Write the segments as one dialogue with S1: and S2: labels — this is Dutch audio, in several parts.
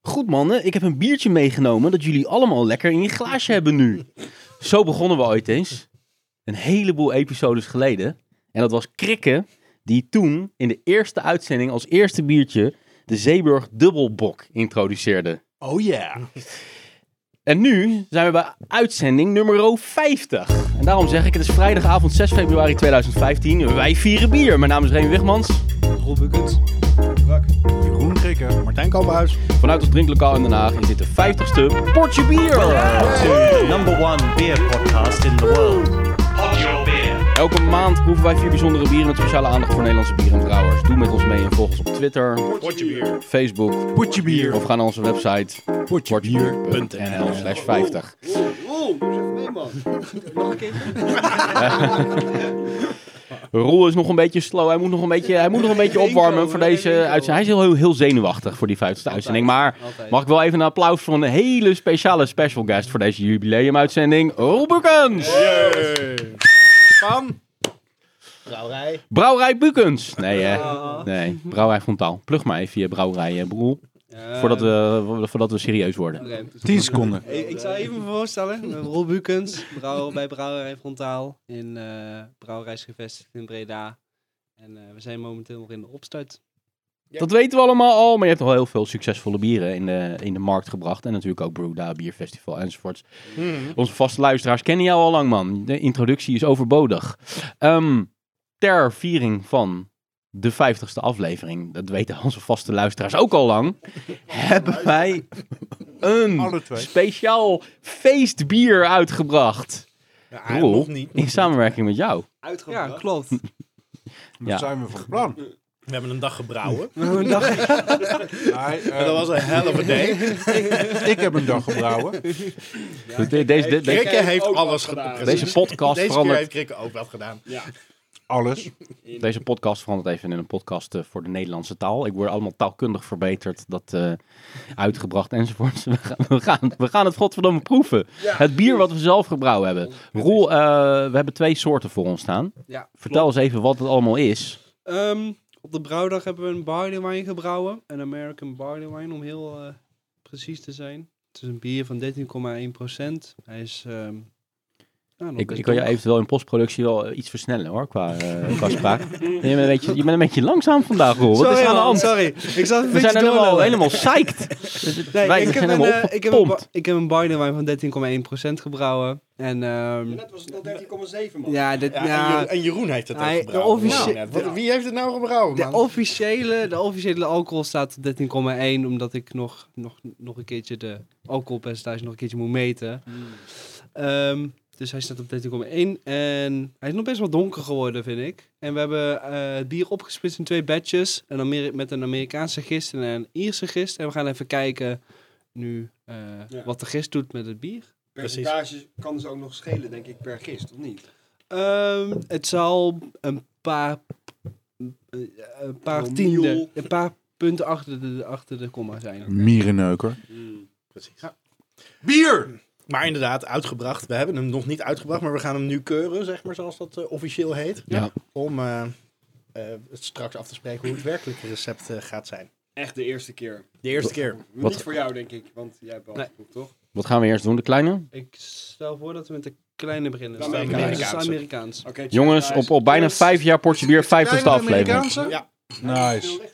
S1: goed mannen, ik heb een biertje meegenomen dat jullie allemaal lekker in je glaasje hebben nu. Zo begonnen we ooit eens. Een heleboel episodes geleden. En dat was Krikke, die toen in de eerste uitzending als eerste biertje de Zeeburg Dubbelbok introduceerde.
S2: Oh yeah.
S1: En nu zijn we bij uitzending nummer 50. En daarom zeg ik, het is vrijdagavond 6 februari 2015. Wij vieren bier. Mijn naam is Remy Wigmans.
S2: Rob Bukkens. Jeroen Krikker. Martijn Kalbhuis.
S1: Vanuit ons drinklokaal in Den Haag is dit de 50ste Portje Bier.
S3: to number one beer podcast in the world. Pod your beer.
S1: Elke maand proeven wij vier bijzondere bieren met speciale aandacht voor Nederlandse bieren en brouwers. Doe met ons mee en volg ons op Twitter,
S2: Potje bier.
S1: Facebook
S2: Potje bier.
S1: of ga naar onze website portjebier.nl slash 50. Roel is nog een beetje slow. Hij moet nog een beetje, hij moet nog een beetje opwarmen voor deze uitzending. Hij is heel, heel, heel zenuwachtig voor die 50ste uitzending. Maar mag ik wel even een applaus voor een hele speciale special guest voor deze jubileumuitzending. Roel Bukens!
S2: Pam.
S1: Brouwerij Ah. Bukens! Nee, hè. nee. Brouwerij Frontaal. Plug mij via Brouwerij eh, Broel. Voordat we, voordat we serieus worden.
S4: Oké.
S2: 10 seconden.
S4: Ik, ik zou even voorstellen, Rob Bukens, brouwer bij Brouwerij Frontaal in eh Brouwerij is gevestigd in Breda. En eh, we zijn momenteel nog in de opstart.
S1: Dat weten we allemaal al, maar je hebt al heel veel succesvolle bieren in de, in de markt gebracht. En natuurlijk ook Brewda, Bierfestival enzovoorts.
S5: Mhm.
S1: Onze vaste luisteraars kennen jou al lang, man. De introductie is overbodig. Ehm, ter viering van de 50ste aflevering, dat weten onze vaste luisteraars ook al lang, hebben wij een
S5: Alle twee.
S1: speciaal feestbier uitgebracht.
S5: Ja,
S1: Roel,
S5: nog niet.
S1: In samenwerking met jou.
S4: Ja, klopt.
S1: Ja.
S5: Dat zijn we van plan.
S3: We hebben een dag gebrouwen.
S4: Een dag-
S5: Hij, eh,
S3: En dat was een hell of a day.
S5: ik heb een dag gebrouwen.
S1: De- de- deze, de- de-
S3: Krikke
S4: heeft
S3: heeft
S4: ook
S3: alles
S4: wat gedaan.
S3: gedaan.
S1: deze podcast
S3: Deze keer
S1: verandert
S3: heeft Krikke ook wat gedaan.
S5: Alles.
S1: Deze podcast verandert even in een podcast eh, voor de Nederlandse taal. Ik word allemaal taalkundig verbeterd, dat eh, uitgebracht enzovoort. We gaan, we, gaan, we gaan het godverdomme proeven. het bier wat we zelf gebrouwen hebben. Roel, eh, we hebben twee soorten voor ons staan.
S4: ja,
S1: Vertel eens even wat het allemaal is.
S4: Ehm, op de brouwdag hebben we een barley wine gebrouwen. Een American barley wine, om heel eh, precies te zijn. Het is een bier van 13,1 Hij is... ehm, nou, nog
S1: Ik,
S4: best
S1: ik kan je
S4: donker.
S1: eventueel in postproductie wel eh, iets versnellen hoor, qua, eh, qua spraak. Je bent, een beetje, je bent een beetje langzaam vandaag, Roel. Wat is er
S4: Sorry,
S1: aan de
S4: man,
S1: hand?
S4: sorry. Ik zat een
S1: We zijn
S4: beetje
S1: helemaal,
S4: doorlullen.
S1: helemaal psyched.
S4: Nee,
S1: Wij
S4: ik,
S1: zijn
S4: heb een,
S1: helemaal
S4: eh, ik, heb een, ba-
S1: opgepompt.
S4: ik heb een barley wine van 13,1% gebrouwen. En, ehm,
S6: Net was het al 13,7 man.
S4: ja, dit,
S3: Ja,
S4: ja,
S3: en Jeroen- En Jeroen heeft het ook
S4: Hij- de
S3: gebrouwen.
S4: officie-
S3: Nou, wat- Wie heeft het nou gebrouwen,
S6: Oh,
S4: de,
S5: oh.
S3: man?
S4: officiële, de officiële alcohol staat op 13,1, omdat ik nog, nog, nog een keertje de alcoholpercentage nog een keertje moet meten.
S6: Hmm.
S4: Ehm, dus hij staat op 13,1 en hij is nog best wel donker geworden, vind ik. En we hebben eh, het bier opgesplitst in twee batches, een Ameri- met een Amerikaanse gist en een Ierse gist. En we gaan even kijken nu eh,
S6: Ja.
S4: wat de gist doet met het bier.
S6: Percentages kan dus ook nog schelen, denk ik, per gist, of niet?
S4: Ehm, het zal een paar, eh, een paar
S6: Promiel.
S4: tiende, een paar punten achter de, achter de comma zijn.
S2: Mierenneuker.
S3: Precies. Bier! Maar inderdaad, uitgebracht. We hebben hem nog niet uitgebracht, maar we gaan hem nu keuren, zeg maar, zoals dat eh, officieel heet.
S1: Ja.
S3: Om eh, eh, het straks af te spreken hoe het werkelijke recept eh, gaat zijn.
S6: Echt de eerste keer.
S3: De eerste keer.
S1: Wat-
S6: Niet voor jou, denk ik, want jij hebt al
S4: Nee.
S6: geproefd, toch?
S1: Wat gaan we eerst doen, de kleine?
S4: Ik stel voor dat we met de kleine beginnen.
S6: De
S4: Dus dat
S3: Amerikaanse.
S4: is Amerikaans.
S6: Oké, check,
S1: Jongens,
S6: guys.
S1: op, op bijna vijf jaar Portje Bier, vijftigste aflevering.
S5: Amerikaanse?
S3: Ja.
S5: Nice.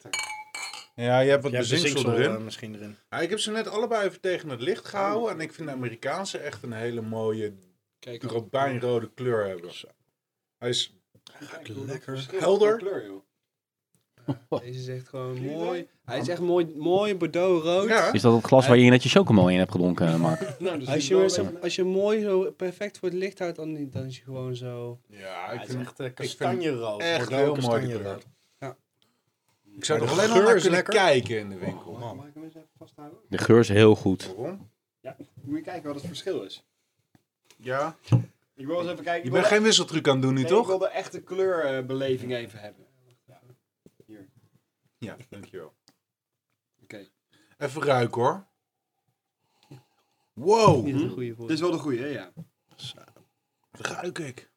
S5: Ja, je hebt wat
S3: Je hebt de
S5: bezinksel
S3: zinksel eh,
S5: erin.
S3: misschien erin.
S5: Ja, ik heb ze net allebei even tegen het licht gehouden. En ik vind de Amerikaanse echt een hele mooie
S4: Kijk,
S5: robijnrode kleur hebben. Hij is
S6: lekker.
S5: Helder.
S6: Kleur, joh.
S4: deze is echt gewoon mooi. Hij is echt mooi, mooi bordeaux-rood.
S5: Ja.
S1: Is dat het glas waar je net je chocomel in hebt gedronken, eh, Mark?
S6: Nou, dus
S4: Als je, hem zo- als je hem mooi zo perfect voor het licht houdt, dan, niet- dan is hij gewoon zo...
S5: Ja,
S3: Hij
S5: ik
S3: is
S5: vind
S3: echt eh,
S5: vind hem
S3: kastanjerood.
S5: echt
S3: Bordeaux
S5: heel mooi
S3: kastanjerood.
S5: gekleurd.
S4: Ja.
S5: Ik zou
S3: Maar
S5: er
S3: de
S5: alleen al
S3: geur
S5: naar
S3: is
S5: kunnen
S3: lekker.
S5: kijken in de winkel.
S6: Mag ik hem eens even vasthouden?
S1: De geur is heel goed.
S5: Waarom?
S6: Moet je kijken wat het verschil is.
S5: Ja.
S6: Ik wil eens even kijken.
S5: Je
S6: ik
S5: bent
S6: wil-
S5: geen wisseltruc aan het doen nu,
S6: nee, Ik
S5: toch?
S6: wil de echte kleurbeleving even hebben.
S5: Ja, dankjewel.
S6: Oké.
S5: Even ruiken, hoor. Wow.
S4: Niet een goede voor.
S6: Dit is wel de goede, hè? Ja.
S5: ruik ik.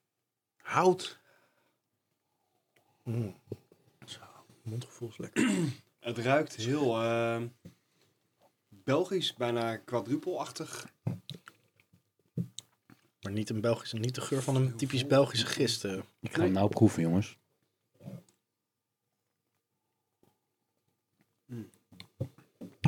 S5: Hout.
S3: Mondgevoel is lekker.
S6: Het ruikt heel eh, Belgisch, bijna quadrupelachtig.
S3: Maar niet, een Belgische, niet de geur van een typisch Belgische gist. eh.
S1: Ik ga hem nou proeven, jongens.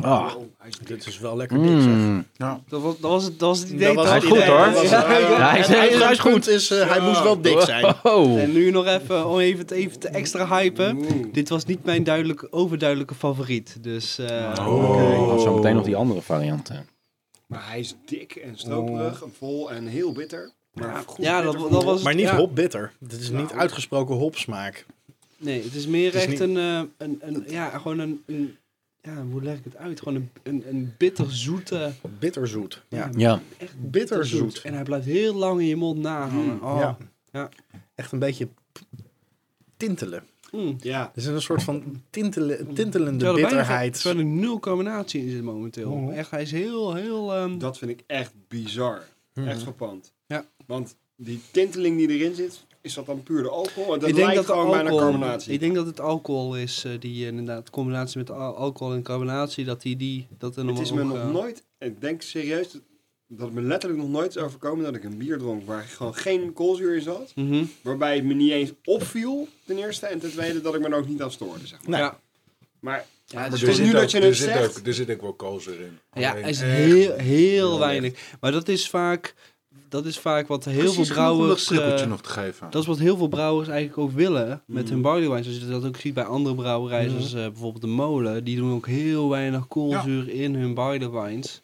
S1: Ah,
S6: Oh, hij is dik.
S3: Dit is wel lekker dik, zeg.
S1: mm.
S4: Dat was, dat was, het, dat was het idee.
S3: Dat was
S1: Hij is
S4: toch?
S1: goed,
S3: idee.
S1: hoor.
S3: Dat was-
S4: Ja, ja.
S1: Ja, hij is-
S3: Het
S1: hij is-
S3: uitgangspunt is, eh, hij moest wel dik zijn.
S1: Oh.
S4: En nu nog even, om even, te- even te extra hypen. Dit was niet mijn duidelijk, overduidelijke favoriet. Dus eh,
S3: Oh.
S1: Oké, dan zo meteen nog die andere varianten.
S6: Maar hij is dik
S5: Oh.
S6: en stroperig en vol en heel bitter. Maar goed
S4: ja,
S6: bitter
S4: dat,
S6: van
S4: dat
S6: de-
S4: was...
S3: Maar niet
S4: ja.
S3: hopbitter. Dit is niet uitgesproken hopsmaak.
S4: Nee, het is meer
S3: is
S4: echt
S3: niet-
S4: een, eh, een, een, ja, gewoon een, een, ja, hoe leg ik het uit? Gewoon een, een, een bitterzoete,
S3: Bitterzoet. Ja.
S1: Ja,
S4: echt
S3: Bitterzoet. Mm,
S4: En hij blijft heel lang in je mond nahangen. Oh.
S3: Ja.
S4: Ja.
S3: Echt een beetje p- tintelen.
S4: Mm.
S6: Ja,
S3: Er is een soort van tintele, tintelende
S4: Terwijl er weinig-
S3: bitterheid.
S4: terwijl er nul combinatie in zit momenteel.
S3: Oh.
S4: Echt, hij is heel, heel... ehm,
S6: dat vind ik echt bizar. Echt verpand.
S4: Mhm. Ja.
S6: Want die tinteling die erin zit, is dat dan puur de alcohol? En dat
S4: ik denk
S6: lijkt
S4: dat de
S6: gewoon bijna
S4: alcohol-
S6: carbonatie.
S4: Ik denk dat het alcohol is eh, die inderdaad, de combinatie met al- alcohol en carbonatie, dat die, die dat er nog
S6: Het is me nog nooit, ik denk serieus, dat- dat het me letterlijk nog nooit is overkomen dat ik een bier dronk waar gewoon geen koolzuur in zat.
S4: Mhm.
S6: Waarbij het me niet eens opviel, ten eerste. En ten tweede dat ik me er ook niet aan stoorde, zeg maar.
S3: Nou.
S4: Ja.
S6: Maar
S4: Ja,
S5: Maar
S6: het
S5: er
S6: is
S5: zit
S6: nu
S5: ook-
S6: dat je
S5: er
S6: het
S5: zit
S6: zegt. Eh,
S5: ook- Er zit ook wel koolzuur in.
S4: Ja,
S5: Alleen
S4: hij is
S5: echt
S4: heel, heel
S5: heel
S4: weinig. Maar dat is vaak, dat is vaak wat heel
S5: precies
S4: veel
S5: genoeg om dat
S4: brouwers.
S5: prikkeltje
S4: eh,
S5: nog te geven.
S4: dat is wat heel veel brouwers eigenlijk ook willen met
S5: Mm.
S4: hun bodywines. Als je dat ook ziet bij andere
S6: Mm.
S4: brouwerijen, zoals eh, bijvoorbeeld de molen, die doen ook heel weinig koolzuur in hun bodywines.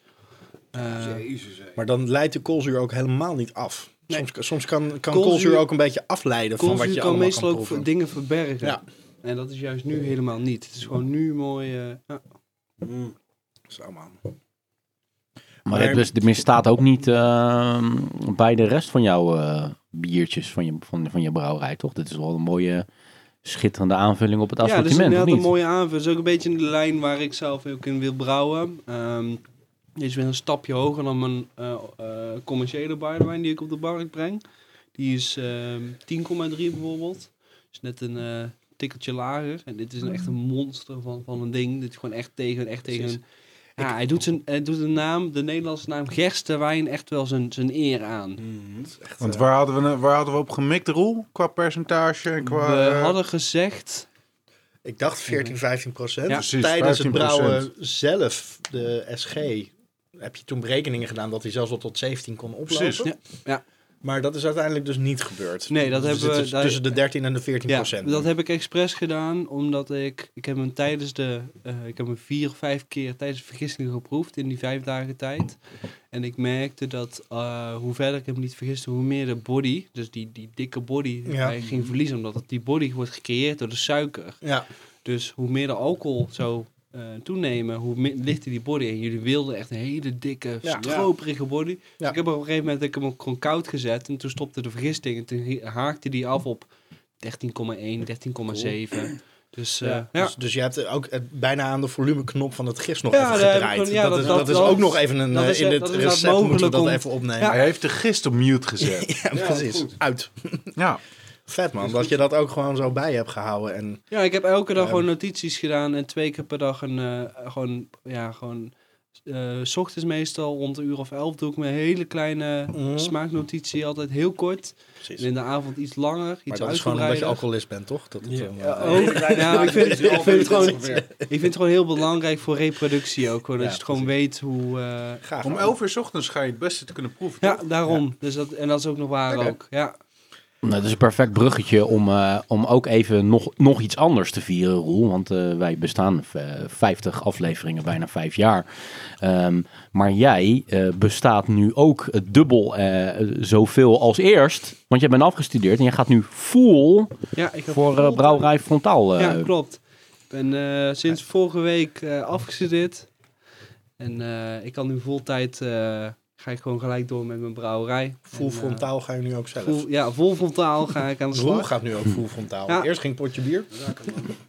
S4: Eh,
S6: Jezus, hé.
S3: Maar dan leidt de koolzuur ook helemaal niet af.
S4: Nee.
S3: Soms, soms kan, kan koolzuur,
S4: Koolzuur-
S3: ook een beetje afleiden van wat
S4: koolzuur
S3: je
S4: kan
S3: allemaal
S4: meestal
S3: kan
S4: ook
S3: proeven.
S4: dingen verbergen.
S3: Ja.
S4: En dat is juist nu helemaal niet. Het is gewoon nu mooi. eh, ja.
S3: Zo, man.
S1: maar het dus, er staat ook niet ehm, bij de rest van jouw eh, biertjes van je, van, van je brouwerij, toch? Dit is wel een mooie, schitterende aanvulling op het
S4: Ja, dus
S1: assortiment, of
S4: inderdaad
S1: niet?
S4: een mooie aanvulling. Het is ook een beetje in de lijn waar ik zelf ook in wil brouwen. Ehm dit is weer een stapje hoger dan mijn eh eh commerciële barwijn die ik op de markt breng. Die is ehm 10,3 bijvoorbeeld. is net een eh tikkeltje lager. En dit is een, echt een monster van, van een ding. Dit is gewoon echt tegen, echt tegen...
S3: Precies.
S4: Ja, hij doet, zijn, hij doet de naam, de Nederlandse naam Gerstewijn echt wel zijn, zijn eer aan.
S3: Echt,
S5: Want
S3: eh,
S5: waar hadden, we, nou- waar hadden we op gemikt, Roel? Qua percentage en qua...
S4: We
S5: eh,
S4: hadden gezegd...
S3: ik
S4: Mhm.
S3: dacht 14, 15 procent.
S4: Ja.
S5: Precies,
S3: Tijdens het
S5: 15%.
S3: brouwen zelf, de SG, heb je toen berekeningen gedaan dat hij zelfs wel tot 17 kon oplopen.
S5: Precies.
S4: Ja, ja.
S3: Maar dat is uiteindelijk dus niet gebeurd.
S4: Nee, dat
S3: Dus
S4: hebben
S3: het
S4: we-
S3: is
S4: daar-
S3: tussen de 13 en de 14
S4: Ja,
S3: procent.
S4: dat heb ik expres gedaan, omdat ik... Ik heb hem tijdens de... eh, ik heb hem vier of vijf keer tijdens de vergistingen geproefd in die vijf dagen tijd. En ik merkte dat eh, hoe verder ik hem niet vergiste, hoe meer de body... Dus die, die dikke body
S3: Ja.
S4: hij ging verliezen, omdat het- die body wordt gecreëerd door de suiker.
S3: Ja,
S4: Dus hoe meer de alcohol zou eh, toenemen, hoe mi- lichter die body. En jullie wilden echt een hele dikke,
S3: Ja.
S4: stroperige body. Dus
S3: Ja.
S4: ik heb op een gegeven moment dat ik hem ook gewoon koud gezet. En toen stopte de vergisting. En toen hi- haakte die af op 13,1, 13,7. Dus eh, ja.
S3: Dus, dus je hebt ook eh, bijna aan de volumeknop van het gist nog
S4: Ja, daar
S3: even
S4: heb ik
S3: gedraaid.
S4: gewoon- ja,
S3: dat,
S4: dat-
S3: is, dat,
S4: dat-
S3: is
S4: dat
S3: ook
S4: is-
S3: nog even een,
S4: dat
S3: eh,
S4: is-
S3: in
S4: dat
S3: het
S4: is inderdaad
S3: recept moeten we dat
S4: mogelijk om-
S3: even opnemen.
S4: Ja.
S3: Ja,
S5: Hij heeft de gist op mute gezet.
S3: precies.
S6: goed.
S3: Uit.
S5: ja.
S3: Vet man, dat je dat ook gewoon zo bij hebt gehouden. En
S4: ja, ik heb elke dag
S3: Ja.
S4: gewoon notities gedaan. En twee keer per dag een eh, gewoon, ja, gewoon... eh, s ochtends meestal rond een uur of elf doe ik mijn hele kleine
S3: Mhm.
S4: smaaknotitie. Altijd heel kort.
S3: precies.
S4: En in de avond iets langer,
S3: Maar
S4: iets
S3: dat is gewoon omdat je
S4: uitgebreider.
S3: alcoholist bent, toch? Dat het, eh,
S4: Ja, ook. Ja, maar ik vind, ik vind het gewoon, ik vind het gewoon heel belangrijk voor reproductie ook. Hoor, dat
S3: Ja,
S4: je het gewoon weet hoe... eh,
S3: Gaaf.
S5: Om
S3: man.
S5: 11 uur 's ochtends ga je het beste te kunnen proeven.
S4: ja,
S5: toch?
S4: daarom. Dus dat, en dat is ook nog waar
S3: Lekker.
S4: ook. Ja.
S1: Nou, dat is een perfect bruggetje om, eh, om ook even nog, nog iets anders te vieren, Roel. Want eh, wij bestaan eh, 50 afleveringen, bijna vijf jaar. Ehm, maar jij eh, bestaat nu ook het dubbel eh, zoveel als eerst. Want jij bent afgestudeerd en jij gaat nu full
S4: Ja, ik heb
S1: voor eh,
S4: gevoeld-
S1: Brouwerij Frontaal. eh,
S4: Ja, klopt. Ik ben eh, sinds vorige week eh, afgestudeerd. En eh, ik kan nu voltijd... eh, ga ik gewoon gelijk door met mijn brouwerij.
S3: Full
S4: En, eh,
S3: frontaal ga je nu ook zelf.
S4: full- ja, vol frontaal ga ik aan de
S3: Roel
S4: slag.
S3: gaat nu ook full frontaal.
S4: Ja.
S3: Eerst ging potje bier.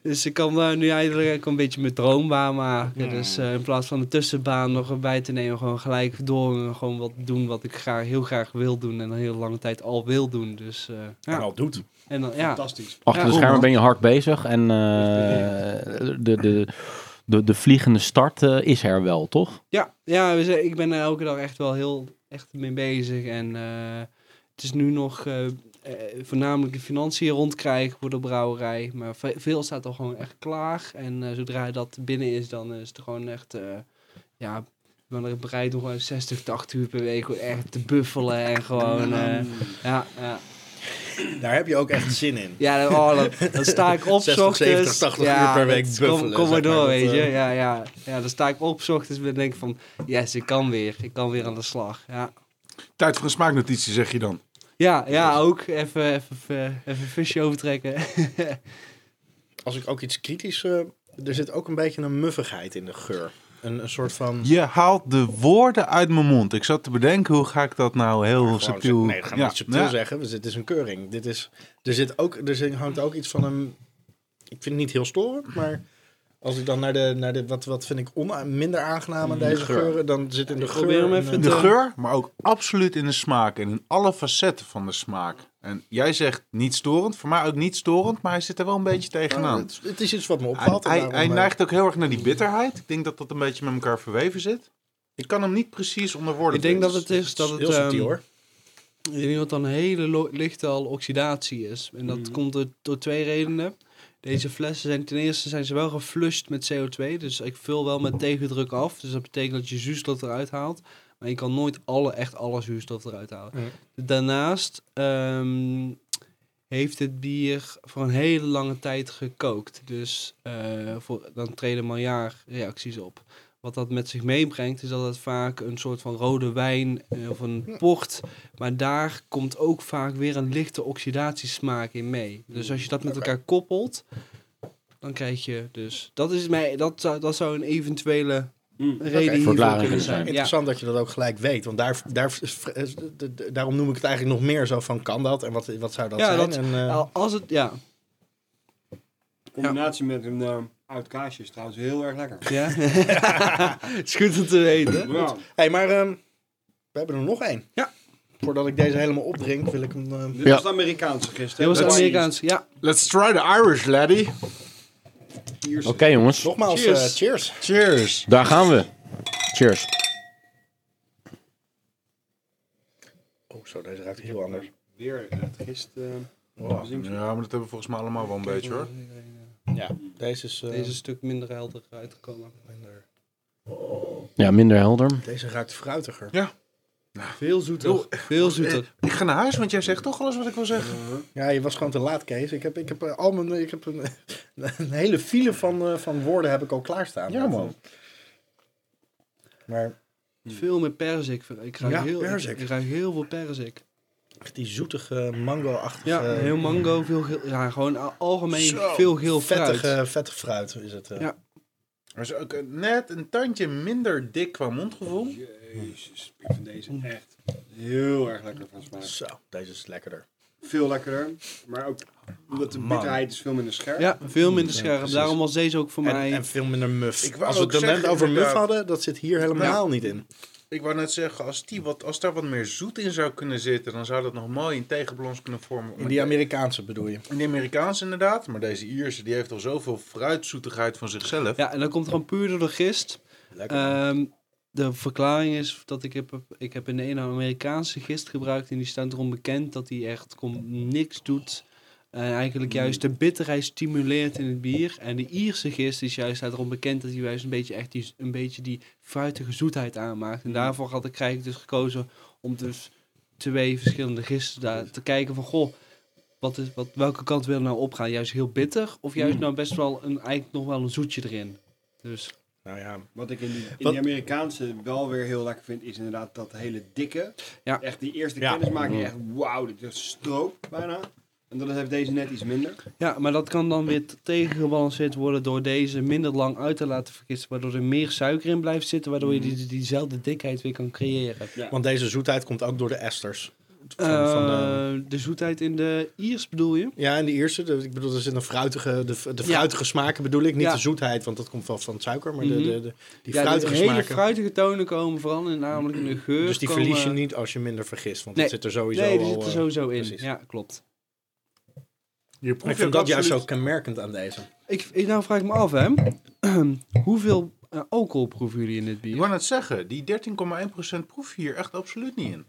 S4: Dus ik kan daar nu eigenlijk een beetje mijn droom waarmaken. Dus eh, in plaats van de tussenbaan nog erbij te nemen, gewoon gelijk door. En gewoon wat doen wat ik graag, heel graag wil doen. En een hele lange tijd al wil doen. Dus eh,
S3: En
S4: ja.
S3: al doet.
S4: En dan, ja.
S6: Fantastisch.
S1: Achter de
S4: Ja, goed,
S1: schermen
S4: man.
S1: ben je hard bezig en eh, de, de, de, de vliegende start eh, is er wel, toch?
S4: Ja, ja we zijn- ik ben er elke dag echt wel heel echt mee bezig. En eh, het is nu nog eh, eh, voornamelijk de financiën rondkrijgen voor de brouwerij. Maar ve- veel staat al gewoon echt klaar. En eh, zodra dat binnen is, dan is het gewoon echt... eh, ja, ik ben er bereid om gewoon 60, 80 uur per week gewoon echt te buffelen. En gewoon... eh, ja, ja.
S3: Daar heb je ook echt zin in.
S4: Ja, dat, oh, dat, dan sta ik op
S3: 60, 70,
S4: ochtends.
S3: 80 uur per week
S4: dat- Kom,
S3: buffelen,
S4: kom maar
S3: zeg maar.
S4: door,
S3: Dat,
S4: weet je.
S3: eh,
S4: Ja, ja, ja, dan sta ik op 's ochtends en denk ik van... Yes, ik kan weer. Ik kan weer aan de slag. Ja,
S5: Tijd voor een smaaknotitie, zeg je dan.
S4: ja, ja ook. Even, even, eh, even, even een visje overtrekken.
S3: Als ik ook iets kritisch... eh, er zit ook een beetje een muffigheid in de geur. Een, een soort van...
S5: Je haalt de woorden uit mijn mond. Ik zat te bedenken, hoe ga ik dat nou heel
S3: Gewoon
S5: subtiel...
S3: zeggen- Oh, Nee, dat gaan we
S5: Ja,
S3: niet subtiel
S5: ja.
S3: zeggen. Dus dit is een keuring. Dit is, er, zit ook, er zit- hangt ook iets van een... Ik vind het niet heel storend, maar... Als ik dan naar de... Naar de wat, wat vind ik ona- minder aangenaam aan deze
S5: geur.
S3: geuren... Dan zit in de geur... eh,
S4: probeer hem
S3: een-
S4: even
S3: een-
S5: In de geur, maar ook absoluut in de smaak en in alle facetten van de smaak. En jij zegt niet storend, voor mij ook niet storend, maar hij zit er wel een beetje
S3: Ja,
S5: tegenaan.
S3: het, het is iets wat me
S5: Hij,
S3: opvalt. en
S5: hij,
S3: daarom,
S5: hij
S3: eh,
S5: neigt ook heel erg naar die bitterheid. Ik denk dat dat een beetje met elkaar verweven zit. Ik kan hem niet precies onder woorden
S4: ik denk dat
S5: brengen.
S4: het is dat het...
S3: heel subtiel,
S4: ehm,
S3: hoor.
S4: Ik denk dat het dan een hele lo- lichte al oxidatie is. En
S3: Mhm.
S4: dat komt door, door twee redenen. Deze flessen zijn ten eerste zijn ze wel geflushed met CO2. Dus ik vul wel met tegendruk af. Dus dat betekent dat je zuurstof eruit haalt. Maar je kan nooit alle, echt alle zuurstof eruit halen. Daarnaast ehm, heeft het bier voor een hele lange tijd gekookt. Dus eh, voor, dan treden miljardreacties op. Wat dat met zich meebrengt, is dat het vaak een soort van rode wijn eh, of een port. Maar daar komt ook vaak weer een lichte oxidatiesmaak in mee. Dus als je dat met elkaar koppelt, dan krijg je dus. Dat, is mij, dat, zou, dat zou een eventuele
S6: Mm.
S4: reden hiervoor
S1: Verklaring
S4: kunnen
S1: kunnen
S4: zijn.
S1: zijn.
S4: Ja.
S3: Interessant dat je dat ook gelijk weet. Want daar, daar, d- d- daarom noem ik het eigenlijk nog meer zo van... Kan dat? En wat, wat zou dat
S4: Ja,
S3: zijn?
S4: dat- Nou.
S3: en, eh,
S4: Al- Als het, ja.
S6: In combinatie met een eh, oud kaasje is trouwens heel erg lekker.
S4: ja. Het is goed om te weten.
S6: Ja.
S3: hey, maar ehm, we hebben er nog één.
S4: Ja.
S3: Voordat ik deze helemaal opdrink, wil ik hem... ehm,
S6: Dit
S1: Ja.
S6: was het Amerikaanse
S4: Dit
S6: gisteren.
S4: was
S6: hè? Dat-
S4: Amerikaans. Ja,
S5: Let's try the Irish, laddie.
S6: Ierse.
S1: Oké, jongens.
S3: nogmaals, cheers.
S4: Cheers.
S3: cheers.
S5: Cheers.
S1: Daar gaan we. Cheers.
S3: Oh, zo, deze ruikt heel anders.
S6: Weer het gisteren.
S3: Wow.
S5: Ja, maar dat hebben we volgens mij allemaal wel een beetje hoor.
S3: Ja, deze is... eh,
S4: deze is een stuk minder helder uitgekomen.
S3: minder-
S1: Ja, minder helder.
S3: Deze ruikt fruitiger.
S4: Nou, Veel zoeter. Veel zoeter.
S5: Ik ga naar huis, want jij zegt toch alles wat ik wil zeggen.
S3: Ja, je was gewoon te laat, Kees. Ik heb, ik heb, eh, al mijn, ik heb een, een hele file van, eh, van woorden heb ik al klaarstaan.
S5: Ja, man.
S3: Maar
S4: Veel meer perzik. Ik ruik,
S3: Ja,
S4: heel,
S3: perzik.
S4: Ik ruik heel veel perzik.
S3: Dus, echt die zoetige mango-achtige...
S4: Ja, heel mango. Veel geel, ja, gewoon al- algemeen
S5: Zo,
S4: veel geel fruit.
S3: hmm. vettige, vettig fruit is het. eh.
S4: Ja.
S5: Er is ook eh, net een tandje minder dik qua mondgevoel.
S6: Jezus, ik vind deze echt heel erg lekker van smaak.
S3: Zo, deze is lekkerder.
S6: Veel lekkerder, maar ook omdat de
S5: Man.
S6: bitterheid is veel minder scherp.
S4: Ja, veel minder
S3: Ja,
S4: scherp.
S3: precies.
S4: Daarom was deze ook voor mij...
S3: En, en veel minder muff.
S5: Ik wou
S3: Als we
S5: ook
S3: het net
S5: zeggen,
S3: over muff
S5: inderdaad.
S3: hadden, dat zit hier helemaal niet in.
S5: Ik wou net zeggen, als, die wat, als daar wat meer zoet in zou kunnen zitten, dan zou dat nog mooi een tegenbalans kunnen vormen.
S3: In die Amerikaanse bedoel je.
S5: In die Amerikaanse inderdaad, maar deze Ierse die heeft al zoveel fruitzoetigheid van zichzelf.
S4: Ja, en dat komt gewoon puur door de gist.
S3: Lekker.
S4: Ehm, de verklaring is dat ik heb, ik heb in de ene Amerikaanse gist gebruikt. En die staat erom bekend dat die echt kom, niks doet. En eigenlijk juist de bitterheid stimuleert in het bier. En de Ierse gist is juist staat erom bekend dat hij juist een beetje, echt die, een beetje die fruitige zoetheid aanmaakt. En daarvoor had ik, krijg ik dus gekozen om dus twee verschillende gisten daar te kijken van... Goh, wat is, wat, welke kant wil nou opgaan? Juist heel bitter of juist nou best wel een, eigenlijk nog wel een zoetje erin? Dus
S3: nou ja,
S6: Wat ik in die, in
S3: Wat-
S6: die Amerikaanse wel weer heel lekker vind, is inderdaad dat hele dikke.
S4: Ja.
S6: Echt die eerste
S3: Ja.
S6: kennismaking, echt wauw, dit is stroop bijna. En dan heeft deze net iets minder.
S4: Ja, maar dat kan dan weer t- tegengebalanceerd worden door deze minder lang uit te laten vergisten, waardoor er meer suiker in blijft zitten, waardoor je die, diezelfde dikheid weer kan creëren.
S3: want deze zoetheid komt ook door de esters. Van, van de-
S4: Eh, de zoetheid in de Iers bedoel je?
S3: ja, en de eerste, de- ik bedoel, dat is in de fruitige, de,
S4: Ja.
S3: de fruitige smaken bedoel ik. Niet
S4: Ja.
S3: de zoetheid, want dat komt wel van het suiker, maar de,
S4: Mhm.
S3: de, de- die
S4: ja, de
S3: fruitige
S4: hele
S3: smaken.
S4: fruitige Hmm. tonen komen vooral in namelijk in de geur.
S3: dus die
S4: komen-
S3: verlies je niet als je minder vergist, want
S4: Nee.
S3: dat zit er sowieso
S4: Nee, die
S3: al...
S4: zit er
S3: eh,
S4: sowieso in.
S3: precies.
S4: Ja, klopt.
S5: Je
S3: Ik
S5: proeft
S3: vind dat juist
S5: absoluut-
S3: zo kenmerkend aan deze.
S4: Ik, ik- nou vraag ik me af, hè. Hoeveel eh, alcohol proeven jullie in dit bier?
S5: Ik wou net zeggen, die 13,1% proef je hier echt absoluut niet in.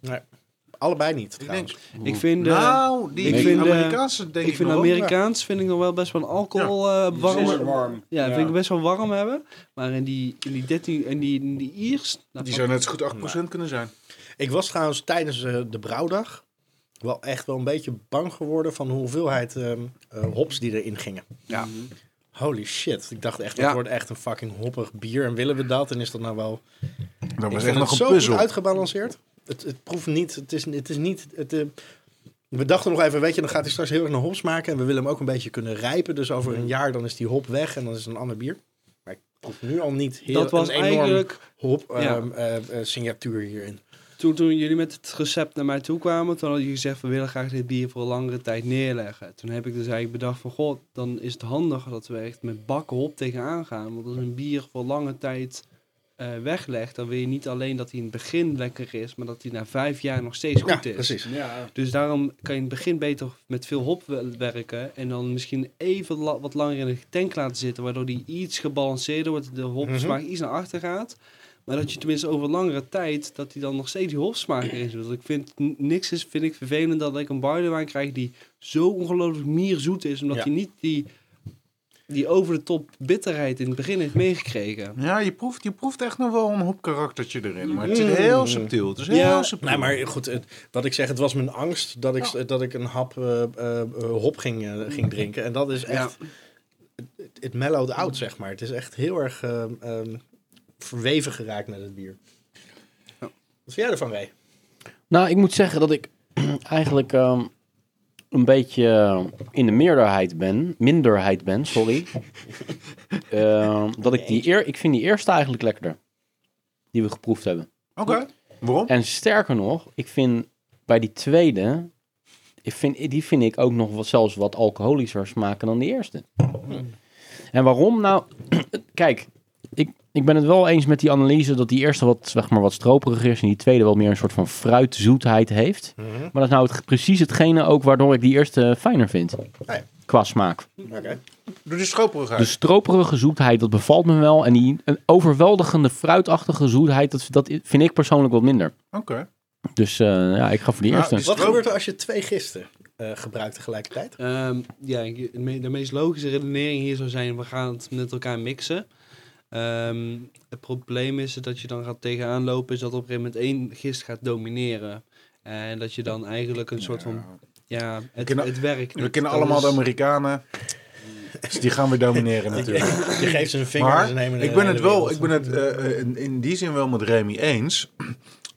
S3: Allebei niet,
S5: Ik denk,
S3: trouwens.
S4: Ik vind, eh,
S5: nou, die,
S4: ik
S5: die
S4: vind, eh,
S5: Amerikaanse denk ik,
S4: ik vind
S5: nog wel.
S4: Amerikaans vind ik nog wel best wel een alcohol eh, warm.
S6: Warm. warm.
S4: Ja, vind ik best wel warm hebben. Maar in die, in die 13 en die, in die Iers.
S5: Die
S4: nou, fuck.
S5: zou net zo goed 8% kunnen zijn.
S3: Ik was trouwens tijdens eh, de brouwdag wel echt wel een beetje bang geworden van de hoeveelheid ehm, eh, hops die erin gingen.
S4: Ja.
S3: Holy shit. Ik dacht echt,
S4: Ja.
S3: dat wordt echt een fucking hoppig bier. En willen we dat? En is dat nou wel...
S5: Dat
S3: ik
S5: was
S3: vind
S5: echt
S3: het
S5: nog
S3: zo
S5: een
S3: goed
S5: puzzel.
S3: uitgebalanceerd. Het, het proeft niet. Het is, het is niet... Het, eh, we dachten nog even, weet je, dan gaat hij straks heel erg naar hops maken. En we willen hem ook een beetje kunnen rijpen. Dus over een jaar dan is die hop weg en dan is het een ander bier. Maar ik proef nu al niet heel
S4: dat was
S3: een enorm
S4: eigenlijk.
S3: hop
S4: ja.
S3: ehm, eh, eh, signatuur hierin.
S4: Toen, toen jullie met het recept naar mij toe kwamen. Toen hadden jullie gezegd: we willen graag dit bier voor een langere tijd neerleggen. Toen heb ik dus eigenlijk bedacht: van god, dan is het handig dat we echt met bakken hop tegenaan gaan. Want als een bier voor lange tijd eh, weglegt, dan wil je niet alleen dat hij in het begin lekker is. maar dat hij na vijf jaar nog steeds goed
S3: ja,
S4: is.
S3: precies.
S6: Ja.
S4: Dus daarom kan je in het begin beter met veel hop wel- werken. En dan misschien even la- wat langer in de tank laten zitten. Waardoor die iets gebalanceerder wordt. De hopsmaak iets naar achter gaat. Maar dat je tenminste over langere tijd. dat die dan nog steeds die hopsmaak erin zit. Want ik vind n- niks is, vind ik vervelend dat ik een barleywijn krijg. die zo ongelooflijk mierzoet is. omdat
S3: Ja.
S4: hij niet die, die over de top bitterheid in het begin heeft meegekregen.
S5: Ja, je proeft, je proeft echt nog wel een hop karaktertje erin. Maar het is heel subtiel. Het is heel
S4: Ja.
S5: subtiel.
S3: Nee, nou, maar goed, het- wat ik zeg, het was mijn angst dat ik,
S6: Oh.
S3: dat ik een hap eh, eh, eh, hop ging, eh, ging drinken. En dat is echt, het, het mellowed out, zeg maar. Het is echt heel erg ehm, ehm, verweven geraakt met het bier.
S6: Oh.
S3: Wat vind jij ervan, Ray?
S1: Nou, ik moet zeggen dat ik eigenlijk ehm, een beetje eh, in de meerderheid ben. Minderheid ben, sorry. Ehm, dat ik die eer, ik vind die eerste eigenlijk lekkerder. Die we geproefd hebben.
S5: Oké, waarom?
S1: En sterker nog, ik vind bij die tweede. Ik vind, die vind ik ook nog wat, zelfs wat alcoholischer smaken dan de eerste. En waarom nou? Kijk, ik, ik ben het wel eens met die analyse dat die eerste wat, zeg maar, wat stroperig is en die tweede wel meer een soort van fruitzoetheid heeft. Maar dat is nou het, precies hetgene ook waardoor ik die eerste fijner vind.
S3: ja.
S1: Qua smaak.
S3: Oké.
S5: Doe die stroperigheid.
S1: De stroperige zoetheid, dat bevalt me wel. En die een overweldigende fruitachtige zoetheid, dat, dat vind ik persoonlijk wat minder.
S5: Oké.
S1: Dus eh, ja, ik ga voor die
S5: Nou,
S1: eerste.
S5: die
S3: Wat
S5: Stroop.
S3: gebeurt er als je twee gisten eh, gebruikt tegelijkertijd?
S4: Ehm, ja, je- de me- de meest logische redenering hier zou zijn: we gaan het met elkaar mixen. Ehm, het probleem is dat je dan gaat tegenaan lopen, is dat op een gegeven moment één gist gaat domineren. En dat je dan eigenlijk een soort van. Ja, het,
S5: kennen-
S4: het werkt.
S5: We
S4: niet.
S5: kennen
S4: Dat
S5: allemaal de
S4: is-
S5: Amerikanen. Dus die gaan weer domineren natuurlijk.
S3: Je geeft ze een vinger en
S5: Maar
S3: ze nemen
S5: ik ben het wel, ik ben het eh, eh, in, in die zin wel met Remy eens.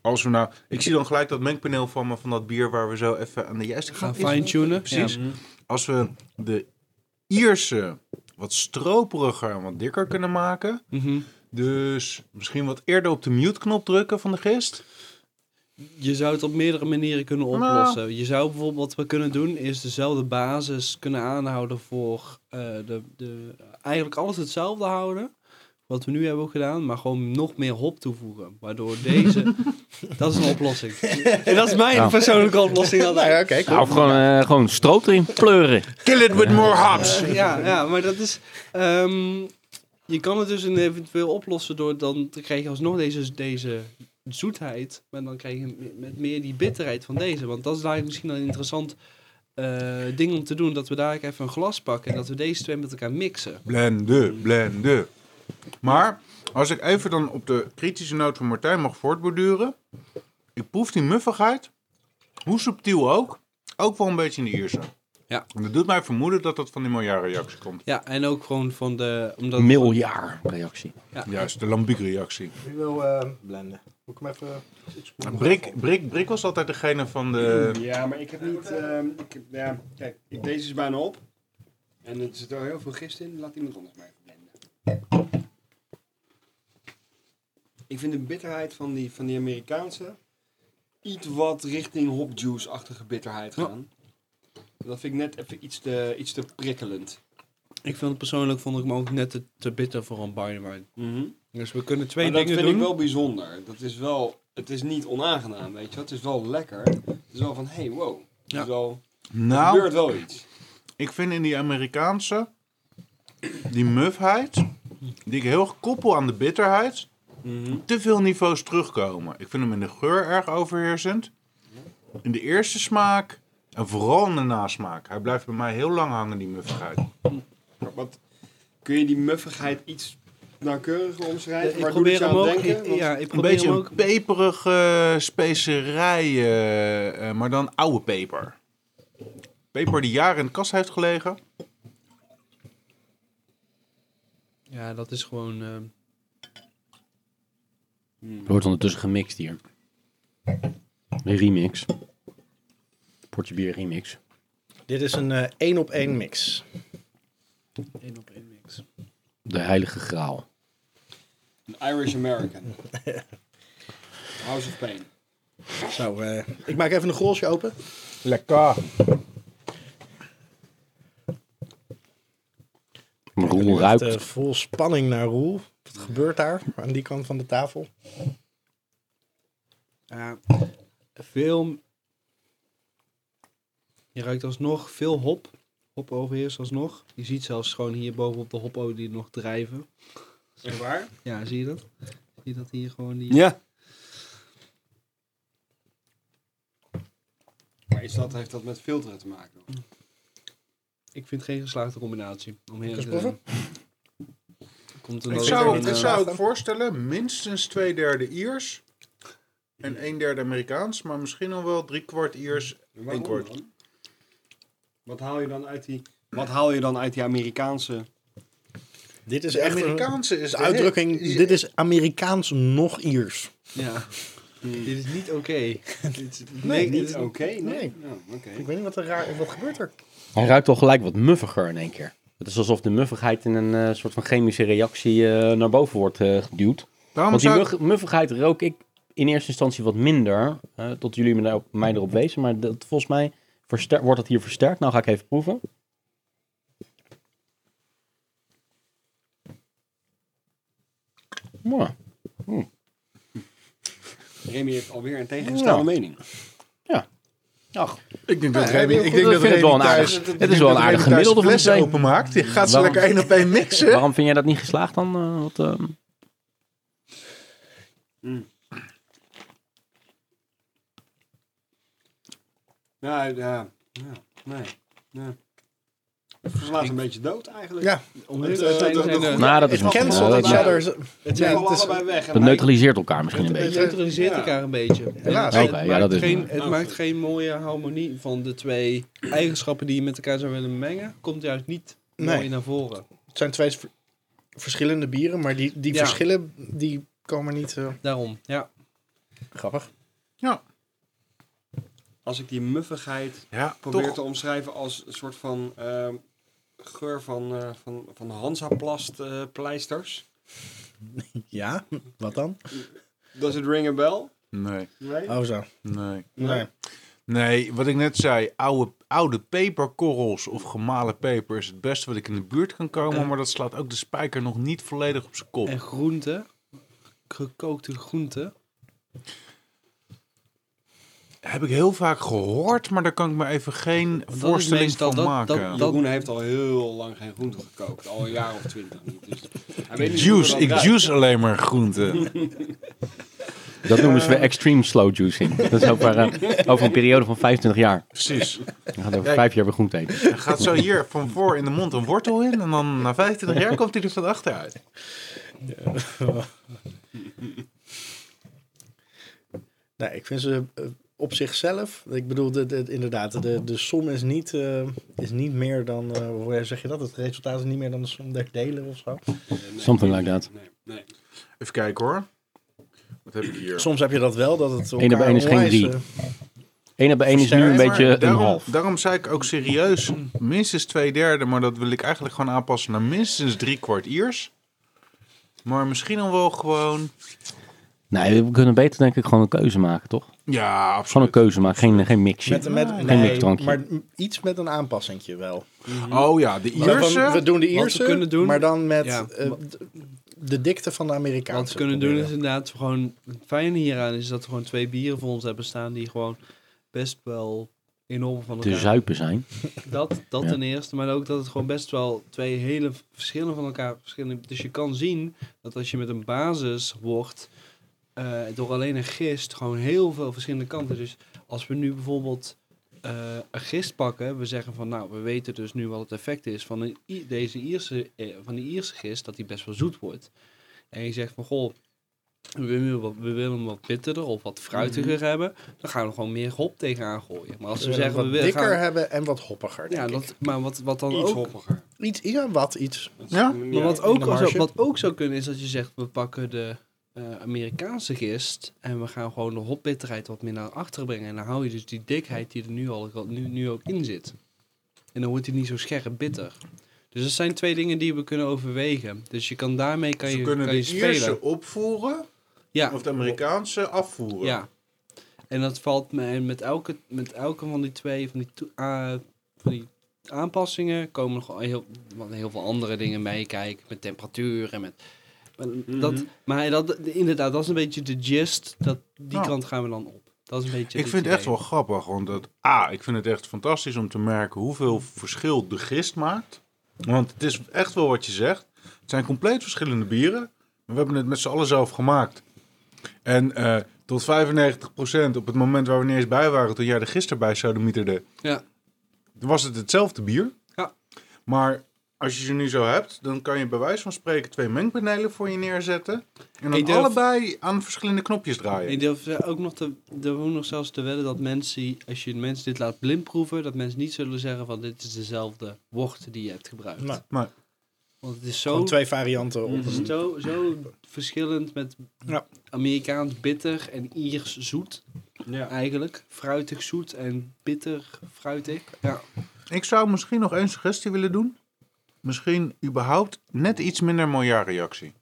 S5: Als we nou, ik zie dan gelijk dat mengpaneel van me van dat bier waar we zo even aan de juiste
S4: Gaan
S5: gaan.
S4: fine-tunen.
S5: Precies.
S4: Ja.
S5: Als we de Ierse wat stroperiger en wat dikker kunnen maken.
S4: Mhm.
S5: Dus misschien wat eerder op de mute-knop drukken van de gist.
S4: Je zou het op meerdere manieren kunnen
S5: Nou.
S4: oplossen. Je zou bijvoorbeeld wat we kunnen doen, is dezelfde basis kunnen aanhouden voor eh, de, de, eigenlijk alles hetzelfde houden. Wat we nu hebben ook gedaan, maar gewoon nog meer hop toevoegen. Waardoor deze. dat is een oplossing. En dat is mijn
S1: Nou.
S4: persoonlijke oplossing.
S3: Nou
S4: altijd.
S3: ja, oké, cool.
S1: Nou, of gewoon, eh, gewoon stroop erin pleuren.
S5: Kill it with more hops.
S4: ja, ja, maar dat is. ehm, je kan het dus een eventueel oplossen door dan dan krijg je alsnog deze, deze zoetheid, maar dan krijg je me- met meer die bitterheid van deze. Want dat is eigenlijk misschien een interessant eh, ding om te doen: dat we daar even een glas pakken en dat we deze twee met elkaar mixen.
S5: Blenden, blenden. Maar als ik even dan op de kritische noot van Martijn mag voortborduren. Ik proef die muffigheid, hoe subtiel ook, ook wel een beetje in de Ierse.
S4: Ja.
S5: En dat doet mij vermoeden dat dat van die miljardenreactie komt.
S4: Ja, en ook gewoon van de. Omdat
S1: Miljaar reactie.
S5: Juist, de lambiekreactie. Nou,
S3: Ik wil eh, blenden. Moet ik hem even... eh,
S5: Brik, Brik, Brik was altijd degene van de...
S6: Ja, maar ik heb niet. ehm, ik heb, ja, kijk, ik, deze is bijna op. En er zit al heel veel gist in. Laat iemand anders maar even blenden. Ik vind de bitterheid van die, van die Amerikaanse iets wat richting hop juice-achtige bitterheid gaan. Dat vind ik net even iets te, iets te prikkelend.
S4: Ik vind het persoonlijk vond ik hem ook net te, te bitter voor een barley Dus we kunnen twee
S6: Maar dat
S4: dingen
S6: vind
S4: doen.
S6: ik wel bijzonder. Dat is wel, het is niet onaangenaam, weet je wel. Het is wel lekker. Het is wel van, hey, wow. Het
S4: Ja.
S6: is wel, er
S5: Nou,
S6: gebeurt wel iets.
S5: ik vind in die Amerikaanse die mufheid die ik heel koppel aan de bitterheid, te veel niveaus terugkomen. Ik vind hem in de geur erg overheersend. In de eerste smaak en vooral in de nasmaak. Hij blijft bij mij heel lang hangen, die muffigheid.
S6: Maar Wat, kun je die muffigheid iets nauwkeuriger omschrijven?
S4: ik
S6: Waar doe ik
S4: probeer
S6: je
S4: hem
S6: aan
S4: ook.
S6: denken?
S4: ik-
S6: Want-
S4: ja, ik
S5: Een
S4: probeer
S5: beetje
S4: hem
S5: een
S4: ook.
S5: peperige specerij, eh, eh, maar dan oude peper. Peper die jaren in de kast heeft gelegen.
S4: Ja, dat is gewoon. ehm,
S1: Er wordt ondertussen gemixt hier. Een remix. Portje bier remix.
S3: Dit is een eh, één op één mix.
S4: één op één mix.
S1: De heilige graal.
S6: Een Irish American. House of Pain.
S3: Zo, eh, ik maak even een grolsje open.
S5: Lekker.
S1: Roel
S3: Echt,
S1: ruikt.
S3: eh, vol spanning naar Roel. Wat gebeurt daar aan die kant van de tafel?
S4: Ja, Eh, veel. Je ruikt alsnog veel hop. Hop overheerst alsnog. Je ziet zelfs gewoon hier bovenop de hopolie nog drijven.
S6: Echt waar?
S4: Ja, zie je dat? Zie je dat hier gewoon die...
S1: ja.
S6: Maar is dat, heeft dat met filteren te maken?
S4: Ik vind geen geslaagde combinatie. Om heel
S3: Eens
S4: te
S3: proeven?
S4: Komt er
S5: Ik
S4: wel
S5: zou,
S4: een,
S5: ik
S4: eh,
S5: zou ook voorstellen, minstens twee derde Iers en een derde Amerikaans, maar misschien al wel drie kwart Iers,
S6: Waarom
S5: een kwart.
S6: dan? Wat haal je dan uit die, wat haal je dan uit die Amerikaanse...
S3: Dit is
S5: De
S3: echt een,
S5: Amerikaanse is
S3: de
S5: de
S3: uitdrukking. Dit is Amerikaans nog Iers.
S4: Ja. Dit is niet oké. Dit is-
S3: Nee,
S4: dit
S6: niet
S4: is-
S6: oké? Hmm. nee.
S3: nee. Oh,
S6: Nou, oké.
S3: Ik weet niet wat er raar Wat gebeurt er?
S1: Hij ruikt al gelijk wat muffiger in één keer. Het is alsof de muffigheid in een eh, soort van chemische reactie eh, naar boven wordt eh, geduwd.
S5: Daarom
S1: Want die
S5: zou ik-
S1: mug- muffigheid rook ik in eerste instantie wat minder. eh, tot jullie me daar- mij erop wezen. Maar dat, volgens mij verster- wordt dat hier versterkt. Nou ga ik even proeven. Mooi.
S6: Remy heeft alweer een tegengestelde
S1: Nou. Ja.
S6: mening.
S1: Ach,
S5: ik denk
S1: Ja,
S5: dat
S1: ja,
S5: Remy,
S1: ik vind
S5: ik denk dat
S1: het
S5: Remy
S1: wel een
S5: thuis,
S1: aardig-
S5: ik
S1: het is
S5: denk
S1: wel
S5: dat
S1: een
S5: Remy
S1: aardig
S5: thuis
S1: gemiddelde van
S5: flessen
S1: meteen.
S5: openmaakt, die gaat ze
S1: Waarom-
S5: lekker één op één mixen.
S1: waarom vind jij dat niet geslaagd dan? eh, wat, eh,
S6: Ja, ja. ja. Nee. nee. Het verslaat een beetje dood eigenlijk.
S3: Ja,
S4: Om
S6: Het,
S4: heel
S6: eh,
S4: eerlijk te
S6: dat-
S4: zijn,
S5: dat-
S4: eh,
S1: nou, dat is
S3: It
S1: nog-
S6: cancelt
S1: eh,
S3: cancel
S1: dat,
S3: each
S6: maar-
S3: other.
S6: Het
S4: Ja,
S6: zijn
S4: het is-
S6: allebei weg. en
S1: dat
S6: hij-
S1: neutraliseert elkaar misschien een
S3: Het-
S1: beetje.
S4: Het neutraliseert
S6: Ja.
S4: elkaar een beetje. En
S3: Ja,
S4: het,
S1: oké,
S4: maakt
S1: ja, dat is
S4: geen,
S1: waar.
S4: het maakt geen mooie harmonie van de twee eigenschappen die je met elkaar zou willen mengen. Komt juist niet
S3: Nee.
S4: mooi naar voren.
S3: Het zijn twee ver- verschillende bieren, maar die, die
S4: Ja.
S3: verschillen die komen niet. eh,
S4: Daarom, ja.
S3: Grappig.
S6: Als ik die muffigheid
S5: Ja,
S6: probeer
S5: toch.
S6: te omschrijven als een soort van ehm, geur van, eh, van, van Hansaplast eh, pleisters.
S3: Ja, hm, wat dan?
S6: Does it ring a bell?
S5: Nee,
S6: Nee.
S3: Oh, zo.
S5: nee.
S3: Nee.
S5: Nee, wat ik net zei, oude, oude peperkorrels of gemalen peper is het beste wat ik in de buurt kan komen, maar dat slaat ook de spijker nog niet volledig op zijn kop.
S4: En groente. Gekookte groente.
S5: Heb ik heel vaak gehoord, maar daar kan ik me even geen
S4: is
S5: voorstelling
S4: meestal
S5: van
S4: dat-
S5: maken.
S4: dat- dat-
S6: Jeroen heeft al heel lang geen groente gekookt. Al een jaar of twintig niet. Dus hij weet niet hoe
S5: Juice,
S6: dat
S5: ik
S6: ruikt.
S5: juice alleen maar groenten.
S1: Dat noemen ze weer extreme slow juicing. Dat is over, eh, over een periode van 25 jaar.
S5: Precies.
S1: We gaan over
S5: Kijk.
S1: vijf jaar weer groente eten.
S5: Hij gaat zo hier van voor in de mond een wortel in en dan na 25 jaar komt hij er van achteruit.
S3: Nee, ik vind ze eh, op zichzelf. Ik bedoel, de, de- inderdaad, de, de som is niet, eh, is niet meer dan. eh, hoe zeg je dat? Het resultaat is niet meer dan de som der delen of zo.
S6: Nee, nee,
S1: Something
S6: nee,
S1: like that.
S6: Nee, nee.
S5: Even kijken hoor. Wat heb ik hier?
S3: Soms heb je dat wel, dat het.
S1: Eén op één is geen
S3: onwijs,
S1: drie.
S3: eh,
S1: Eén op één is nu
S5: Nee,
S1: een
S5: maar
S1: beetje een
S5: daarom,
S1: half.
S5: Daarom zei ik ook serieus minstens twee derde, maar dat wil ik eigenlijk gewoon aanpassen naar minstens drie kwart Iers. Maar misschien al wel gewoon...
S1: Nee, we kunnen beter denk ik gewoon een keuze maken, toch?
S5: Ja,
S1: Gewoon
S5: absoluut.
S1: een keuze maken, geen, geen mixje.
S3: met, met,
S1: Geen
S3: nee,
S1: mixdrankje.
S3: maar m- iets met een aanpassingje wel.
S5: Oh ja, de
S3: Van, we
S5: Ierse.
S3: doen de
S4: we
S3: Ierse,
S4: kunnen doen-
S3: maar dan met
S4: Ja.
S3: eh, d- de dikte van de Amerikaanse.
S4: Wat we kunnen doen
S3: proberen.
S4: is inderdaad gewoon... Het fijne hieraan is dat we gewoon twee bieren voor ons hebben staan die gewoon best wel enorm van elkaar.
S1: te zuipen zijn.
S4: Dat, dat
S1: Ja.
S4: ten eerste, maar ook dat het gewoon best wel twee hele verschillen van elkaar verschillen. Dus je kan zien dat als je met een basis wordt, eh, door alleen een gist, gewoon heel veel verschillende kanten. Dus als we nu bijvoorbeeld eh, een gist pakken, we zeggen van nou, we weten dus nu wat het effect is van een, I- deze Ierse, eh, van die Ierse gist, dat die best wel zoet wordt. En je zegt van goh, we willen hem wat, we willen hem wat bitterder of wat fruitiger hebben, dan gaan we er gewoon meer hop tegenaan gooien. Maar als we
S3: Mhm. willen het
S4: zeggen we
S3: wat
S4: willen
S3: dikker
S4: gaan...
S3: hebben en wat hoppiger.
S4: Ja,
S3: denk
S4: dat, maar wat, wat dan
S6: Iets
S4: ook.
S6: hoppiger.
S3: Iets, ja, wat iets.
S6: Dat is
S5: Ja?
S6: een manier.
S4: Maar wat
S3: in de
S4: ook,
S3: marge.
S4: zo, wat ook zou kunnen is dat je zegt: we pakken de eh, Amerikaanse gist en we gaan gewoon de hopbitterheid wat meer naar achteren brengen. En dan hou je dus die dikheid die er nu, al, nu, nu ook in zit. En dan wordt hij niet zo scherp bitter. Dus dat zijn twee dingen die we kunnen overwegen. Dus je kan daarmee kan
S5: Ze
S4: je,
S5: kunnen
S4: kan je
S5: de Ierse
S4: spelen.
S5: opvoeren
S4: Ja,
S5: of de Amerikaanse afvoeren.
S4: Ah, ja. En dat valt me en met elke, met elke van die twee, van die, toe- ah, van die aanpassingen, komen nog heel, want heel veel andere dingen mee kijken. Met temperatuur en met. Maar,
S5: Mhm.
S4: dat, maar dat, inderdaad, dat is een beetje de gist. Dat, die
S5: Ja.
S4: kant gaan we dan op. Dat is een beetje.
S5: Ik
S4: het
S5: vind het
S4: idee.
S5: echt wel grappig, want dat, A, ik vind het echt fantastisch om te merken hoeveel verschil de gist maakt. Want het is echt wel wat je zegt. Het zijn compleet verschillende bieren, maar we hebben het met z'n allen zelf gemaakt. En eh, tot 95% op het moment waar we niet eens bij waren, toen jij de gist erbij sodemieterde,
S4: Ja.
S5: was het hetzelfde bier.
S4: Ja.
S5: Maar als je ze nu zo hebt, dan kan je bij wijze van spreken twee mengpanelen voor je neerzetten. En dan
S4: Ik durf-
S5: allebei aan verschillende knopjes draaien.
S4: Ik durf eh, ook nog te, durf ook nog zelfs te wedden dat mensen, als je mensen dit laat blind proeven, dat mensen niet zullen zeggen van dit is dezelfde wort die je hebt gebruikt.
S3: Nou,
S5: Maar
S4: Want het is
S3: Gewoon
S4: zo
S3: twee varianten op
S4: Het is
S3: een-
S4: zo, zo verschillend met
S3: Ja.
S4: Amerikaans bitter en Iers zoet
S6: Ja.
S4: eigenlijk. Fruitig zoet en bitter fruitig. Ja.
S5: Ik zou misschien nog één suggestie willen doen. Misschien überhaupt net iets minder miljardreactie.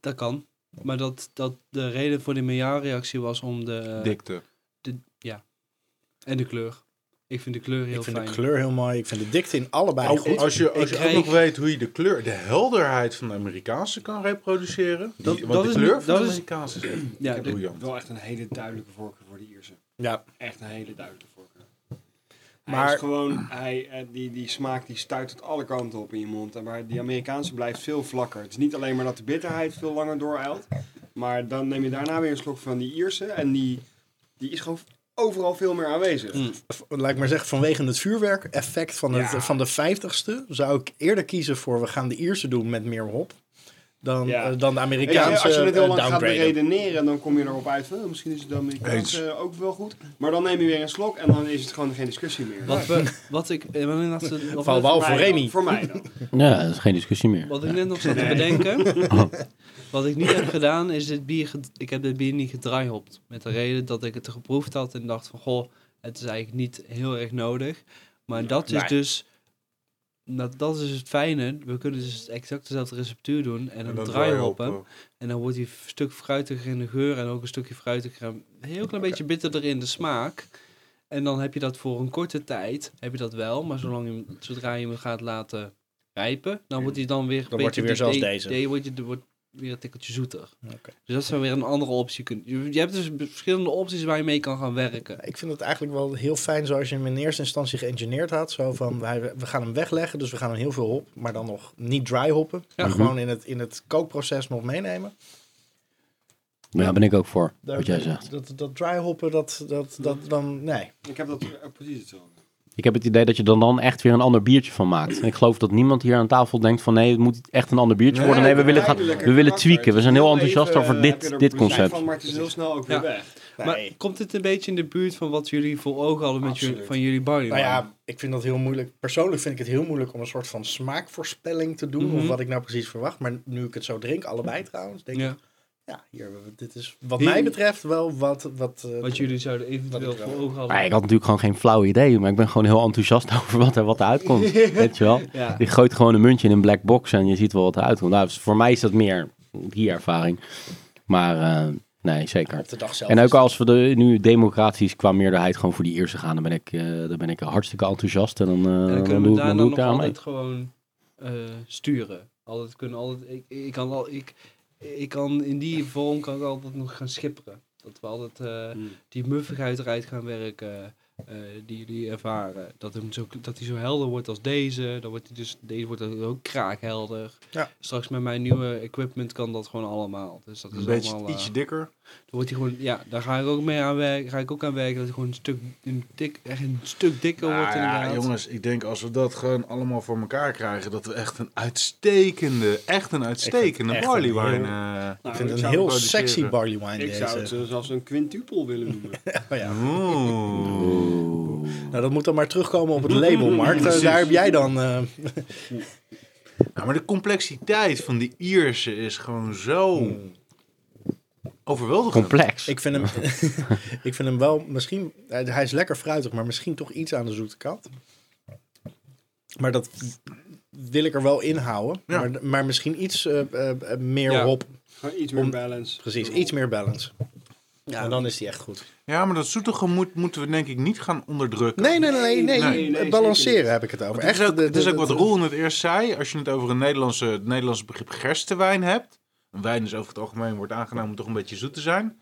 S4: Dat kan. Maar dat, dat de reden voor die Maillard-reactie was om de...
S5: Dikte.
S4: En de kleur. Ik vind de kleur heel
S3: Ik vind
S4: fijn.
S3: de kleur heel mooi. Ik vind de dikte in allebei
S5: Ook
S3: goed.
S5: als je,
S4: ik
S5: als je ook
S4: krijg-
S5: nog weet hoe je de kleur, de helderheid van de Amerikaanse kan reproduceren. Die-
S4: Dat-
S5: want
S4: dat
S5: de
S4: is
S5: kleur
S4: niet-
S5: van
S4: dat
S5: de
S4: is-
S5: Amerikaanse is echt
S4: Ja, de-
S5: briljant.
S6: Wel echt een hele duidelijke voorkeur voor de Ierse.
S3: Ja,
S6: Echt een hele duidelijke voorkeur.
S3: Maar-
S6: Hij is gewoon, hij, eh, die, die smaak die stuit het alle kanten op in je mond. En Maar die Amerikaanse blijft veel vlakker. Het is niet alleen maar dat de bitterheid veel langer dooruilt. Maar dan neem je daarna weer een slok van die Ierse. En die, die is gewoon overal veel meer aanwezig.
S4: Mm.
S3: v- laat ik maar zeggen, vanwege het vuurwerkeffect van, het,
S6: Ja.
S3: van de vijftigste... zou ik eerder kiezen voor we gaan de Ierse doen met meer hop... dan,
S6: Ja.
S3: eh, dan de
S6: Weet je,
S3: Amerikaanse
S6: als je het heel
S3: eh,
S6: lang gaat
S3: downgraden.
S6: beredeneren, dan kom je erop uit van... eh, misschien is het de Amerikaanse eh, ook wel goed. Maar dan neem je weer een slok en dan is het gewoon geen discussie meer.
S4: Wat, we, wat ik... eh, Wat ik, net zat- wat
S3: Van
S4: net-
S3: Wal
S6: mij
S3: voor
S6: dan,
S3: Remy.
S6: Voor mij dan.
S1: Ja, dat is geen discussie meer.
S4: wat ik net nog zat te bedenken. Wat ik niet heb gedaan is dit bier... ged- Ik heb dit bier niet gedraaihopt. Met de reden dat ik het geproefd had en dacht van... Goh, het is eigenlijk niet heel erg nodig. Maar dat is
S3: Nee.
S4: dus... Dat, dat is het fijne. We kunnen dus exact dezelfde receptuur doen en
S5: En
S4: dan
S5: dan
S4: draaihoppen.
S5: draaihoppen.
S4: En dan wordt hij een stuk fruitiger in de geur en ook een stukje fruitiger. en Een heel klein beetje bitterder in de smaak. En dan heb je dat voor een korte tijd, heb je dat wel. Maar zolang je, hem- zodra je hem gaat laten rijpen, dan wordt hij dan weer... een
S3: Dan wordt hij
S4: beetje
S3: weer
S4: die-
S3: zoals deze.
S4: die- wordt je- die wordt weer een tikkeltje zoeter.
S3: Oké.
S4: Dus dat zou weer een andere optie kunnen... Je, je hebt dus verschillende opties waar je mee kan gaan werken.
S3: Ik vind het eigenlijk wel heel fijn zoals je hem in eerste instantie geëngineerd had. Zo van, wij, we gaan hem wegleggen, dus we gaan hem heel veel hop, maar dan nog niet dry hoppen. Maar gewoon in het, in het kookproces nog meenemen.
S1: Maar daar ben ik ook voor,
S3: Daar-
S1: wat jij zegt.
S3: Dat, dat dry hoppen, dat, dat, dat dan, nee.
S6: Ik heb dat eh, precies hetzelfde.
S1: Ik heb het idee dat je dan dan echt weer een ander biertje van maakt. En ik geloof dat niemand hier aan tafel denkt van nee, het moet echt een ander biertje
S5: Nee,
S1: worden. Oh, Nee, we
S6: Ja,
S1: willen, gaan,
S6: duidelijker
S1: we willen
S6: karakter.
S1: tweaken. We zijn heel enthousiast
S6: Even,
S1: over
S6: eh, heb je
S1: dit,
S6: er
S1: dit
S6: plezier
S1: concept.
S6: Van, maar het is heel snel ook weer
S4: Ja.
S6: weg.
S4: Maar komt dit een beetje in de buurt van wat jullie voor ogen hadden met jullie,
S6: Absoluut.
S4: van jullie barley?
S3: Nou
S4: wine?
S3: ja, ik vind dat heel moeilijk. Persoonlijk vind ik het heel moeilijk om een soort van smaakvoorspelling te doen. Of
S4: Mhm.
S3: wat ik nou precies verwacht. Maar nu ik het zo drink, allebei trouwens, denk ik,
S4: ja.
S3: ja, hier, dit is wat
S4: Hier-
S3: mij betreft wel wat... Wat, eh,
S4: Wat jullie zouden
S3: Wat
S4: eventueel
S3: ik wel-
S4: voor ogen hadden.
S1: Maar Nou, ik had natuurlijk gewoon geen flauw idee, maar ik ben gewoon heel enthousiast over wat er, wat er uitkomt. Weet je wel?
S4: Ja.
S1: Je gooit gewoon een muntje in een black box en je ziet wel wat er uitkomt. Nou, dus voor mij is dat meer die ervaring. Maar eh, nee, zeker.
S3: op de dag zelf.
S1: En
S3: is
S1: ook
S3: het-
S1: als we de, nu democratisch qua meerderheid gewoon voor die eerste gaan, dan ben ik, eh, dan ben ik hartstikke enthousiast. En dan, eh,
S4: En dan
S1: dan
S4: kunnen
S1: doe ik,
S4: we daar
S1: dan
S4: dan
S1: doe ik daar
S4: nog
S1: aan mee.
S4: altijd gewoon eh, sturen. Altijd kunnen, altijd, ik, ik kan al, ik, ik kan in die vorm kan ik altijd nog gaan schipperen. Dat we altijd eh,
S6: Hmm.
S4: die muffigheid eruit gaan werken. eh, die jullie ervaren. Dat, hem zo, dat hij zo helder wordt als deze. Dan wordt hij dus, deze wordt dan ook kraakhelder.
S3: Ja.
S4: Straks met mijn nieuwe equipment kan dat gewoon allemaal. Dus dat is
S5: Een beetje
S4: allemaal, eh,
S5: ietsje dikker.
S4: dan wordt hij gewoon, ja, daar ga ik ook mee aan werken. Ga ik ook aan werken dat hij gewoon een stuk, een dik, echt een stuk dikker wordt
S5: Nou ja,
S4: inderdaad.
S5: jongens, ik denk als we dat gewoon allemaal voor elkaar krijgen, dat we echt een uitstekende, echt een uitstekende
S3: echt een
S5: barley
S3: heel-
S5: wine. eh,
S3: ik
S6: Nou,
S3: vind
S6: ik
S3: het een
S6: zou
S5: het
S3: heel
S5: produceren.
S3: sexy barley wine
S6: Ik
S3: deze.
S6: zou het eh, zelfs een quintupel willen noemen.
S3: Oh
S4: Mhm.
S5: Oeh.
S3: ja. Nou, dat moet dan maar terugkomen op het label, Mark. Eh,
S5: Precies.
S3: daar heb jij dan... eh,
S5: Nou, maar de complexiteit van die Ierse is gewoon zo overweldigend.
S1: Complex.
S3: ik, vind hem, ik vind hem wel misschien... eh, hij is lekker fruitig, maar misschien toch iets aan de zoete kant. Maar dat wil ik er wel inhouden.
S5: Ja.
S3: Maar, maar misschien iets eh, eh, eh, meer
S4: Ja.
S3: hop.
S6: Gewoon iets meer
S3: Om-
S6: balance.
S3: Precies, iets meer balance. Ja, en dan is die echt goed.
S5: Ja, maar dat zoete gemoed moeten we denk ik niet gaan onderdrukken.
S3: Nee, nee, nee.
S5: Nee,
S3: nee,
S6: nee,
S3: het
S6: zeker
S3: balanceren
S6: niet.
S3: heb ik het
S5: Het
S3: over.
S5: is
S3: Echt,
S5: ook,
S3: de-
S5: het is
S3: de-
S5: ook wat
S3: de-
S5: Roel net eerst zei. Als je het over een Nederlandse, het Nederlandse begrip gerstewijn hebt. Een wijn is over het algemeen wordt aangenomen toch een beetje zoet te zijn.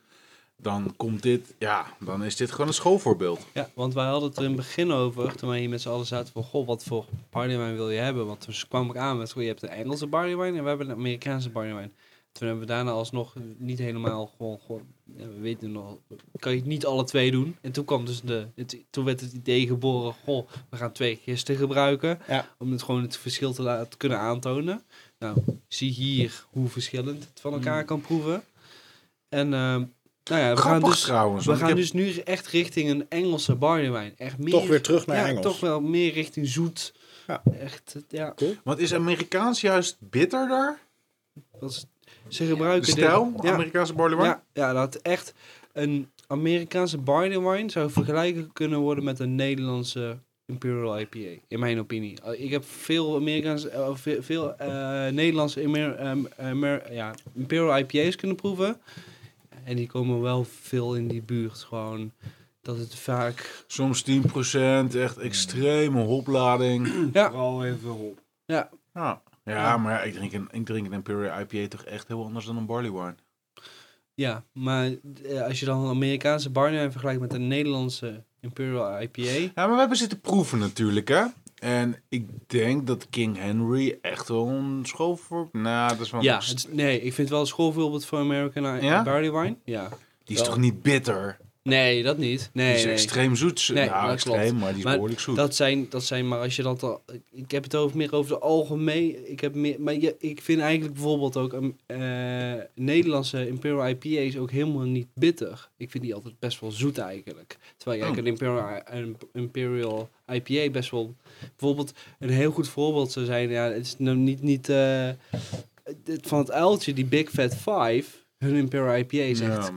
S5: Dan komt dit, ja, dan is dit gewoon een schoolvoorbeeld.
S4: Ja, want wij hadden het er in het begin over, toen wij hier met z'n allen zaten van, goh, wat voor barleywijn wil je hebben? Want toen kwam ik aan met, goh, je hebt een Engelse barleywijn en we hebben een Amerikaanse barleywijn. Toen hebben we daarna alsnog niet helemaal gewoon, gewoon ja, we weten nog, kan je het niet alle twee doen. En toen kwam dus de, het- toen werd het idee geboren, goh, we gaan twee gisten gebruiken.
S3: Ja.
S4: Om het gewoon het verschil te laten kunnen aantonen. Nou, zie hier hoe verschillend het van elkaar kan proeven. En, ehm nou ja, we gaan
S5: Grappig
S4: dus...
S5: trouwens.
S4: We
S5: want ik
S4: gaan
S5: heb-
S4: dus nu echt richting een Engelse barlewijn. Echt meer,
S3: Toch weer terug naar
S4: ja,
S3: Engels.
S4: toch wel meer richting zoet.
S3: Ja.
S4: Echt, ja.
S5: Want is Amerikaans juist bitterder?
S4: Dat is, ze gebruiken
S5: De stijl?
S4: dit. Ja,
S5: Amerikaanse barley wine?
S4: ja, ja, dat echt een Amerikaanse barlewijn zou vergelijken kunnen worden met een Nederlandse Imperial IPA. In mijn opinie. Uh, Ik heb veel Amerikaanse, eh, veel, veel eh, Nederlandse Amer- ehm, Amer- ja, Imperial IPA's kunnen proeven. En die komen wel veel in die buurt. Gewoon dat het vaak.
S5: Soms 10%, echt extreme hoplading.
S4: Ja.
S6: Vooral even op.
S4: Ja,
S5: Ja, ja maar ik drink, een, ik drink een Imperial IPA toch echt heel anders dan een barley wine.
S4: Ja, maar eh, als je dan een Amerikaanse barley vergelijkt met een Nederlandse Imperial IPA.
S5: Ja, maar we hebben zitten proeven natuurlijk, hè. En ik denk dat King Henry echt wel een school voor... Nou, dat is wel...
S4: Ja, het is- nee, ik vind het wel een schoolvoorbeeld voor American I-
S5: Ja?
S4: Barley Wine. Ja.
S5: die is toch niet bitter?
S4: Nee, dat niet.
S5: Die
S4: Nee,
S5: is
S4: nee.
S5: extreem zoet.
S4: Nee, dat
S5: nou,
S4: klopt.
S5: extreem, maar die is
S4: Maar
S5: behoorlijk zoet.
S4: Dat zijn, dat zijn, maar als je dat al, ik heb het over, meer over de algemeen, ik heb meer, maar je, ik vind eigenlijk bijvoorbeeld ook um, eh, Nederlandse Imperial IPA's ook helemaal niet bitter. Ik vind die altijd best wel zoet eigenlijk. Terwijl je
S5: Oh.
S4: eigenlijk een Imperial, een Imperial IPA best wel, bijvoorbeeld een heel goed voorbeeld zou zijn, ja, het is nou niet, niet eh, het- van het uiltje, die Big Fat Five, hun Imperial IPA is
S5: Ja, dus
S4: echt,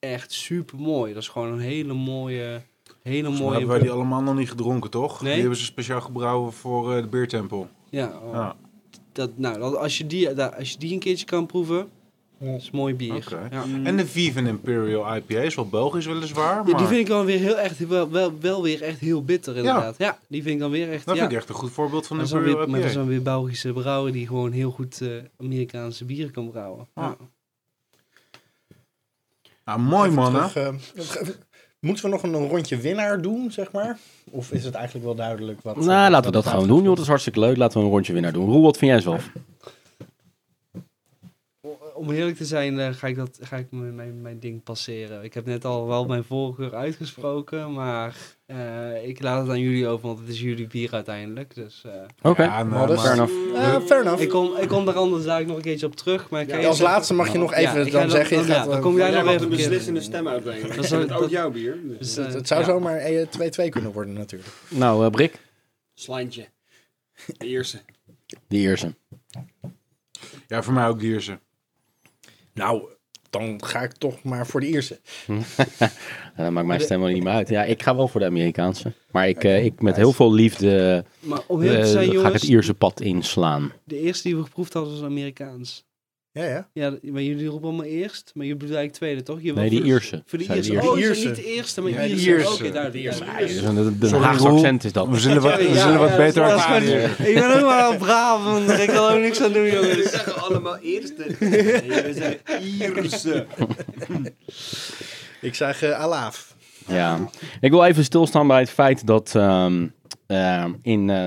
S4: echt super mooi. Dat is gewoon een hele mooie, hele
S5: volgens mij
S4: mooie...
S5: hebben wij die allemaal nog niet gedronken, toch?
S4: Nee.
S5: Die hebben ze speciaal gebrouwen voor eh, de beertempel.
S4: Ja, oh.
S5: Ja.
S4: dat, nou, dat, als, je die, daar- als je die een keertje kan proeven, dat is mooi bier.
S5: Oké.
S4: Ja.
S5: En de Viven Imperial IPA is wel Belgisch weliswaar,
S4: Mm. Ja,
S5: maar
S4: die vind ik dan weer heel echt, wel, wel, wel weer echt heel bitter inderdaad. Ja, die vind ik dan weer echt.
S5: dat
S4: ja.
S5: vind ik echt een goed voorbeeld van
S4: Maar
S5: een
S4: dat is dan weer-
S5: Imperial IPA.
S4: maar dat zijn weer Belgische brouwer die gewoon heel goed eh, Amerikaanse bieren kan brouwen. Ja.
S5: Nou, mooi
S3: Even
S5: man, hè?
S3: terug, eh, Moeten we nog een rondje winnaar doen, zeg maar? Of is het eigenlijk wel duidelijk wat...
S1: Nou, laten we dat gewoon doen, joh. Dat is hartstikke leuk. Laten we een rondje weer naar doen. Roel, wat vind jij zelf?
S4: Om eerlijk te zijn eh, ga ik, dat, ga ik mijn, mijn, mijn ding passeren. Ik heb net al wel mijn voorkeur uitgesproken, maar eh, ik laat het aan jullie over, want het is jullie bier uiteindelijk. Dus, eh,
S1: Oké.
S5: Ja, nou,
S3: Modest.
S5: maar-
S1: Fair enough.
S3: Eh, fair enough.
S4: ik, kom, ik kom daar anders dadelijk nog een keertje op terug. Maar ik ga
S3: Ja,
S4: eerst
S3: als
S4: even-
S3: laatste mag je nog even
S4: Ja, ik ga
S3: dan
S4: dan-
S3: zeggen... je
S4: dan- ja,
S3: gaat, eh,
S4: dan kom
S6: Jij
S4: nog
S6: mag
S4: even
S6: de
S4: een keer-
S6: beslissende stem uitbrengen. Dat
S4: Dat
S6: is
S4: is ook-
S6: ook jouw bier. dus.
S4: Dus,
S3: het,
S4: eh,
S3: het zou
S4: ja.
S3: zomaar eh, 2-2 kunnen worden natuurlijk.
S1: Nou, eh, Brik,
S6: Slantje. De eerste.
S1: de eerste.
S5: Ja, voor mij ook Dierse.
S3: Nou, dan ga ik toch maar voor de eerste.
S1: Ja, dat maakt mijn stem wel niet meer uit. Ja, ik ga wel voor de Amerikaanse. Maar ik, eh, ik met heel veel liefde
S4: Maar om heel
S1: eh,
S4: te zijn,
S1: ga ik het
S4: jongens,
S1: Ierse pad inslaan.
S4: de eerste die we geproefd hadden was Amerikaans.
S3: Ja, ja.
S4: Ja, d- maar jullie roepen allemaal eerst, maar jullie bedoelen eigenlijk tweede, toch? Je
S1: Nee,
S4: wil
S1: die
S4: voor-
S1: Ierse.
S4: Voor de
S1: Zei
S4: eerste.
S1: de
S4: Oh,
S3: Ierse.
S4: ze zijn niet de eerste, maar
S3: Ja,
S4: de
S5: de
S4: eerste. Oké,
S5: Ierse.
S4: daar, de eerste. Ja, ja,
S1: Een Den
S5: Sorry,
S1: Haagse
S5: Roel.
S1: accent is dat.
S5: We zullen wat, we
S4: ja,
S5: zullen wat
S4: ja,
S5: beter
S4: dat is
S5: elkaar
S4: goed.
S5: leren.
S4: Ik ben ook maar een Brabant, ik kan ook niks aan doen,
S6: Jullie
S4: jongens.
S6: zeggen allemaal eerste. Nee, we zijn Ierse.
S3: Ik zeg eh, Alaaf.
S1: Ja. Ik wil even stilstaan bij het feit dat ehm, ehm, in eh,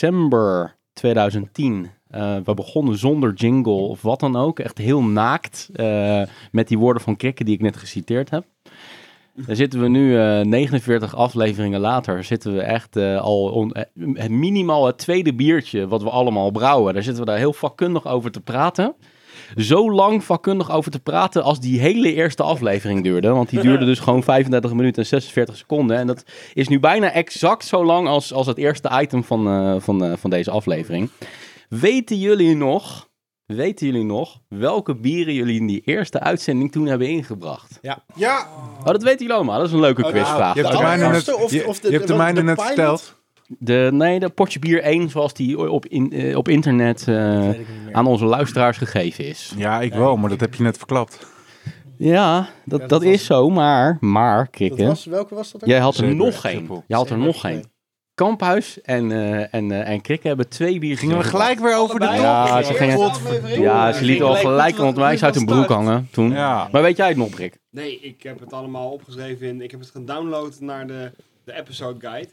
S1: december 2010. eh, we begonnen zonder jingle of wat dan ook. Echt heel naakt. eh, met die woorden van Krikke die ik net geciteerd heb. Daar zitten we nu eh, 49 afleveringen later. Zitten we echt eh, al on- eh, het minimaal het tweede biertje wat we allemaal brouwen. Daar zitten we daar heel vakkundig over te praten. Zo lang vakkundig over te praten als die hele eerste aflevering duurde. Want die duurde dus gewoon 35 minuten en 46 seconden. En dat is nu bijna exact zo lang als, als het eerste item van, eh, van, eh, van deze aflevering. Weten jullie nog, weten jullie nog welke bieren jullie in die eerste uitzending toen hebben ingebracht?
S5: Ja,
S1: Oh, dat weten jullie allemaal. Dat is een leuke
S3: Oh,
S1: quizvraag.
S5: je hebt de
S3: Nou,
S5: mijne net,
S3: eerste of-
S5: je,
S3: of de-
S5: je hebt de
S3: wat-
S5: mijne
S3: de
S5: net
S3: pilot?
S5: verteld.
S1: de, nee, de potje bier 1 zoals die op, in, eh, op internet eh,
S3: weet ik niet meer.
S1: aan onze luisteraars gegeven is.
S5: Ja, ik wel, maar dat heb je net verklapt.
S1: Ja, dat,
S3: dat
S1: dat
S3: was-
S1: is zo, maar, maar,
S3: Dat
S1: Krikke,
S3: was, welke was dat ook?
S1: jij had er
S5: Zeker,
S1: nog
S5: triple.
S1: geen. Jij had er
S3: Zeker,
S1: nog
S3: nee.
S1: geen. Kamphuis en, eh en, eh, en Krikke hebben twee biertjes
S5: Gingen we
S1: ingebracht.
S5: gelijk weer over de top?
S1: Ja, ze gingen- Ja, ze lieten al
S6: Gelijk
S1: gelijk
S6: moeten we-
S1: rond mij uit hun
S6: moeten we
S1: broek hangen toen.
S5: Ja.
S1: Maar weet jij het nog, Brik?
S6: Nee, ik heb het allemaal opgeschreven in. Ik heb het gedownload naar de, de episode guide.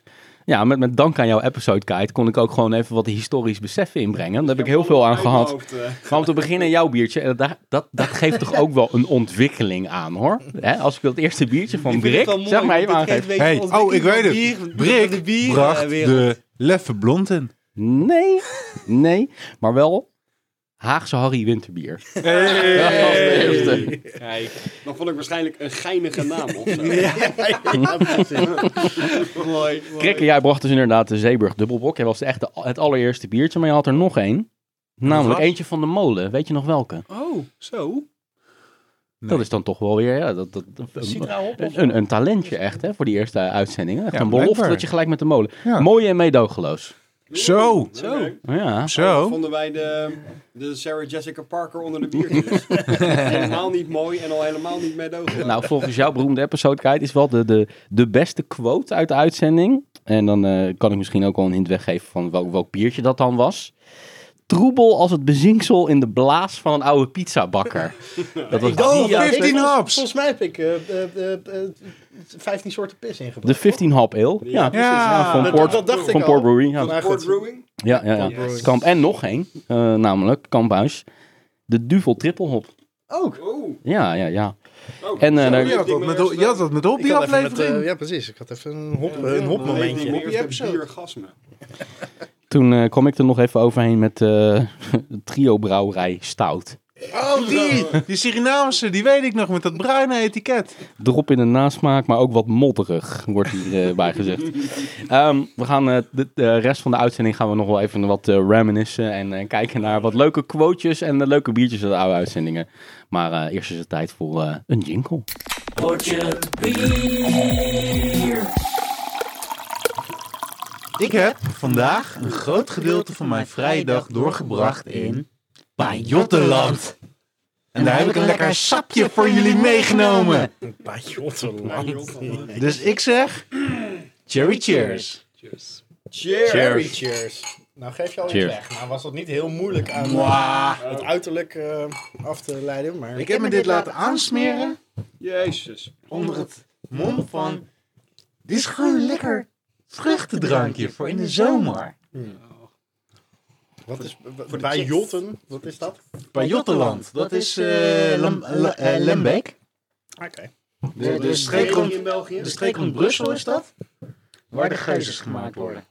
S1: Ja, met, met dank aan jouw episode guide kon ik ook gewoon even wat historisch besef inbrengen. Daar heb ik heel veel aan
S6: Uit mijn
S1: gehad.
S6: hoofd, eh.
S1: Maar om te beginnen, jouw biertje, eh, dat, dat, dat geeft toch ook wel een ontwikkeling aan, hoor. Hè, als ik dat eerste biertje van Brik, zeg maar even aangeef.
S5: Hey, oh, ik weet het. Brik bracht de Leffe Blond in.
S1: Nee, nee, maar wel Haagse Harry Winterbier. Dat was de eerste.
S6: Dan vond ik waarschijnlijk een geinige naam of zo.
S3: Mooi.
S1: Krikke, jij bracht dus inderdaad de Zeeburg Dubbelbok. Jij was echt de- het allereerste biertje, maar je had er nog één. Namelijk
S5: was?
S1: eentje van de molen. Weet je nog welke?
S4: Oh, zo.
S1: Dat is dan toch wel weer ja, dat, dat,
S4: nou
S1: een, een, een talentje echt hè, voor die eerste uitzending. Echt
S5: Ja,
S1: een belofte
S5: blijkbaar.
S1: dat je gelijk met de molen.
S5: Ja.
S1: Mooi en meedogenloos.
S5: Zo.
S6: Zo.
S1: Ja.
S6: Dat
S5: Zo.
S6: vonden wij de, de Sarah Jessica Parker onder de biertjes. helemaal niet mooi en al helemaal niet meedogen.
S1: Nou, volgens jouw beroemde episode, Kite, is wel de, de, de beste quote uit de uitzending. En dan eh, kan ik misschien ook wel een hint weggeven van welk, welk biertje dat dan was. Troebel als het bezinksel in de blaas van een oude pizzabakker. Dat was
S5: Oh,
S1: die,
S5: 15 haps.
S3: Volgens mij heb ik eh, eh, eh, eh, 15 soorten pis ingebracht.
S1: de 15 Hop Ale. Ja, precies. Ja, van
S5: Dat-
S1: Port,
S3: dat dacht ik
S1: van
S3: al.
S1: Port Brewery. Ja,
S3: Maar
S6: Port
S3: goed.
S6: Brewing.
S1: ja, ja, ja.
S3: Yes.
S1: Kamp. En nog één, eh, namelijk Kamphuis. De Duvel Triple Hop.
S3: Ook.
S6: Oh,
S1: Ja, ja, ja.
S6: oh.
S1: En, eh,
S6: Zo,
S1: daar-
S6: die
S5: Je had dat
S6: ding
S5: met,
S6: weer
S5: je had dat met op
S3: Ik
S5: die
S3: had even met,
S5: aflevering.
S3: eh, ja, precies. Ik had even een, hop,
S6: staan.
S3: een hopmomentje.
S6: Die
S5: Hoppie
S6: eerste
S5: episode.
S6: biergasme.
S1: Toen eh, kwam ik er nog even overheen met eh trio brouwerij Stout.
S5: Oh, die. Die Surinaamse, die weet ik nog met dat bruine etiket.
S1: Drop in de nasmaak, maar ook wat modderig, wordt hierbij bij gezegd. Ehm, we gaan eh, de, de rest van de uitzending gaan we nog wel even wat eh, reminiscen en eh, kijken naar wat leuke quotejes en eh, leuke biertjes uit de oude uitzendingen. Maar eh, eerst is het tijd voor eh, een jingle.
S5: Ik heb vandaag een groot gedeelte van mijn vrije dag doorgebracht in Pajottenland. En daar heb ik een lekker sapje voor jullie meegenomen.
S6: eh,
S5: Dus ik zeg, cherry cheers.
S6: Cheers.
S3: Cherry cheers. Nou geef je al iets
S1: Cheers.
S3: weg. Nou was dat niet heel moeilijk aan eh, het uiterlijk eh, af te leiden, maar...
S5: Ah, Ik heb me dit laten aansmeren
S6: Jezus.
S5: onder het mom van... Dit is gewoon een lekker vruchtendrankje voor in de zomer.
S3: Wat is, voor bij Jotten, wat is dat?
S5: Pajottenland, dat is eh Lem- Le- eh, Lembeek.
S3: Oké.
S5: De, de streek
S6: Streek
S5: rond
S6: in België.
S5: De streek rond Brussel is dat? Waar de geuzes gemaakt worden.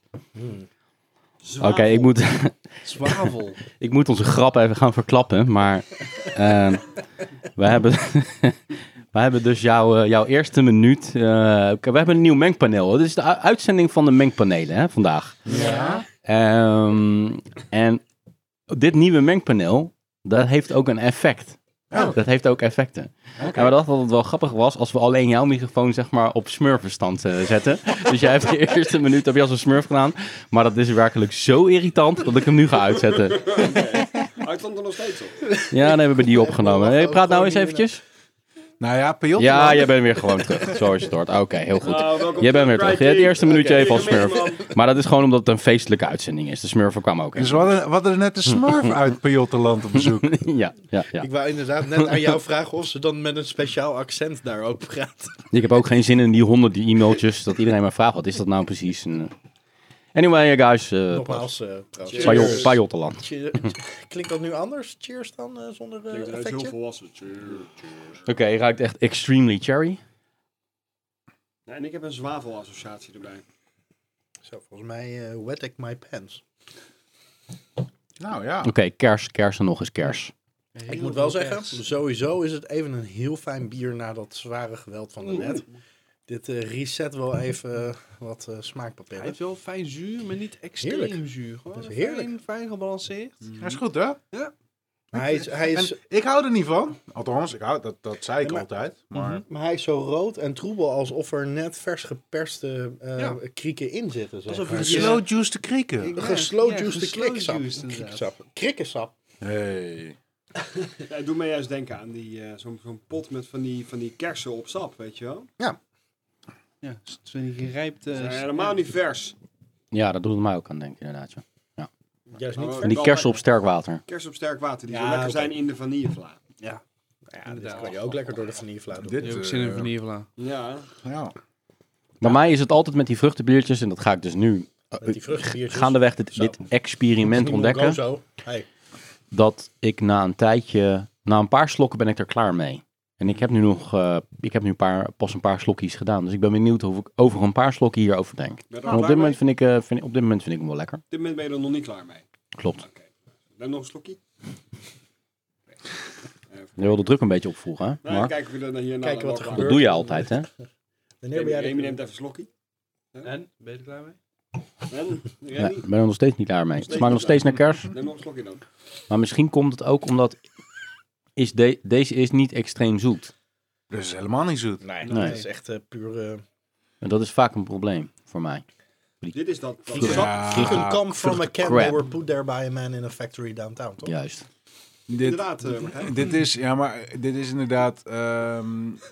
S1: Oké, ik, moet,
S4: Zwavel.
S1: ik moet onze grap even gaan verklappen, maar ehm, we, hebben, we hebben dus jouw, eh, jouw eerste minuut. eh, we hebben een nieuw mengpaneel. Dit is de u- uitzending van de mengpanelen hè, vandaag.
S5: Ja.
S1: Ehm, en dit nieuwe mengpaneel, dat heeft ook een effect.
S5: Oh.
S1: Dat heeft ook effecten. En we dachten dat het wel grappig was als we alleen jouw microfoon zeg maar, op smurfenstand eh, zetten. dus jij hebt de eerste minuut heb je als een smurf gedaan. Maar dat is werkelijk zo irritant dat ik hem nu ga uitzetten.
S6: Hij stond er nog steeds op.
S1: Ja, dan hebben we die opgenomen. Hey, praat nou eens eventjes.
S5: Nou ja, Pajot.
S1: Ja, jij bent weer gewoon terug. Zo is het hoort. Oké, heel goed.
S6: Nou, welkom
S1: Jij bent weer
S6: terug,
S1: terug. Je
S6: Pride
S1: hebt het eerste
S6: Team.
S1: minuutje
S6: Oké,
S1: even als
S6: gemist,
S1: smurf.
S6: man.
S1: Maar dat is gewoon omdat het een feestelijke uitzending is. De smurfen kwamen ook.
S5: Dus we hadden, we hadden net een smurf uit Pajottenland op bezoek.
S1: Ja, ja, ja.
S3: Ik wou inderdaad net aan jou vragen of ze dan met een speciaal accent daar ook praat.
S1: Ik heb ook geen zin in die honderden e-mailtjes dat iedereen mij vraagt. Wat is dat nou precies? En, eh, anyway, guys. eh
S3: Nogmaals, eh trouwens.
S6: Cheers.
S1: Pajot- Pajottenland.
S3: Cheer- Klinkt dat nu anders? Cheers dan, eh, zonder eh,
S6: Klinkt eruit heel
S3: effectje?
S6: volwassen. Cheers, cheers.
S1: Oké, ruikt echt extremely cherry.
S6: Ja, en ik heb een zwavelassociatie erbij.
S3: Zo, volgens mij eh, wet ik my pants.
S5: Nou ja.
S1: Oké, kers, kers en nog eens kers.
S3: ik moet wel zeggen, sowieso is het even een heel fijn bier na dat zware geweld van de net. Dit eh, reset wel even eh, wat eh,
S4: Hij
S3: smaakpapillen.
S4: heeft wel fijn zuur, maar niet extreem
S3: Heerlijk.
S4: zuur. Gewoon
S3: Dat is heerlijk.
S4: Fijn, fijn gebalanceerd.
S5: Dat is goed, hè?
S3: Maar hij is, hij is,
S5: En ik hou er niet van. Althans, ik hou, dat, dat zei ik
S3: Ja, maar-
S5: altijd. Maar
S3: maar hij is zo rood en troebel alsof er net vers geperste eh,
S4: Ja.
S3: krieken in zitten. Zeg
S4: Alsof
S3: maar.
S4: het
S3: Ja.
S5: slow juice te krieken.
S4: Ik-
S3: Geslow
S4: Ja,
S3: juice
S4: geslow
S3: kriekensap.
S4: juice inderdaad.
S3: Kriekensap. Krikkensap.
S5: Hey.
S6: Ja, het doet mij juist denken aan die, eh, zo'n zo'n pot met van die, van die kersen op sap, weet je wel.
S4: Ja, dus het is een gerijpte...
S6: Ze zijn helemaal niet vers.
S1: Ja, dat doet het mij ook aan denken, inderdaad. Ja.
S3: Juist
S6: niet
S3: niet
S6: vers.
S1: En die kersen op sterk water.
S6: Kersen op sterk water, die
S3: Ja,
S6: zo lekker
S3: oké.
S6: zijn in de vanillevla.
S3: Ja, dit kan je ook lekker door de vanillevla doen.
S5: Dit
S4: Je hebt ook
S5: eh,
S4: zin in vanilla.
S6: Ja,
S5: Ja.
S1: Bij mij is het altijd met die vruchtenbiertjes, en dat ga ik dus nu
S3: Met die vruchtbiertjes.
S1: gaandeweg dit,
S3: Zo.
S1: dit experiment ontdekken.
S3: Zo. Hey.
S1: Dat ik na een tijdje, na een paar slokken ben ik er klaar mee. En ik heb nu nog, eh, ik heb nu een paar, pas een paar slokjes gedaan. Dus ik ben benieuwd hoe ik over een paar slokken hierover denk.
S6: ben je er
S1: En
S6: al
S1: op dit
S6: klaar mee?
S1: moment vind ik, eh, vind, ik- op dit moment vind ik hem wel lekker.
S6: Op dit moment ben je er nog niet klaar mee.
S1: Klopt.
S6: Dan nog een slokje. Even
S1: Je wil de druk een beetje opvoegen, hè?
S6: Nou,
S1: Mark?
S6: kijken we dan hierna.
S3: Kijken wat er
S1: Dat doe je altijd, hè?
S3: Wanneer
S6: Remy,
S3: ben jij
S6: Remy
S3: er-
S6: neemt even een slokje.
S4: En? Ben je er klaar mee?
S6: En,
S1: Nee,
S6: Remy,
S1: ik ben er nog steeds niet klaar mee. Het smaakt nog steeds naar kers.
S6: neem nog een slokje dan.
S1: Maar misschien komt het ook omdat is de- deze is niet extreem zoet.
S5: Dat is helemaal niet zoet.
S3: Nee,
S1: Nee.
S3: dat is echt eh, puur... eh,
S1: En dat is vaak een probleem voor mij.
S6: Dit is dat. dat
S3: You can-
S5: Ja.
S3: you can come from a can
S1: crap.
S3: they were put there by a man in a factory downtown, toch?
S1: Juist.
S5: Dit,
S6: Inderdaad, eh, Martijn.
S5: dit is, ja, maar dit is inderdaad. ehm,
S6: Ik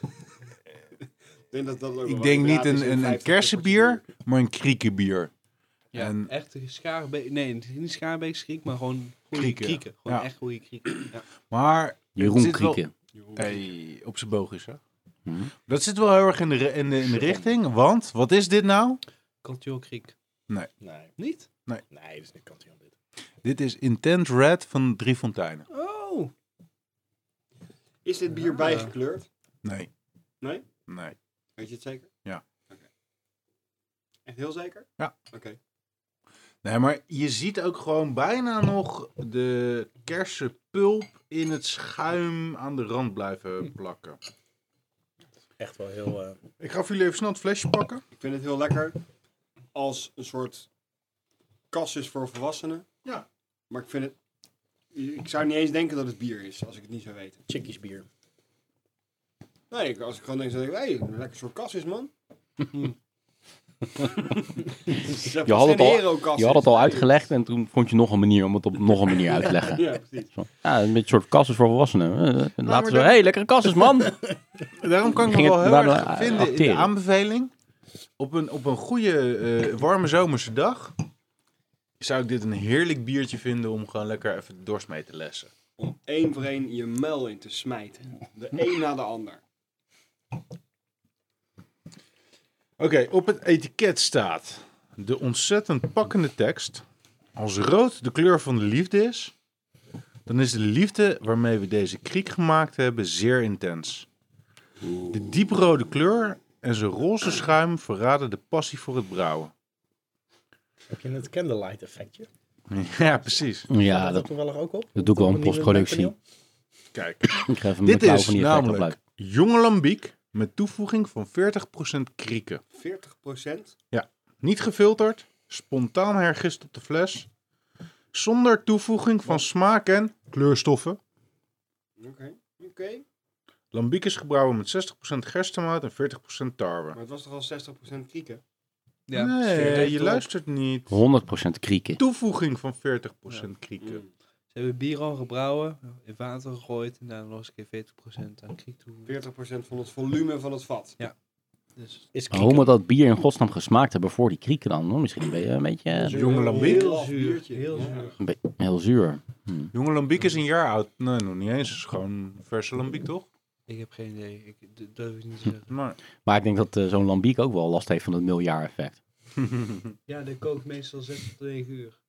S6: denk, dat dat ook wel
S5: ik
S6: wat
S5: denk niet
S6: inderdaad is
S5: een,
S6: in
S5: een, een
S6: 50
S5: kersenbier, maar een kriekenbier.
S4: Ja,
S5: En-
S4: echt een schaarbeek. Nee, het is niet schaarbeek schrik, maar gewoon goede
S5: Krieken.
S4: krieken. Gewoon
S5: Ja.
S4: echt goede krieken. Ja.
S5: Maar. het
S1: Jeroen
S5: zit wel-
S1: Krieken.
S5: Hey, op zijn boogjes, hè?
S1: Mhm.
S5: Dat zit wel heel erg in de, ri- in, de, in de richting, want wat is dit nou?
S4: Kantjoolkriek.
S3: Nee,
S4: Niet?
S3: nee, dat is niet kantje aan dit.
S5: Dit is Intent Red van Drie Fonteinen.
S4: Oh.
S6: Is dit bier bijgekleurd?
S5: Nee.
S6: Nee?
S5: Nee.
S6: Weet je het zeker?
S5: Ja.
S6: Oké. Echt heel zeker?
S5: Ja.
S6: Oké.
S5: Nee, maar je ziet ook gewoon bijna nog de kersenpulp in het schuim aan de rand blijven plakken.
S3: Echt wel heel... eh,
S5: Ik ga voor jullie even snel het flesje pakken.
S6: Ik vind het heel lekker als een soort kas is voor volwassenen.
S5: Ja.
S6: Maar ik vind het... Ik zou niet eens denken dat het bier is, als ik het niet zou weten.
S3: chickies bier.
S6: Nee, ik- als ik gewoon denk, dan denk ik, hé, een lekker soort kas is, man.
S1: Je had, het al, je had het al uitgelegd en toen vond je nog een manier om het op nog een manier uit te leggen.
S6: Ja, precies.
S1: Zo. Ja, een beetje een soort kassen voor volwassenen. Eh, eh, Laten we,
S5: dat-
S1: hé, hey, lekkere kassen, man.
S5: Daarom kan ik me
S1: Ging
S5: wel
S1: het
S5: heel
S1: daarna,
S5: erg
S1: eh,
S5: vinden in de
S1: acteren?
S5: aanbeveling. Op een, op een goede, eh, warme zomerse dag zou ik dit een heerlijk biertje vinden om gewoon lekker even dorst mee te lessen.
S6: Om één voor één je muil in te smijten. De een na de ander.
S5: Oké, op het etiket staat de ontzettend pakkende tekst. Als rood de kleur van de liefde is, dan is de liefde waarmee we deze kriek gemaakt hebben zeer intens. De dieprode kleur en zijn roze schuim verraden de passie voor het brouwen.
S3: Heb je het candlelight effectje?
S5: Ja, precies.
S1: Ja,
S3: Staat
S1: dat,
S3: toevallig ook op?
S1: dat doe ik wel in
S3: Op een nieuwe
S1: postproductie.
S5: Kijk,
S1: Ik ga even mijn
S5: dit
S1: klauw
S5: is
S1: nou van die effect
S5: namelijk
S1: opluiken.
S5: jonge lambiek met toevoeging van 40% krieken.
S6: 40%?
S5: Niet gefilterd, spontaan hergist op de fles, zonder toevoeging van smaak en kleurstoffen.
S6: Oké. Oké.
S5: Lambiek is gebrouwen met 60% gerstemout en 40% tarwe.
S6: Maar het was toch al 60% krieken?
S4: Ja.
S5: nee,
S4: sfeer
S5: je
S4: erop.
S5: luistert niet.
S1: 100% krieken.
S5: Toevoeging van 40% krieken.
S6: Mm.
S4: Ze hebben bier al gebrouwen, in water gegooid en daarna nog eens een keer 40% aan kriek toe.
S6: 40% van het volume van het vat.
S4: Dus
S3: Is
S1: Maar hoe moet dat bier in godsnaam gesmaakt hebben voor die krieken dan? hoor? Misschien ben je een beetje eh,
S5: Jonge Lambiek.
S4: heel zuur. Heel zuur.
S1: een be- heel zuur.
S5: Jonge Lambiek is een jaar oud. Nee, nog niet eens. Het is gewoon verse Lambiek, toch?
S4: Ik heb geen idee. Ik, d- dat wil ik niet zeggen.
S5: Maar,
S1: Maar ik denk dat eh, zo'n lambiek ook wel last heeft van het miljard-effect.
S4: Ja, dat kookt meestal 6 tot 9 uur.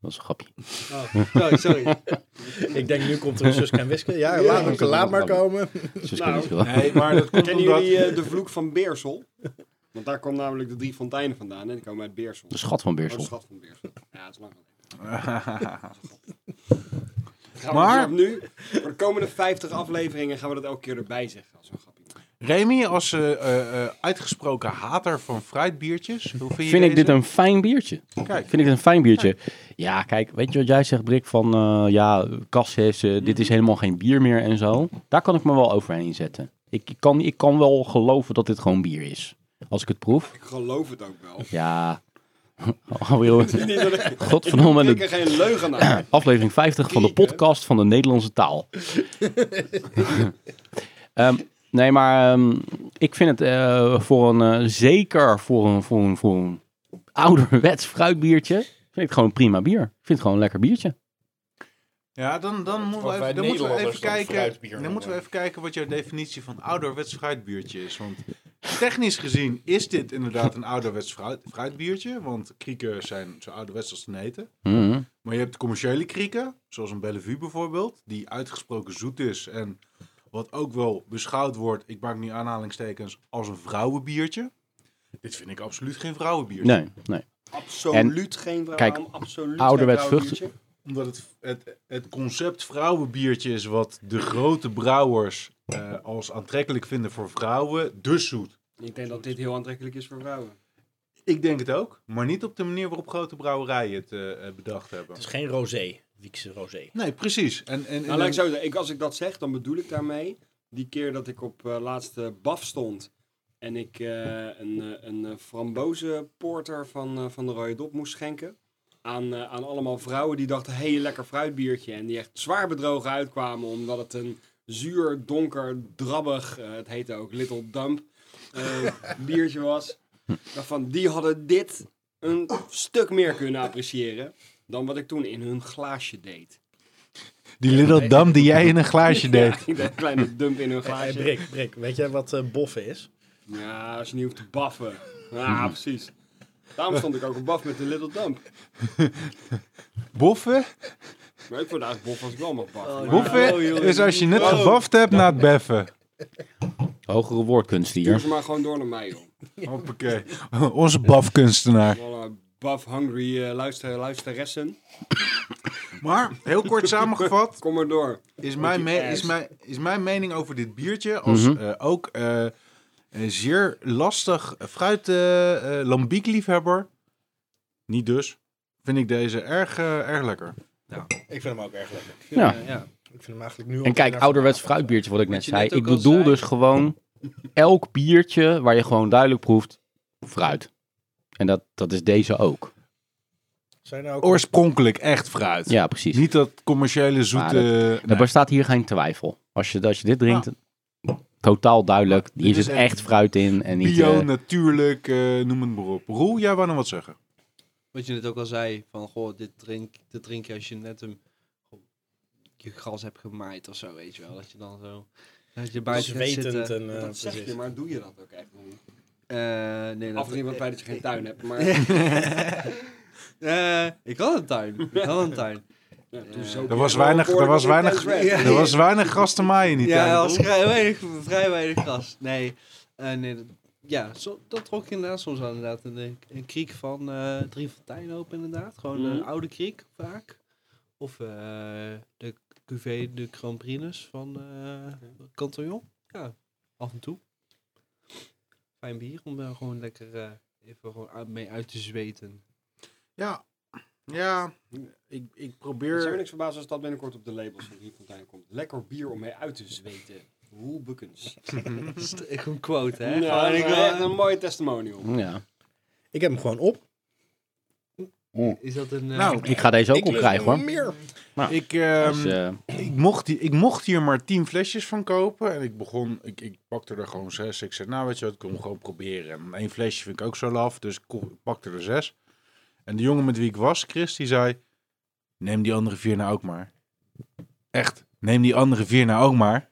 S1: Dat is een grapje.
S4: Oh, sorry, sorry.
S3: Ik denk, nu komt er een zus en whisky. Ja,
S6: Ja,
S3: laat,
S6: dat
S3: hem, laat maar komen.
S1: Dus ik
S6: Nou,
S1: weet het wel.
S5: nee, maar dat komt
S6: Kennen
S5: omdat...
S6: jullie eh, de vloek van Beersel? Want daar kwam namelijk de drie fonteinen vandaan. En die komen uit Beersel.
S1: De schat van
S6: Oh, de
S1: Beersel.
S6: schat van Beersel. Ja, dat is lang geleden. Gaan we
S5: Maar-
S6: vanaf nu, voor de komende 50 afleveringen, gaan we dat elke keer erbij zeggen. Als een grapje.
S5: Remy, als eh, eh, eh, uitgesproken hater van fruitbiertjes, hoe vind je
S1: Vind ik dit
S5: deze?
S1: een fijn biertje?
S5: Kijk,
S1: Vind ik het een fijn biertje. Ja, kijk, weet je wat jij zegt, Brik? Van eh, ja, kassis, eh, dit
S6: Mhm.
S1: is helemaal geen bier meer en zo. Daar kan ik me wel overheen zetten. Ik ik kan, ik kan wel geloven dat dit gewoon bier is. Als ik het proef.
S6: Ik geloof het ook wel.
S1: Ja. Alweer,
S6: Niet dat ik-
S1: godverdomme,
S6: Ik
S1: de
S6: er geen leugen aan.
S1: aflevering 50 van de podcast van de Nederlandse taal. Ehm, nee, maar ehm, ik vind het eh, voor een, eh, zeker voor een, voor, een, voor een ouderwets fruitbiertje, vind ik het gewoon een prima bier. Ik vind het gewoon een lekker biertje.
S5: ja, dan, dan, moeten, we
S3: wij
S5: even, dan moeten we even
S3: Nederlanders dan fruitbier
S5: kijken. Dan
S3: noemen.
S5: moeten we even kijken wat jouw definitie van ouderwets fruitbiertje is. Want technisch gezien is dit inderdaad een ouderwets fruit, fruitbiertje. Want krieken zijn zo ouderwets als ze heten.
S1: Mhm.
S5: Maar je hebt commerciële krieken, zoals een Bellevue bijvoorbeeld, die uitgesproken zoet is en wat ook wel beschouwd wordt, ik maak nu aanhalingstekens, als een vrouwenbiertje. Dit vind ik absoluut geen vrouwenbiertje.
S1: Nee, nee.
S6: Absoluut geen vrouw.
S1: kijk,
S6: waarom absoluut
S1: ouderwets
S6: geen vrouwenbiertje?
S5: Omdat het, het, het concept vrouwenbiertje is wat de grote brouwers eh, als aantrekkelijk vinden voor vrouwen, dus zoet.
S6: Ik denk dat dit heel aantrekkelijk is voor vrouwen.
S5: Ik denk het ook, maar niet op de manier waarop grote brouwerijen het eh, eh, bedacht hebben.
S3: Het is geen rosé. Wiekse rosé.
S5: Nee, precies. En, en, en
S6: Nou, laat ik zo zeggen, ik, als ik dat zeg, dan bedoel ik daarmee die keer dat ik op eh, laatste BAF stond en ik eh, een, eh, een eh, frambozenporter van, eh, van de Rode Dop moest schenken. Aan, eh, aan allemaal vrouwen die dachten, hé, hey, lekker fruitbiertje. En die echt zwaar bedrogen uitkwamen, omdat het een zuur, donker, drabbig, eh, het heette ook Little Dump, eh, biertje was. Waarvan die hadden dit een stuk meer kunnen appreciëren dan wat ik toen in hun glaasje deed.
S5: Die little dam die jij in een glaasje
S6: Ja, ik deed een kleine dump in hun
S3: Hey,
S6: glaasje.
S3: Brik, Brik, weet jij wat eh, boffen is?
S6: Ja, als je niet hoeft te baffen. Ja, precies. Daarom stond ik ook op baf met de Little Dump.
S5: Boffen?
S6: Maar ik vond eigenlijk bof als ik wel mag
S4: Oh,
S6: baffen. Maar-
S5: Boffen is dus als je net gebaft hebt na het beffen.
S1: Hogere woordkunst
S6: Stuur
S1: hier.
S6: ze maar gewoon door naar mij, joh.
S5: Hoppakee. Onze bafkunstenaar.
S6: Alle buff-hungry eh, luister, luisteressen.
S5: Maar, heel kort samengevat,
S6: Kom maar door.
S5: is mijn, me- is mijn, is mijn mening over dit biertje als
S1: Mhm.
S5: eh, ook eh, een zeer lastig fruit eh eh, lambiek liefhebber. Niet dus. Vind ik deze erg, eh, erg lekker.
S3: Ik vind hem ook erg lekker.
S1: Ja.
S4: Eh, ja.
S3: Ik vind hem eigenlijk nu al
S1: En kijk,
S3: bijna
S1: ouderwets
S3: vanavond.
S1: fruitbiertje, wat ik net
S4: je
S1: zei.
S4: net ook
S1: Ik
S4: al
S1: bedoel
S4: zei.
S1: dus gewoon elk biertje waar je gewoon duidelijk proeft, fruit. En dat, dat is deze ook.
S3: Zijn er ook
S5: Oorspronkelijk echt fruit.
S1: Ja, precies.
S5: Niet dat commerciële
S1: Maar
S5: zoete...
S1: dat-
S5: nee.
S1: Er bestaat hier geen twijfel. Als je, als je dit drinkt, totaal duidelijk. Hier
S5: Dit
S1: zit
S5: is echt
S1: echt fruit in. En niet,
S5: Bio,
S1: eh,
S5: natuurlijk, eh, noem het maar op. Roel, jij wou nog wat zeggen?
S4: Wat je net ook al zei, van goh, dit drink, dit drink je als je net een, je gras hebt gemaaid of zo, weet je wel. Dat je dan zo, dat je buiten gaat
S3: zwetend
S4: zitten.
S3: en eh,
S6: dat zeg je,
S3: precies.
S6: maar doe je dat ook echt? niet?
S4: Eh, nee, dat,
S6: Afgezien van het feit dat je geen tuin hebt, maar
S4: Eh, ik had een tuin, ik had een tuin.
S6: ja,
S4: Eh,
S6: toen zo
S5: Er was weinig, er was weinig, er was weinig gras te maaien in die
S4: ja,
S5: tuin,
S4: er was
S5: Roel.
S4: vrij weinig, vrij weinig gras. Nee, eh, nee dat- ja, zo, dat trok ik inderdaad soms aan, inderdaad. Een, een kriek van eh drie fonteinen open, inderdaad. Gewoon een
S6: Mhm.
S4: oude kriek, vaak. Of eh, de cuvée de Grand Prix van eh Cantillon. Ja, af en toe. Fijn bier om daar gewoon lekker eh, even gewoon uit- mee uit te zweten.
S5: Ja, ja. Ik, ik
S6: Ik zou
S5: probeer.
S6: me niks verbazen als dat binnenkort op de labels van Riefontein komt. Lekker bier om mee uit te zweten. Roel Bukkens.
S4: Dat is echt een quote, hè?
S6: Nou,
S4: Gewoon,
S6: dat
S4: ik
S6: is
S4: wil-
S6: echt een mooie testimonial.
S1: ja.
S3: Ik heb hem gewoon op.
S4: Is dat een... eh,
S5: Nou,
S1: Ik ga deze ook
S3: Ik wil
S1: opkrijgen hoor.
S3: Meer.
S5: ik, ehm,
S1: Dus, eh,
S5: ik, mocht, hier- ik mocht hier maar tien flesjes van kopen. En ik begon, ik, ik pakte er gewoon zes. Ik zei, nou weet je wat, ik wil hem gewoon proberen. En één flesje vind ik ook zo laf, dus ik ko- ik pakte er zes. En de jongen met wie ik was, Chris, die zei... Neem die andere vier nou ook maar. Echt, neem die andere vier nou ook maar.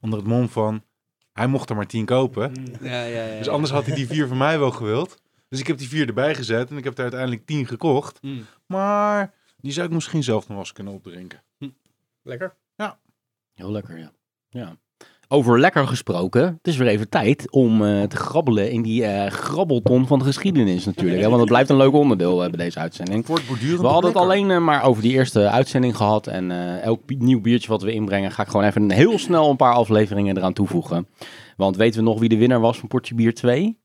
S5: Onder het mom van, hij mocht er maar tien kopen.
S4: Ja, ja, ja.
S5: Dus anders had hij die vier van mij wel gewild. Dus ik heb die vier erbij gezet en ik heb er uiteindelijk tien gekocht.
S4: Mm.
S5: Maar die zou ik misschien zelf nog wel eens kunnen opdrinken.
S3: Lekker.
S1: Heel lekker, ja. ja. Over lekker gesproken, het is weer even tijd om eh, te grabbelen in die eh, grabbelton van de geschiedenis natuurlijk. Hè? Want het blijft een leuk onderdeel eh, bij deze uitzending.
S5: Het wordt voortdurend
S1: We hadden het
S5: lekker.
S1: alleen eh, maar over die eerste uitzending gehad. En eh, elk bi- nieuw biertje wat we inbrengen, ga ik gewoon even heel snel een paar afleveringen eraan toevoegen. Want weten we nog wie de winnaar was van Portje Bier 2?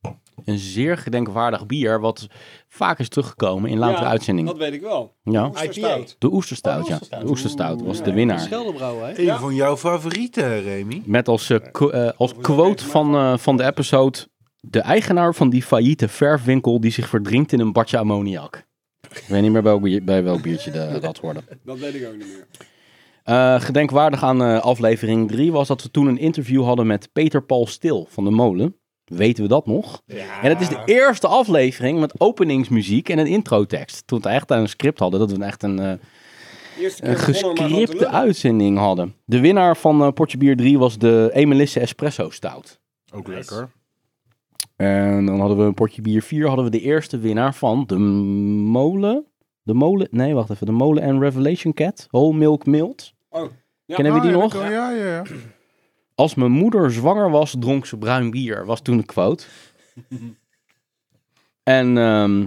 S1: Een zeer gedenkwaardig bier, wat vaak is teruggekomen in latere
S6: Ja,
S1: uitzendingen.
S6: Dat weet ik wel.
S1: Ja.
S6: Oesterstout.
S1: De Oh, Oesterstout, ja. De Oesterstout was de winnaar.
S4: Scheldebrouwen, hè?
S5: Een
S6: Ja.
S5: van jouw favorieten, Remy.
S1: Met als, eh, qu- eh, als quote van, eh, van de episode... De eigenaar van die failliete verfwinkel die zich verdrinkt in een badje ammoniak. Ik weet niet meer bij welk, bier- bij welk biertje de, dat hoorde.
S6: Dat weet ik ook niet meer.
S1: Eh, gedenkwaardig aan eh, aflevering 3 was dat we toen een interview hadden met Peter Paul Stil van de Molen. Weten we dat nog?
S3: Ja.
S1: En het is de eerste aflevering met openingsmuziek en een introtekst. Toen we echt aan een script hadden, dat we echt een... eh,
S6: Eerste keer
S1: een
S6: begonnen om maar gewoon te
S1: gescripte
S6: lullen.
S1: uitzending hadden. De winnaar van eh, Portje Bier 3 was de Emelisse Espresso Stout.
S5: Ook lekker.
S1: En dan hadden we een Portje Bier 4, hadden we de eerste winnaar van de molen. De molen, nee wacht even, de molen en Revelation Cat, Whole Milk Mild.
S6: Oh, ja.
S1: Kennen we die nog?
S5: Ja, ja, ja.
S1: Als mijn moeder zwanger was, dronk ze bruin bier, was toen de quote. en ehm,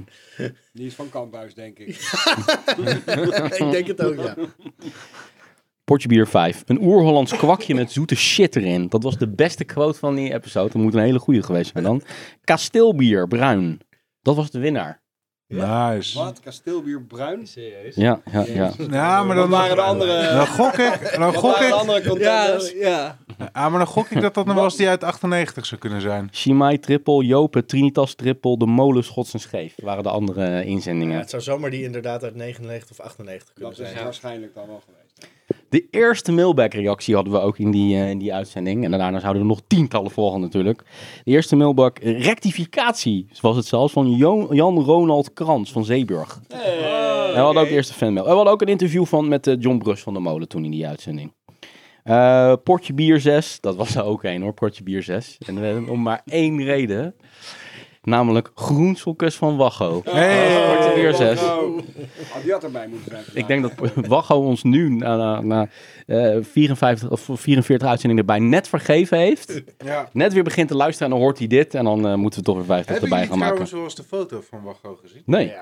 S6: Die is van Kamphuis, denk ik.
S3: ik denk het ook, ja.
S1: Portje Bier 5. Een oer-Hollands kwakje met zoete shit erin. Dat was de beste quote van die episode. Dat moet een hele goede geweest zijn dan. Kasteelbier, bruin. Dat was de winnaar.
S5: Nice.
S6: Wat? Kasteelbier Bruin?
S4: Serieus?
S1: Ja, ja, ja.
S5: Ja, maar dan,
S6: Dat waren de andere...
S5: dan gok ik, dan
S6: Dat
S5: gok
S6: waren de
S5: ik,
S6: andere
S4: Ja,
S6: contenders.
S4: ja.
S5: ah, maar dan gok ik dat dat nog wel eens die uit 98 zou kunnen zijn.
S1: Shimai triple, Jopen, Trinitas triple, De Molen, Schots en Scheef waren de andere eh,
S3: Ja,
S1: inzendingen.
S3: Het zou zomaar die inderdaad uit 99 of 98 kunnen
S6: Dat is
S3: zijn.
S6: waarschijnlijk dan wel geweest.
S1: De eerste mailback-reactie hadden we ook in die, eh, in die uitzending. En daarna zouden er nog tientallen volgen natuurlijk. De eerste mailback-rectificatie was het zelfs van Jo- Jan Ronald Krans van Zeeburg. En we hadden ook de eerste fanmail. En we hadden ook een interview van, met eh, John Brus van de Molen toen in die uitzending. Eh, Portje Bier 6, dat was er ook één hoor, Portje Bier 6. En we hebben hem om maar één reden, namelijk Groenselkus van Wacho.
S5: Hey.
S1: Portje Bier 6.
S6: Oh. Had die had erbij moeten zijn.
S1: Ik denk dat Wacho ons nu na, na, na, eh, 54 of 44 uitzendingen erbij net vergeven heeft.
S5: Ja.
S1: Net weer begint te luisteren en dan hoort hij dit. En dan eh, moeten we toch weer 50
S5: Hebben
S1: erbij
S5: jullie
S1: gaan maken.
S5: trouwens wel eens de foto van Wacho gezien?
S1: Nee,
S6: Ja.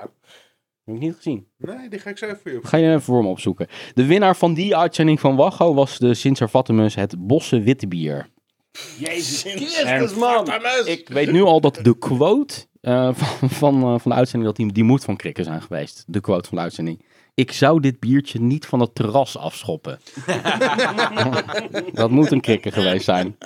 S1: heb ik niet gezien.
S5: Nee, die ga ik zo even voor je op.
S1: Ga je even voor me opzoeken. De winnaar van die uitzending van Wacho was de Sint Servatimus, het Bosse Witte Bier.
S6: Jezus
S1: En
S6: Christus, man.
S1: Ik weet nu al dat de quote eh, van, van, eh, van de uitzending, dat die, die moet van Krikken zijn geweest. De quote van de uitzending. Ik zou dit biertje niet van het terras afschoppen. dat moet een krikker geweest zijn.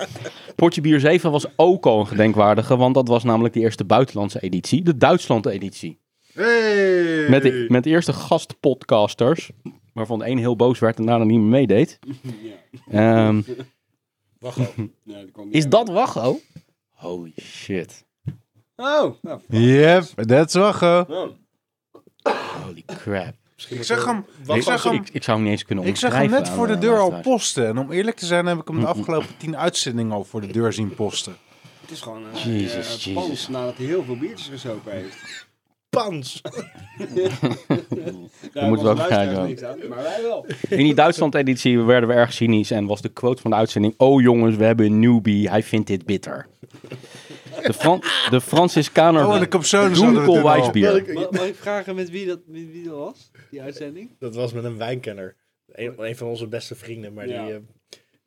S1: Portje Bier 7 was ook al een gedenkwaardige, want dat was namelijk de eerste buitenlandse editie. De Duitsland-editie.
S5: Hey.
S1: Met de, met de eerste gastpodcasters, waarvan de een heel boos werd en daarna niet meer meedeed.
S6: Ja.
S1: Ehm,
S6: Nee, die kwam niet
S1: is
S6: uit.
S1: dat Wacho? Holy shit.
S6: Oh. nou,
S5: Yep, that's Wacho.
S6: oh.
S1: Holy crap.
S5: Ik zag hem, ik
S1: Ik,
S5: zag hem,
S1: ik, ik zou hem niet eens kunnen
S5: ik zag
S1: omschrijven.
S5: hem net
S1: aan,
S5: voor de
S1: eh,
S5: deur al
S1: luisteraars.
S5: posten. En om eerlijk te zijn heb ik hem de afgelopen tien uitzendingen al voor de deur zien posten.
S6: Het is gewoon een
S1: Jezus,
S6: eh,
S1: Jezus.
S6: pans nadat hij heel veel biertjes gesopen heeft.
S3: Pans!
S6: Daar
S1: moeten we
S6: was
S1: ook
S6: luisteraars
S1: kijken.
S6: niks aan, maar wij wel.
S1: In die Duitsland-editie werden we erg cynisch en was de quote van de uitzending... Oh jongens, we hebben een newbie, hij vindt dit bitter. De, Fran de Franciscaner
S5: Oh, en de capsules hadden we
S1: Dunkel
S5: toen al.
S1: Wijsbier.
S4: Ma- Mag ik vragen met wie dat, met wie dat was? Die uitzending?
S3: Dat was met een wijnkenner. Een, een van onze beste vrienden, maar
S6: Ja.
S3: die... eh,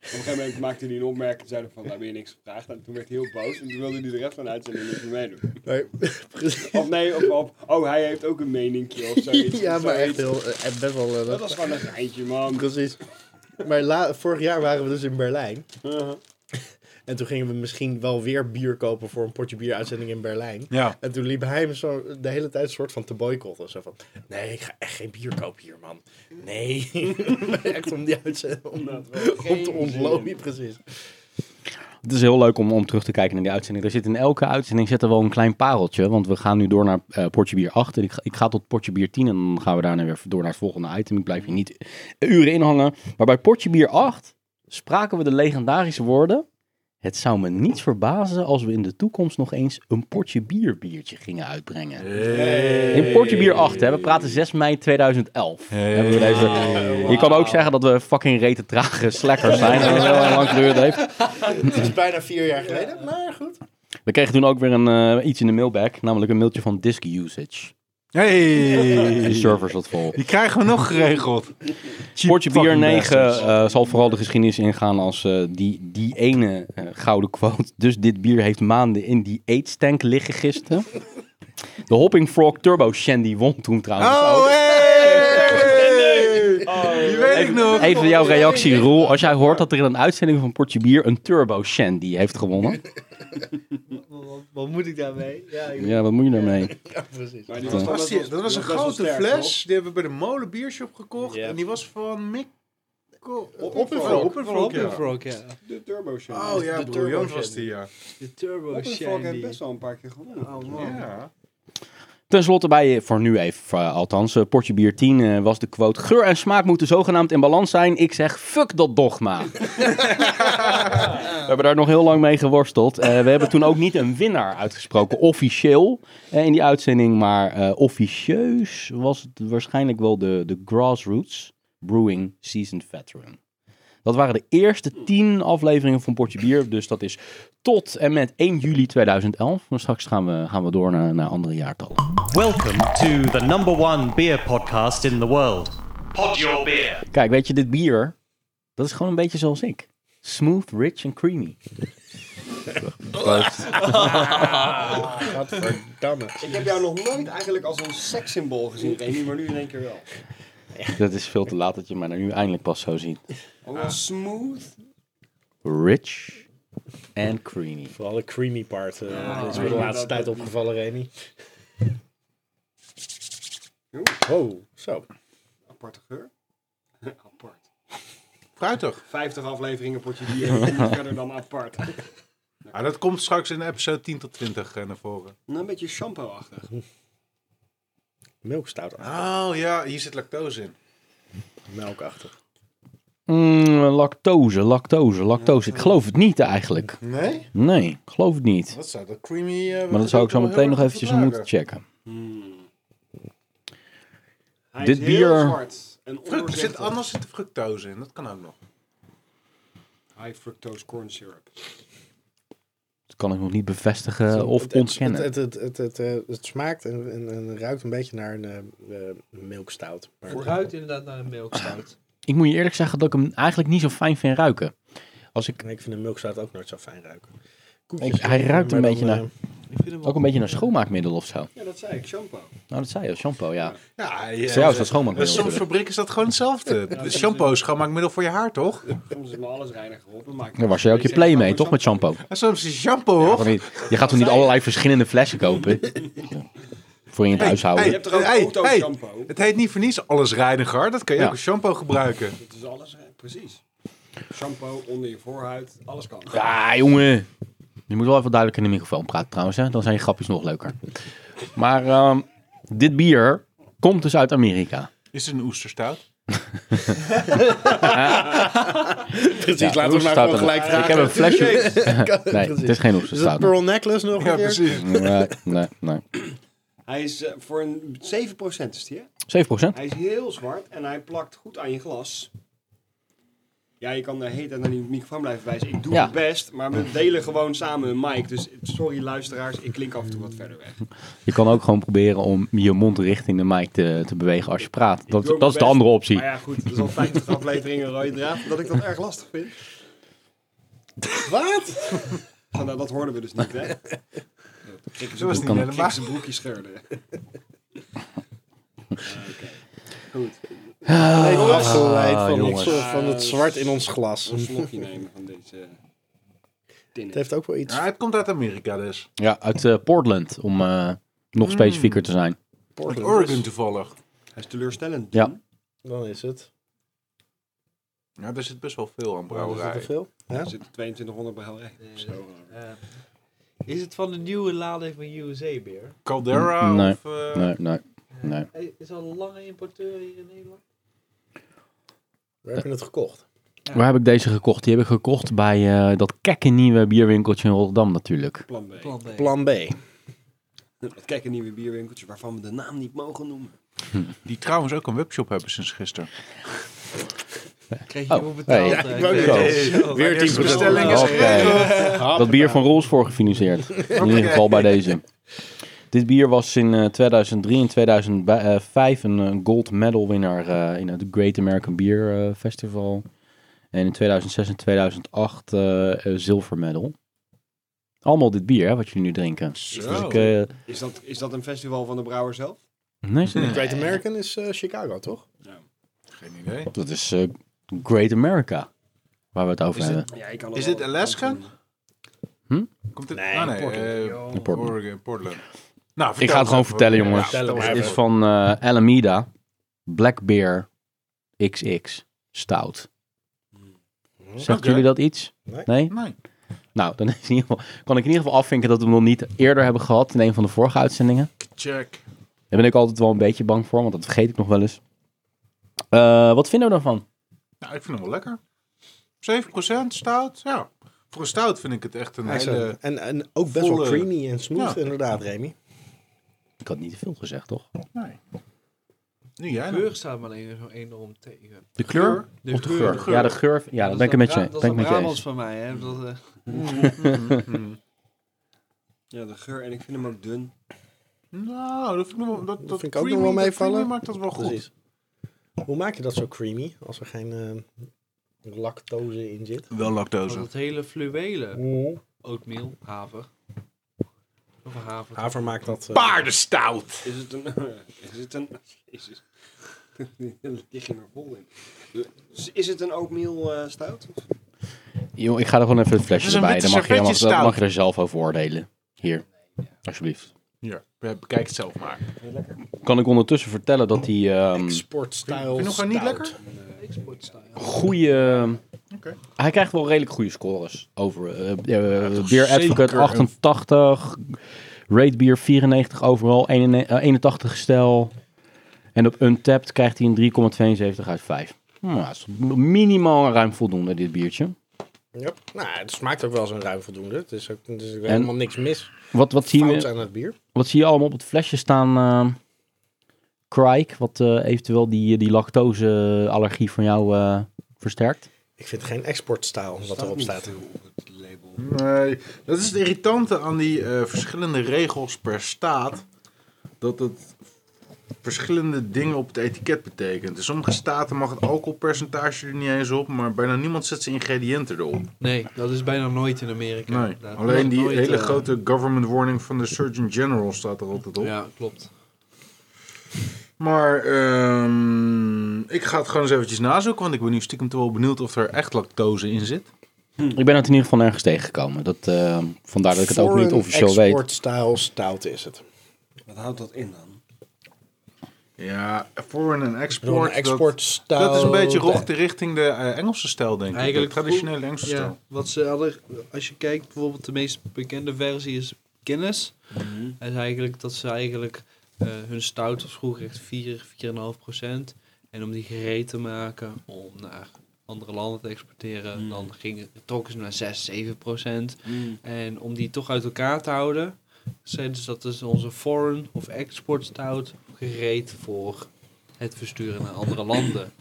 S6: Op een gegeven moment maakte hij een opmerking en zeiden van, daar ben je niks gevraagd. En toen werd hij heel boos en toen wilde hij de rest van de uitzending niet meer meedoen.
S3: nee, precies.
S6: Of nee, of, op, oh hij heeft ook een meninkje of zoiets.
S3: ja, maar echt
S6: Zoiets.
S3: heel... eh, best wel... eh,
S6: Dat was gewoon een geintje, man.
S3: Precies. Maar la- vorig jaar waren we dus in Berlijn.
S6: Uh-huh.
S3: En toen gingen we misschien wel weer bier kopen voor een potje bieruitzending in Berlijn.
S5: Ja.
S3: En toen liep hij me zo de hele tijd soort van te boycotten. Zo van, nee, ik ga echt geen bier kopen hier, man. Nee. echt om die uitzending, om, om te ontlopen, precies.
S1: Het is heel leuk om, om terug te kijken naar die uitzending. Er zit in elke uitzending zit er wel een klein pareltje. Want we gaan nu door naar eh Portje Bier 8. En ik, ga- ik ga tot Portje Bier 10. En dan gaan we daarna weer door naar het volgende item. Ik blijf hier niet uren in hangen. Maar bij Portje Bier 8 spraken we de legendarische woorden. Het zou me niet verbazen als we in de toekomst nog eens een Portje Bier biertje gingen uitbrengen. In Portje Bier 8, hè. We praten 6 mei 2011. Hebben we deze... Je kan ook zeggen dat we fucking rete trage slackers zijn. Dat het heel erg lang geduurd heeft.
S3: Het is bijna vier jaar geleden, maar goed.
S1: We kregen toen ook weer een, eh, iets in de mailbag, namelijk een mailtje van disk usage. De
S5: Hey.
S1: server zat vol.
S5: Die krijgen we nog geregeld.
S1: Oh, Portje Bier
S5: fucking
S1: 9
S5: bastards.
S1: eh, zal vooral de geschiedenis ingaan als eh, die, die ene eh, gouden quote. Dus dit bier heeft maanden in die eetstank liggen gisteren. De Hopping Frog Turbo Shandy won toen trouwens.
S5: Oh,
S1: ook.
S5: hey. Die weet ik nog.
S1: Even jouw reactie, Roel. Als jij hoort dat er in een uitzending van Portje Bier een Turbo Shandy heeft gewonnen.
S4: Wat, wat moet ik daarmee? Ja, ik-
S1: Ja, wat moet je daarmee?
S3: Ja, precies.
S6: Maar die
S1: Dat
S5: Dat was, die- dat was een
S6: best wel
S5: grote
S6: sterk,
S5: fles. Die hebben we bij de Molen Biershop gekocht.
S3: Ja.
S5: En die was van Mick. Op,
S6: Hoppenfrog.
S4: Van Hoppenfrog, ja.
S6: toch? De Turbo Show.
S5: Oh ja,
S3: De
S5: broer Joost
S3: Turbo
S5: was die, ja.
S4: De Turbo
S6: Hoppenfrog heeft
S4: Shandy.
S6: best wel een paar keer gewonnen. Oh,
S5: Ja.
S1: Ten slotte bij, eh, voor nu even eh, althans, eh, Portje Bier 10 eh, was de quote... Geur en smaak moeten zogenaamd in balans zijn. Ik zeg, fuck dat dogma. we hebben daar nog heel lang mee geworsteld. Eh, we hebben toen ook niet een winnaar uitgesproken, officieel, eh, in die uitzending. Maar eh, officieus was het waarschijnlijk wel de, de Grassroots Brewing Seasoned Veteran. Dat waren de eerste tien afleveringen van Portje Bier. Dus dat is tot en met 1 juli 2011. Maar straks gaan we, gaan we door naar, naar andere jaartallen.
S7: Welcome to the number one beer podcast in the world. Pod Your Beer.
S1: Kijk, weet je, dit bier, dat is gewoon een beetje zoals ik. Smooth, rich en creamy.
S3: Godverdamme.
S6: Ik heb jou nog nooit eigenlijk als een sekssymbool gezien, Remy, maar nu in één keer wel.
S1: Dat is veel te laat dat je mij nu eindelijk pas zo ziet.
S6: Oh, smooth.
S1: Rich en creamy.
S3: Vooral de creamy part. eh, dat is me de laatste tijd opgevallen, Remy. Wow, zo.
S6: Aparte geur. apart.
S5: Fruitig.
S6: 50 afleveringen potje bier, niet verder dan apart.
S5: Ah, dat komt straks in episode 10 tot 20 eh, naar voren.
S6: Nou, een beetje shampoo-achtig.
S3: Melkstout.
S5: Oh ja, hier zit lactose in.
S3: Melkachtig.
S1: Mm, lactose, lactose, lactose. Ik geloof het niet eigenlijk.
S5: Nee?
S1: Nee, ik geloof het niet.
S5: Dat zou dat creamy... eh,
S1: Maar dat zou ik zo
S5: wel
S1: meteen nog
S5: heel erg
S1: eventjes
S5: verlagen.
S1: moeten checken.
S6: Hij
S1: Dit
S6: is heel
S1: bier-
S6: zwart en
S5: Fruct- er zit,
S6: ondoorzichtig.
S5: anders zit er fructose in, dat kan ook nog.
S6: High fructose corn syrup.
S1: Dat kan ik nog niet bevestigen Eh, of
S3: Het- het-
S1: ontkennen.
S3: Het, het, het, het, eh, het smaakt en, en, en ruikt een beetje naar een eh, eh, melkstout. Maar
S4: Het ruikt inderdaad naar een melkstout.
S1: Ik moet je eerlijk zeggen dat ik hem eigenlijk niet zo fijn vind ruiken. Als ik,
S3: Nee, ik vind een melkstout ook nooit zo fijn ruiken.
S1: Ik- hij ruikt een
S3: maar
S1: beetje
S3: eh,
S1: naar- ook een beetje naar schoonmaakmiddel of zo. Nou,
S6: Ja, dat zei ik, shampoo.
S1: dat zei je, shampoo, ja.
S5: Ja, ja,
S1: Voor jou is dat
S5: En
S1: schoonmaakmiddel.
S5: soms
S1: natuurlijk.
S5: fabriek is dat gewoon hetzelfde. De shampoo is schoonmaakmiddel voor je haar, toch?
S6: Soms is me alles reinig geholpen. maar ik-
S1: Dan was je ook je
S6: Deze
S1: play
S6: is
S1: mee,
S6: gewoon
S1: toch, met shampoo?
S5: En soms is shampoo, hoor.
S1: Toch niet? Je gaat toch niet allerlei verschillende flessen kopen? Voor in het
S5: hey,
S1: huishouden.
S6: Je hebt er ook
S5: Hey,
S6: auto-shampoo.
S5: Het heet niet voor niets alles reiniger. Dat kan je
S1: Ja.
S5: ook als shampoo gebruiken.
S6: Het is alles, hè? precies. Shampoo, onder je voorhuid, alles kan.
S1: Ja, jongen. Je moet wel even duidelijk in de microfoon praten trouwens, hè? dan zijn je grapjes nog leuker. Maar ehm, dit bier komt dus uit Amerika.
S5: Is het een oesterstout?
S3: Precies,
S1: Ja,
S3: laten we maar
S1: oesterstout
S3: gewoon
S1: er-
S3: gelijk
S1: Ik
S3: gaan.
S1: heb een flesje. Nee,
S3: Precies.
S1: het is geen
S3: Is dat
S1: oesterstout.
S3: pearl necklace nog een keer?
S1: Nee, nee, nee.
S6: Hij is eh, voor een 7% is die, hè?
S1: 7%?
S6: Hij is heel zwart en hij plakt goed aan je glas. Ja, je kan de hele tijd naar die microfoon blijven wijzen. Ik doe
S1: Ja.
S6: het best, maar we delen gewoon samen een mic. Dus sorry luisteraars, ik klink af en toe wat verder weg.
S1: Je kan ook gewoon proberen om je mond richting de mic te, te bewegen als je praat. Dat,
S6: Ik
S1: dat is
S6: doe mijn
S1: de
S6: best,
S1: andere optie.
S6: Maar ja, goed, dat is al 50 afleveringen rode draad, dat ik dat erg lastig vind.
S3: Wat?
S6: Ah, nou, dat hoorden we dus niet, hè? Krikken
S5: Zo is het
S1: Kan-
S5: niet
S6: Kijk
S5: helemaal.
S6: zijn broekje scheurde. Goed.
S1: Ah,
S3: Nee, afgeleid van,
S1: jongens.
S3: het, van het zwart in ons glas.
S6: eh, Een slokje nemen van deze.
S8: Tin
S3: Het
S8: is.
S3: heeft ook wel iets.
S5: Ja, het komt uit Amerika dus.
S1: Ja, uit eh, Portland, om eh, nog specifieker te zijn.
S5: Uit
S3: Portland.
S5: Oregon toevallig.
S6: Hij is teleurstellend.
S1: Ja.
S6: Tim.
S3: Dan is het.
S5: Ja, daar zit best wel veel aan
S3: Dan is het te
S5: brouwerij.
S3: veel.
S6: Er zitten 2200 brouwerij. Zo.
S4: Eh, is het van de nieuwe lading van USA beer?
S5: Caldera
S1: Nee.
S5: of... eh,
S1: Nee, nee. Nee.
S4: Hij Is al een lange importeur hier uh, in Nederland?
S3: We hebben het gekocht.
S1: Waar heb ik deze gekocht? Die heb ik gekocht bij eh, dat kekke nieuwe bierwinkeltje in Rotterdam natuurlijk.
S6: Plan B.
S4: Plan B.
S3: Plan B.
S6: Kijk, een nieuwe bierwinkeltje waarvan we de naam niet mogen noemen.
S5: Die trouwens ook een webshop hebben sinds gisteren.
S4: Kreeg je
S1: Oh,
S4: voor betaald?
S1: hey.
S4: eh,
S3: ik wou
S4: ik
S3: net
S4: weet
S3: zeggen.
S4: het. Zo.
S3: Weer 10
S5: Eerste bestelling is
S1: Oké. Dat bier van Roels voor gefinancierd. In ieder geval bij deze. Dit bier was in eh, 2003 en 2005 een eh, gold medal winnaar eh, in het Great American Beer eh, Festival. En in 2006 en 2008 eh, eh, zilver medal. Allemaal dit bier hè, wat jullie nu drinken. Dus
S5: Zo.
S1: ik, eh,
S6: Is dat, is dat een festival van de brouwer zelf?
S1: nee, ze-
S3: Great American is eh, Chicago, toch?
S5: Geen idee.
S1: dat is eh, Great America. Waar we het over
S5: Is dit-
S1: hebben.
S6: Ja, ik kan
S5: Is
S6: wel-
S5: dit Alaska?
S1: Hm?
S5: Komt dit?
S3: Nee,
S5: ah, nee.
S3: Portland.
S5: eh,
S1: In Portland.
S5: Oregon, Portland. Nou,
S1: Ik ga het gewoon vertellen, jongens.
S3: vertel het maar
S1: Het is
S3: even.
S1: van eh Alameda. Black Bear XX Stout. Zegt
S5: Oké.
S1: jullie dat iets?
S3: Nee.
S5: Nee.
S1: Nou, dan is in ieder geval, kan ik in ieder geval afvinken dat we hem nog niet eerder hebben gehad in een van de vorige uitzendingen.
S5: Check.
S1: Daar ben ik altijd wel een beetje bang voor, want dat vergeet ik nog wel eens. Eh, wat vinden we daarvan?
S5: Nou, ik vind hem wel lekker. 7% stout. Ja. Voor een stout vind ik het echt een hele...
S3: Excellent. En, en ook best wel
S5: volle-
S3: creamy en
S5: Ja.
S3: smooth, inderdaad, Remy.
S1: Ik had niet te veel gezegd, toch?
S5: Nee. Nu jij
S4: De
S5: nog.
S4: geur staat me alleen zo enorm tegen.
S1: De kleur?
S4: De
S1: Of de
S4: geur,
S1: geur?
S4: de
S5: geur.
S1: Ja, de geur. Ja, dat ben ik het met je.
S4: Dat
S1: ben
S4: is
S1: ik
S4: een
S1: met je
S4: Brabants
S1: eens.
S4: van mij, hè. Dat, eh,
S6: Ja, de geur. En ik vind hem ook dun.
S5: Nou, dat vind ik, wel- dat, dat
S3: vind ik ook nog
S5: creamy-
S3: wel
S5: dat
S3: meevallen.
S5: creamy maakt dat wel Oh, goed.
S3: Precies. Hoe maak je dat zo creamy als er geen eh, lactose in zit?
S5: Wel
S4: van
S5: lactose.
S4: dat hele fluwelen.
S5: Mm.
S4: Oatmeal, haver. Of een haver.
S3: Haver maakt dat. eh,
S5: Paardenstout.
S6: Is het een... Is het een... Jezus. Die ging er vol in. Dus Is het een oatmeal eh stout?
S1: Joh, ik ga er gewoon even het
S5: Het
S1: flesje
S5: is een
S1: bij.
S5: witte
S1: Dan mag je, dan mag,
S5: servetje
S1: dan mag je
S5: stout.
S1: er zelf over oordelen. Hier, alsjeblieft.
S5: Ja, be- bekijk het zelf maar.
S1: Kan ik ondertussen vertellen dat die ehm,
S3: Sportstyle.
S5: Vind je nog gewoon niet
S3: stout.
S5: lekker?
S1: goede.
S5: Oké.
S1: Hij krijgt wel redelijk goede scores over. eh, eh,
S5: toch
S1: Beer
S5: zeker
S1: Advocate
S5: een-
S1: 88, Rate Beer 94 overal, 81 eh, 81 stijl. En op Untapped krijgt hij een 3,72 uit 5. Nou, dat is minimaal ruim voldoende, dit biertje.
S3: Yep. Nou, het smaakt ook wel eens een ruim voldoende. Het is ook, er is ook helemaal niks mis.
S1: Wat, wat, zie
S3: Fout
S1: je,
S3: aan het bier.
S1: wat zie je allemaal op het flesje staan? eh Crike, wat eh, eventueel die, die lactose-allergie van jou eh, versterkt.
S3: Ik vind geen exportstijl wat erop
S6: niet
S3: staat.
S6: veel op het label.
S5: Nee, dat is het irritante aan die eh, verschillende regels per staat. Dat het verschillende dingen op het etiket betekent. In sommige staten mag het alcoholpercentage er niet eens op, maar bijna niemand zet zijn ingrediënten erop.
S4: Nee, dat is bijna nooit in Amerika.
S5: Nee,
S4: Daar
S5: alleen
S4: komt
S5: die
S4: nooit,
S5: hele
S4: eh,
S5: grote government warning van de Surgeon General staat er altijd op.
S4: Ja, klopt.
S5: Maar ehm, ik ga het gewoon eens eventjes nazoeken, want ik ben nu stiekem toch wel benieuwd of er echt lactose in zit.
S1: Ik ben het in ieder geval nergens tegengekomen. Dat, eh, vandaar dat ik het ook niet
S3: Foreign
S1: officieel weet.
S3: Exportstyle stout is het.
S6: Wat houdt dat in dan?
S5: Ja, foreign en
S3: Ik bedoel,
S5: export.
S3: een
S5: dat-
S3: exportstijl.
S5: Dat is een beetje rocht richting de eh, Engelse stijl, denk ik.
S4: Eigenlijk
S5: de traditionele Engelse stijl.
S4: Ja, wat ze hadden, als je kijkt, bijvoorbeeld de meest bekende versie is Guinness.
S7: Mm-hmm.
S4: En is eigenlijk dat ze eigenlijk eh, hun stout was vroeger echt 4, 4,5 procent. En om die gereed te maken, om naar andere landen te exporteren,
S3: Mm.
S4: dan gingen, trokken ze naar 6, 7 procent. En om die toch uit elkaar te houden, zeiden ze dat is onze foreign of export stout gereed voor het versturen naar andere landen.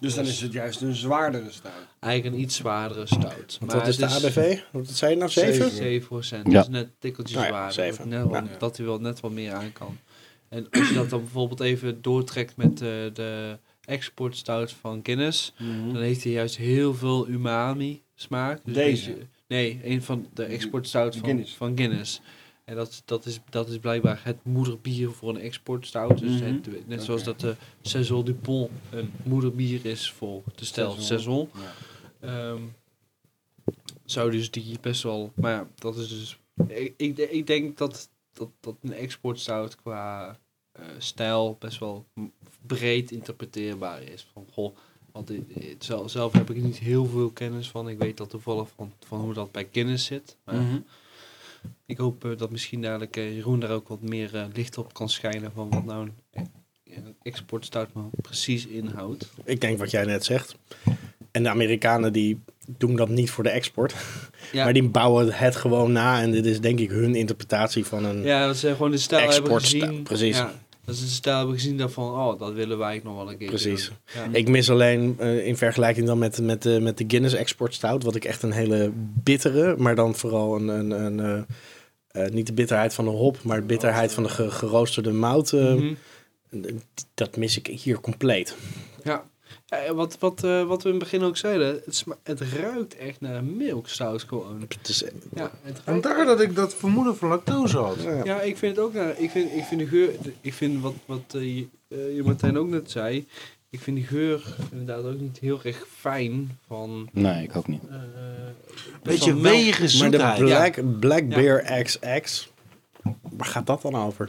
S6: Dus dan is het juist een zwaardere stout.
S4: Eigenlijk een iets zwaardere stout.
S3: Want wat is de
S4: het
S3: ABV? Wat zei je nou? 7?
S4: 7 procent.
S1: Ja.
S4: Dus net tikkeltjes
S3: Nou ja,
S4: zwaarder.
S3: zeven.
S4: Net wel- Dat hij wel net wat meer aan kan. En als je dat dan bijvoorbeeld even doortrekt met eh, de exportstout van Guinness,
S3: Hm.
S6: Mhm.
S4: dan heeft hij juist heel veel umami smaak. Dus
S6: Deze?
S4: nee, een van de exportstout van Guinness.
S6: Guinness.
S4: Van Guinness. En dat, dat, is, dat is blijkbaar het moederbier voor een exportstout. Dus
S6: Mhm.
S4: het- net zoals dat de Saison Dupont een moederbier is voor de stijl
S6: Saison.
S4: Saison.
S6: Ja.
S4: Ehm, zou dus die best wel... Maar ja, dat is dus... Ik, ik, ik denk dat, dat, dat een exportstout qua eh, stijl best wel m- breed interpreteerbaar is. Van, goh, want i- i- zelf, zelf heb ik er niet heel veel kennis van. Ik weet dat toevallig van, van hoe dat bij kennis zit. Maar
S1: Mhm.
S4: ik hoop eh, dat misschien dadelijk eh, Jeroen daar ook wat meer eh, licht op kan schijnen van wat nou een, een exportstout nou precies inhoudt.
S3: Ik denk wat jij net zegt. En de Amerikanen die doen dat niet voor de export.
S4: Ja.
S3: Maar die bouwen het gewoon na. En dit is denk ik hun interpretatie van een...
S4: Ja, dat ze gewoon de stijl hebben
S3: Hm. Exportstijl,
S4: gezien.
S3: precies.
S4: Ja, dat ze de stijl hebben gezien daarvan, oh, dat willen wij nog wel een keer
S3: Precies.
S4: doen. Ja.
S3: Ik mis alleen eh, in vergelijking dan met, met, de met de Guinness Export Stout, wat ik echt een hele bittere, maar dan vooral een, een, een eh, eh, niet de bitterheid van de hop, maar de bitterheid van de ge- geroosterde mout. eh,
S4: Mhm.
S3: Dat mis ik hier compleet.
S4: Ja. Ja, en wat, wat, eh, wat we in het begin ook zeiden, het, sma- het ruikt echt naar een milkstout gewoon.
S3: Het is,
S4: Ja, het ruikt-
S5: Vandaar dat ik dat vermoeden van lactose had.
S4: Ja, ik vind het ook naar. Ik vind, ik vind de geur. de- Ik vind wat, wat eh, je- eh, je Martijn ook net zei. Ik vind die geur inderdaad ook niet heel erg fijn. Van.
S1: Nee, ik ook niet.
S4: eh,
S5: Beetje
S4: van melk.
S5: wegen
S3: maar de
S5: zoetheid.
S3: Black, Black Bear XX, waar gaat dat dan over?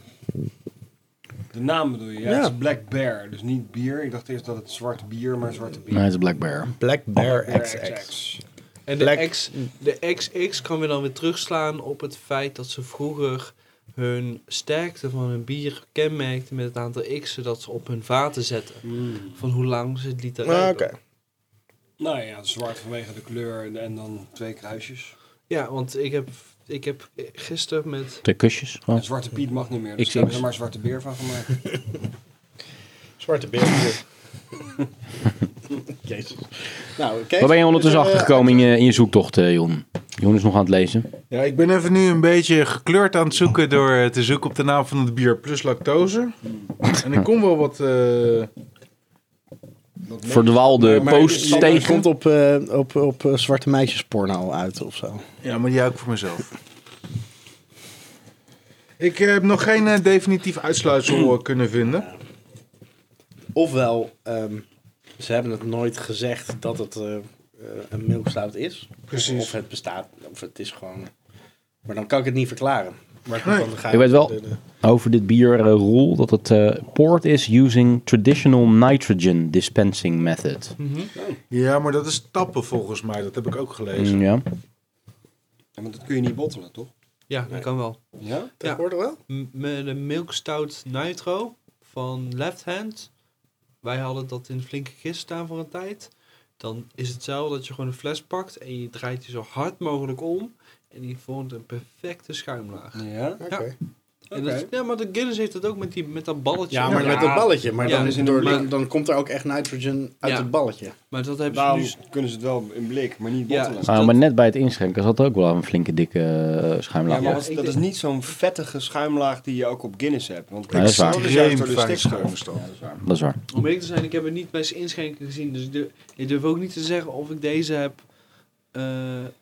S6: De naam bedoel je? Ja,
S3: Ja.
S6: Het is Black Bear, dus niet bier. Ik dacht eerst dat het zwart bier, maar zwarte bier.
S1: Nee, het is Black Bear.
S3: Black Bear
S6: Bear
S3: XX.
S4: En de,
S3: Black-
S4: X, de XX kan weer dan weer terugslaan op het feit dat ze vroeger hun sterkte van hun bier kenmerkten met het aantal X'en dat ze op hun vaten zetten.
S6: Mm.
S4: Van hoe lang ze het lieten
S3: Ah,
S4: rijpen.
S3: Oké.
S6: Nou ja, zwart vanwege de kleur en, en dan twee kruisjes.
S4: Ja, want ik heb, ik heb gisteren met...
S1: Twee kusjes. gewoon.
S6: En zwarte Piet mag niet meer, dus
S1: Ik-
S6: daar hebben ze maar zwarte beer van gemaakt.
S3: Zwarte beer. Jezus. Nou, kijk.
S1: Waar ben je ondertussen
S3: Eh,
S1: achtergekomen in je, in je zoektocht, eh, Jon? Jon is nog aan het lezen.
S5: Ja, ik ben even nu een beetje gekleurd aan het zoeken door eh, te zoeken op de naam van het bier plus lactose. En ik kom wel wat... eh,
S3: eh,
S1: Verdwaalde
S5: Maar- maar-
S1: posts
S5: maar-
S3: Het
S1: tegen.
S3: komt op, eh, op, op eh, zwarte meisjesporno uit of zo.
S5: Ja, maar die hou ik voor mezelf. Ik heb nog geen eh, definitief uitsluitsel eh, kunnen vinden.
S3: Ofwel, ehm, ze hebben het nooit gezegd dat het eh, eh, een milkstout is.
S5: Precies.
S3: Of het bestaat, of het is gewoon... Maar dan kan ik het niet verklaren. Maar het moet
S5: Nee.
S3: dan gaan- Eh,
S1: Ik weet wel-
S3: de- de-
S1: Over dit bier eh, roel dat het eh port is using traditional nitrogen dispensing method.
S5: Ja, maar dat is tappen volgens mij. Dat heb ik ook gelezen.
S1: Mm, ja.
S6: Ja, want dat kun je niet bottelen, toch?
S4: Ja, dat kan wel.
S6: Ja?
S3: Dat
S4: Ja.
S3: hoort er wel?
S4: M- met de Milk Stout Nitro van Left Hand. Wij hadden dat in flinke gist staan voor een tijd. Dan is het zo dat je gewoon een fles pakt en je draait die zo hard mogelijk om. En die vormt een perfecte schuimlaag.
S6: Ja.
S3: Oké.
S4: Ja. En dat, ja, maar de Guinness heeft dat ook met, die, met dat balletje.
S3: Ja, maar
S6: Ja.
S3: met dat balletje. Maar
S4: Ja,
S3: dan,
S6: dus in de-
S3: door,
S4: maar-
S3: dan, dan komt er ook echt nitrogen uit
S4: Ja.
S3: het balletje.
S4: Maar dat hebben ze dus-
S6: Daarom
S4: nu...
S6: Dus kunnen ze het wel in blik, maar niet
S4: Ja.
S6: bottelen.
S4: Ja,
S6: Ja,
S1: Nou,
S4: dat-
S1: maar net bij het inschenken zat ook wel een flinke dikke eh, schuimlaag.
S6: maar
S4: Ja,
S6: wat-
S4: ik
S6: dat
S4: denk-
S6: is niet zo'n vettige schuimlaag die je ook op Guinness hebt. Want
S1: Nee, dat is waar.
S6: dat is juist door de
S5: Extreem fijn
S6: stikstof.
S5: schuimstof.
S6: Ja, dat is waar.
S1: Dat is waar.
S4: Om eerlijk te zijn, ik heb het niet bij zijn inschenken gezien. Dus ik durf, ik durf ook niet te zeggen of ik deze heb... eh,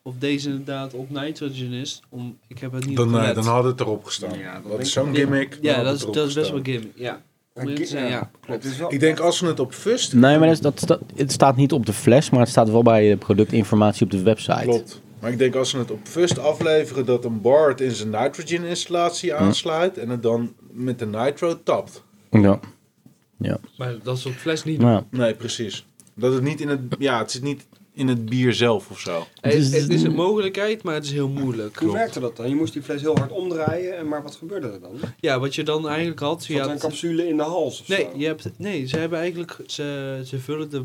S4: of deze inderdaad op nitrogen is. Om, ik heb het niet
S5: Dan, eh,
S4: opgelet.
S5: dan had het erop gestaan.
S6: Ja, dat
S5: dat
S6: denk
S5: is
S6: ik
S5: zo'n
S4: wel.
S5: gimmick. dan
S4: Ja,
S5: had
S4: dat
S5: het
S4: is,
S5: erop
S4: dat is best wel
S5: gestaan.
S4: gimmick. Ja. Om eerlijk te zijn, ja.
S6: Het is wel-
S5: Ik denk als ze het op fust...
S1: Nee, maar dat, is- dat, dat, het staat niet op de fles, maar het staat wel bij de productinformatie op de website.
S5: Klopt. Maar ik denk als ze het op fust afleveren dat een bar het in zijn nitrogen installatie aansluit. En het dan met de nitro tapt.
S1: Ja.
S4: Maar dat is op fles niet.
S1: Nou,
S5: Nee, precies. Dat het niet in het... Ja, het zit niet in het bier zelf of zo.
S4: Het, is- het is een mogelijkheid, maar het is heel moeilijk.
S6: Hoe werkte dat dan? Je moest die fles heel hard omdraaien, en maar wat gebeurde er dan? Zat
S4: Ja, wat je dan eigenlijk had. Je
S6: er een
S4: had-
S6: capsule in de hals of
S4: nee,
S6: zo?
S4: je hebt, nee, ze hebben eigenlijk. Ze, ze vullen de,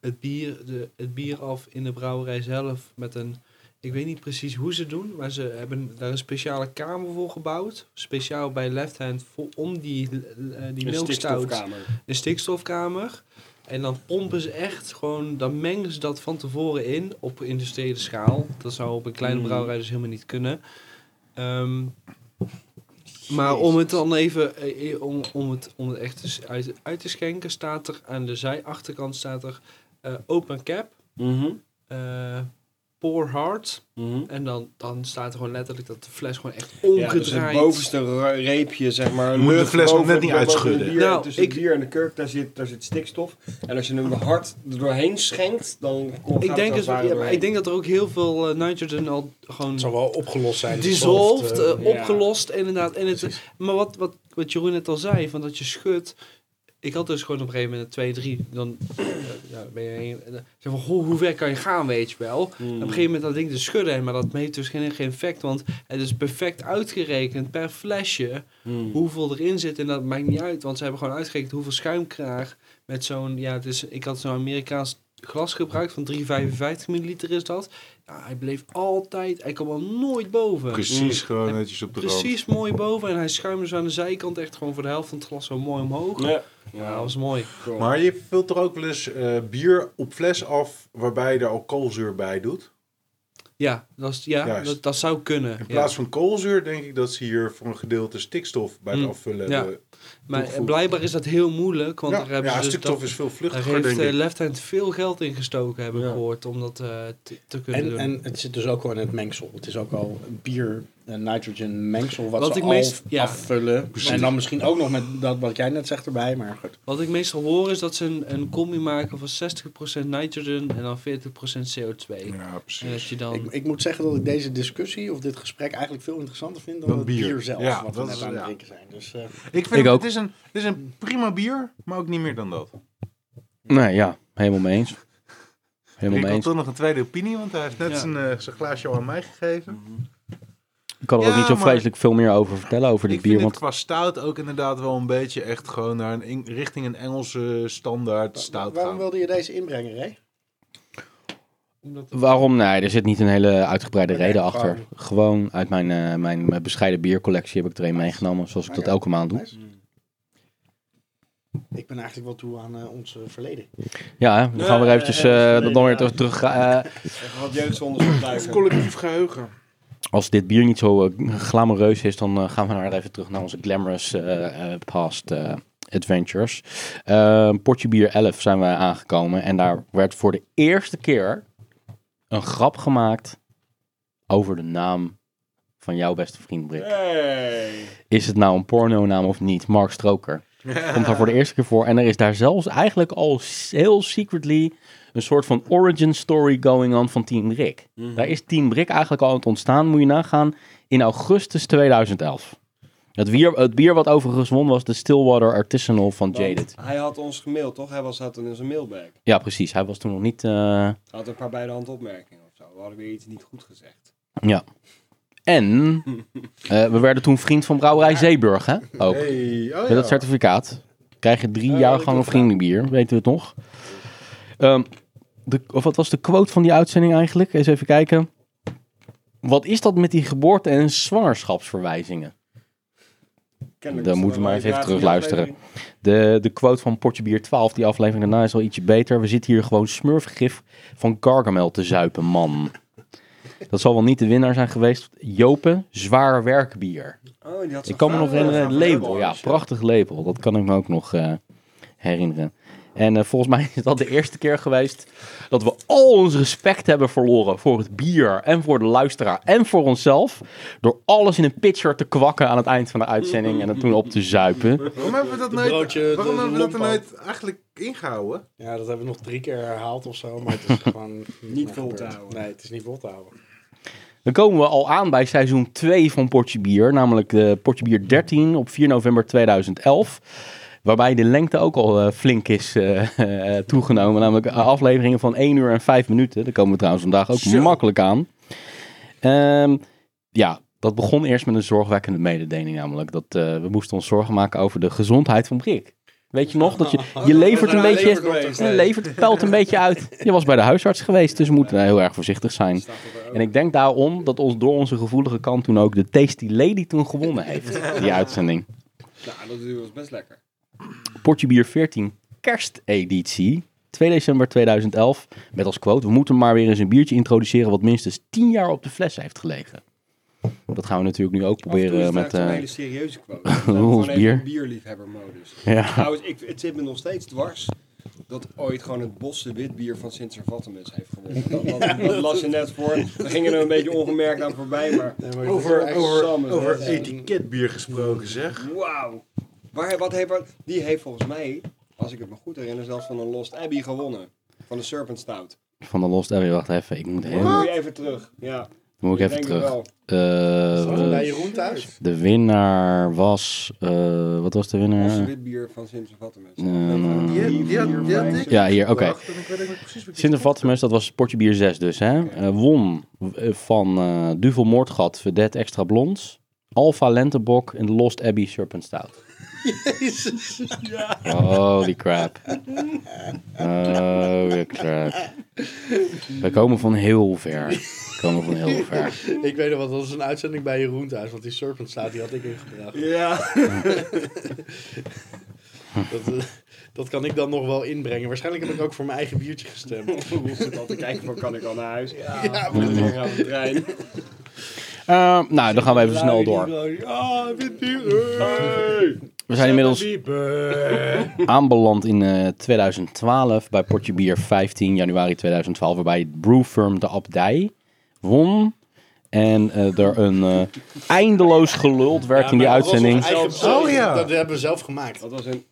S4: het, bier, de, het bier af in de brouwerij zelf met een. Ik weet niet precies hoe ze het doen, maar ze hebben daar een speciale kamer voor gebouwd. Speciaal bij Left Hand voor, om die, eh, die
S6: Een
S4: milkstout.
S6: stikstofkamer.
S4: een stikstofkamer. En dan pompen ze echt gewoon, dan mengen ze dat van tevoren in op industriële schaal. Dat zou op een kleine
S6: Mm.
S4: brouwerij dus helemaal niet kunnen. Ehm, maar om het dan even, eh, eh, om, om, het, om het echt eens uit, uit te schenken, staat er aan de zij achterkant staat er eh, open cap.
S6: Mhm.
S4: eh, pour hard. En dan, dan staat er gewoon letterlijk dat de fles gewoon echt ongedraaid...
S6: dus het bovenste ra- reepje, zeg maar.
S5: Moet de
S6: lucht
S5: fles ook
S6: boven-
S5: net niet
S6: boven het
S5: uitschudden.
S6: bier,
S4: Nou,
S6: tussen
S4: ik-
S6: het bier en de kurk, daar zit, daar zit stikstof. En als je hem hard er doorheen schenkt, dan komt
S4: Ik denk,
S6: dat
S4: dat, ja, maar ik denk dat er ook heel veel eh, nitrogen al gewoon
S3: Het zou wel opgelost
S4: dus
S3: zijn.
S4: dissolved,
S3: eh,
S4: eh, opgelost inderdaad. En het, maar wat, wat, wat Jeroen net al zei, van dat je schudt. Ik had dus gewoon op een gegeven moment twee, drie. Dan eh, ja, dan ben je heen, en dan zeg van, hoe, hoe ver kan je gaan, weet je wel. En Op een gegeven moment dat ding te schudden, en maar dat heeft dus geen, geen effect. Want het is perfect uitgerekend per flesje hoeveel erin zit. En dat maakt niet uit, want ze hebben gewoon uitgerekend hoeveel schuimkraag met zo'n... Ja, het is, ik had zo'n Amerikaans glas gebruikt van 3,55 milliliter is dat. Ja, hij bleef altijd, hij kwam al nooit boven.
S5: Precies, gewoon netjes op de rand.
S4: Precies mooi boven en hij schuimde zo aan de zijkant echt gewoon voor de helft van het glas zo mooi omhoog.
S6: Ja.
S4: Ja, dat was mooi.
S5: Maar je vult er ook wel eens eh, bier op fles af waarbij je er al koolzuur bij doet.
S4: Ja, dat, is, ja,
S5: Juist.
S4: dat, dat zou kunnen.
S5: In
S4: ja.
S5: plaats van koolzuur denk ik dat ze hier voor een gedeelte stikstof bij het
S4: Mm,
S5: afvullen
S4: ja.
S5: hebben.
S4: Maar
S5: toegevoegd.
S4: blijkbaar is dat heel moeilijk, want
S5: Ja,
S4: daar hebben
S5: ja,
S4: ze dus
S5: stikstof
S4: dat,
S5: is veel
S4: daar
S5: vluchtiger
S4: heeft
S5: denk
S4: eh,
S5: ik.
S4: Left Hand veel geld in gestoken, heb ik gehoord, om dat eh, te, te kunnen
S3: En,
S4: doen.
S3: en het zit dus ook al in het mengsel. Het is ook al bier en nitrogen mengsel wat,
S4: Wat
S3: ze
S4: ik
S3: al
S4: meest- ja.
S3: afvullen. En dan misschien ook nog met dat wat jij net zegt erbij, maar goed.
S4: Wat ik meestal hoor is dat ze een, een combi maken van 60% nitrogen en dan 40% CO2.
S5: Ja,
S4: En dat
S5: precies.
S4: je dan...
S3: Ik, ik moet zeggen dat ik deze discussie of dit gesprek eigenlijk veel interessanter vind dan,
S5: Dan
S3: het
S5: bier.
S3: bier, zelf.
S5: Ja,
S3: wat we
S5: dat
S3: net
S5: is-
S3: aan het
S5: ja.
S3: drinken zijn. Dus, eh,
S5: Ik vind
S1: Ik
S5: het,
S1: ook.
S5: Het, is een, het is een prima bier, maar ook niet meer dan dat.
S1: Nee, ja, helemaal mee eens. Helemaal
S5: Ik
S1: mee
S5: had
S1: eens.
S5: toch nog een tweede opinie, want hij heeft net
S4: Ja.
S5: zijn, eh, zijn glaasje al aan mij gegeven.
S1: Ik kan er ook
S5: Ja,
S1: niet zo
S5: maar-
S1: vreselijk veel meer over vertellen over dit
S5: Ik vind
S1: bier.
S5: het
S1: Want
S5: qua stout ook inderdaad wel een beetje echt gewoon naar een, in- richting een Engelse standaard stout
S3: waarom
S5: gaan.
S3: wilde je deze inbrengen, Ray?
S1: waarom? Nee, er zit niet een hele uitgebreide
S3: Oké,
S1: reden
S3: gewoon-
S1: achter. Gewoon uit mijn, eh, mijn, mijn bescheiden biercollectie heb ik er een meegenomen, zoals ik dat
S3: Oké.
S1: elke maand doe.
S3: Nice. Ik ben eigenlijk wel toe aan eh, ons eh, verleden.
S1: Ja, hè, we gaan weer
S6: Nee,
S1: eventjes
S6: eh,
S1: eh,
S6: nee,
S1: dat nog weer
S6: ja.
S1: terug- terug. eh,
S6: Wat jeugdzondes duiken.
S5: Collectief geheugen.
S1: als dit bier niet zo eh, glamoureus is, dan eh, gaan we naar even terug naar onze glamorous eh, eh, past eh, adventures. Eh, Portje Bier 11 zijn we aangekomen en daar werd voor de eerste keer een grap gemaakt over de naam van jouw beste vriend Brik.
S6: Hey.
S1: Is het nou een pornonaam of niet? Mark Stroker. Komt daar voor de eerste keer voor. En er is daar zelfs eigenlijk al s- heel secretly een soort van origin story going on van Team Rick. Daar is Team Rick eigenlijk al aan het ontstaan, moet je nagaan, in augustus 2011. Het bier, het bier wat overigens won was de Stillwater Artisanal van Jaded.
S6: Hij had ons gemaild, toch? Hij was, zat in zijn mailbag.
S1: Ja, precies. Hij was toen nog niet... eh,
S6: Hij had een paar bij de hand opmerkingen of zo. We hadden weer iets niet goed gezegd.
S1: Ja. En eh, we werden toen vriend van Brouwerij Zeeburg, hè? Ook.
S5: Hey, oh
S1: Met dat
S5: ja. Oh
S1: certificaat krijg je drie jaargangen vriendenbier, weten we het nog. Ehm, de, of wat was de quote van die uitzending eigenlijk? Eens even kijken. Wat is dat met die geboorte- en zwangerschapsverwijzingen?
S6: Kennelijk
S1: Dan
S6: is er
S1: moeten we maar
S6: een
S1: eens even
S6: variatie in de
S1: terugluisteren.
S6: aflevering.
S1: De, de quote van Potje Bier 12, die aflevering daarna, is al ietsje beter. We zitten hier gewoon smurfgif van Gargamel te zuipen, man. Dat zal wel niet de winnaar zijn geweest. Jopen, zwaar werkbier.
S6: Oh, die had zo'n
S1: Ik kan me nog
S6: vraag.
S1: herinneren, een
S6: Ja,
S1: label. Ja, prachtig label. Dat kan ik me ook nog eh, herinneren. En eh, volgens mij is dat de eerste keer geweest dat we al ons respect hebben verloren voor het bier en voor de luisteraar en voor onszelf. Door alles in een pitcher te kwakken aan het eind van de uitzending en het toen op te zuipen.
S5: Waarom hebben we dat nooit,
S3: broodje,
S5: waarom
S3: de
S5: hebben we dat er
S3: lompa.
S5: nooit eigenlijk ingehouden?
S3: Ja, dat hebben we nog drie keer herhaald of zo, maar het is gewoon
S6: Niet
S3: meer
S6: vol te
S3: gebeurd.
S6: houden.
S3: Nee, het is niet vol te houden.
S1: Dan komen we al aan bij seizoen 2 van Portje Bier, namelijk eh Portje Bier 13 op 4 november 2011. Waarbij de lengte ook al eh, flink is eh, eh, toegenomen. Namelijk afleveringen van 1 uur en 5 minuten. Daar komen we trouwens vandaag ook makkelijk aan. Ehm, ja, dat begon eerst met een zorgwekkende mededeling. Namelijk dat eh, we moesten ons zorgen maken over de gezondheid van Brik. Weet je nog? Dat je, je levert een beetje. Je levert pelt een beetje uit. Je was bij de huisarts geweest, dus we moeten heel erg voorzichtig zijn. En ik denk daarom dat ons door onze gevoelige kant toen ook de Tasty Lady toen gewonnen heeft. Die uitzending.
S6: Nou, dat was best lekker.
S1: Portje Bier 14 kersteditie. 2 december 2011. Met als quote: We moeten maar weer eens een biertje introduceren. wat minstens 10 jaar op de fles heeft gelegen. Dat gaan we natuurlijk nu ook proberen met.
S6: een
S1: eh,
S6: hele serieuze quote. We zijn
S1: Roels
S6: gewoon even
S1: bier.
S6: in bierliefhebbermodus.
S1: ja.
S6: Trouwens, ik, het zit me nog steeds dwars dat ooit gewoon het bosse witbier van sint servatemus heeft gewonnen. Dat, dat, dat las je net voor. We gingen er een beetje ongemerkt aan voorbij, maar...
S9: Over,
S6: echt
S9: over,
S6: samen,
S9: over
S6: hè?
S9: etiketbier gesproken, zeg.
S6: Wauw. Waar, wat heeft, wat- die heeft volgens mij, als ik het me goed herinner, zelfs van een Lost Abbey gewonnen. Van de Serpent Stout.
S1: Van de Lost Abbey, wacht even. Ik moet
S6: Moet
S1: heel...
S6: je even terug. Ja,
S1: Moet ik even
S6: Ah. denk het
S1: terug.
S6: wel.
S1: Eh,
S9: Bij
S1: eh,
S9: Jeroen thuis.
S1: de winnaar was... eh, wat was de
S6: Bosse
S1: winnaar?
S6: witbier van sint servatemus
S1: Ehm,
S9: Die, die, die, had- die had ik.
S1: ja, hier, oké.
S9: Wacht, ik weet niet precies wat je-
S1: Sinter Vattemus, dat was Portje Bier 6 dus, hè? Eh, won eh, van eh Duvel Moordgat, Vedette Extra Blonds, Alpha Lentebok en Lost Abbey Serpent Stout. Jezus, Holy crap. Holy crap. We komen van heel ver. We komen van heel ver.
S9: Ik weet nog wat, dat was een uitzending bij Jeroen thuis, want die Serpent staat, die had ik ingebracht.
S6: Ja.
S9: Dat, eh, dat kan ik dan nog wel inbrengen. Waarschijnlijk heb ik ook voor mijn eigen biertje gestemd.
S6: Hoe hoef ik al te kijken van kan ik al naar huis? Ja,
S9: Ja,
S6: dan gaan we de trein.
S1: Eh, nou, dan gaan we even snel door.
S9: Ja, wit bier.
S1: We zijn inmiddels aanbeland in eh, 2012 bij Portje Bier 15 januari 2012, waarbij Brewfirm de Abdij won. En eh, er een eh, eindeloos geluld werd in die uitzending.
S9: Oh ja. Dat hebben we zelf gemaakt.
S6: Dat was een...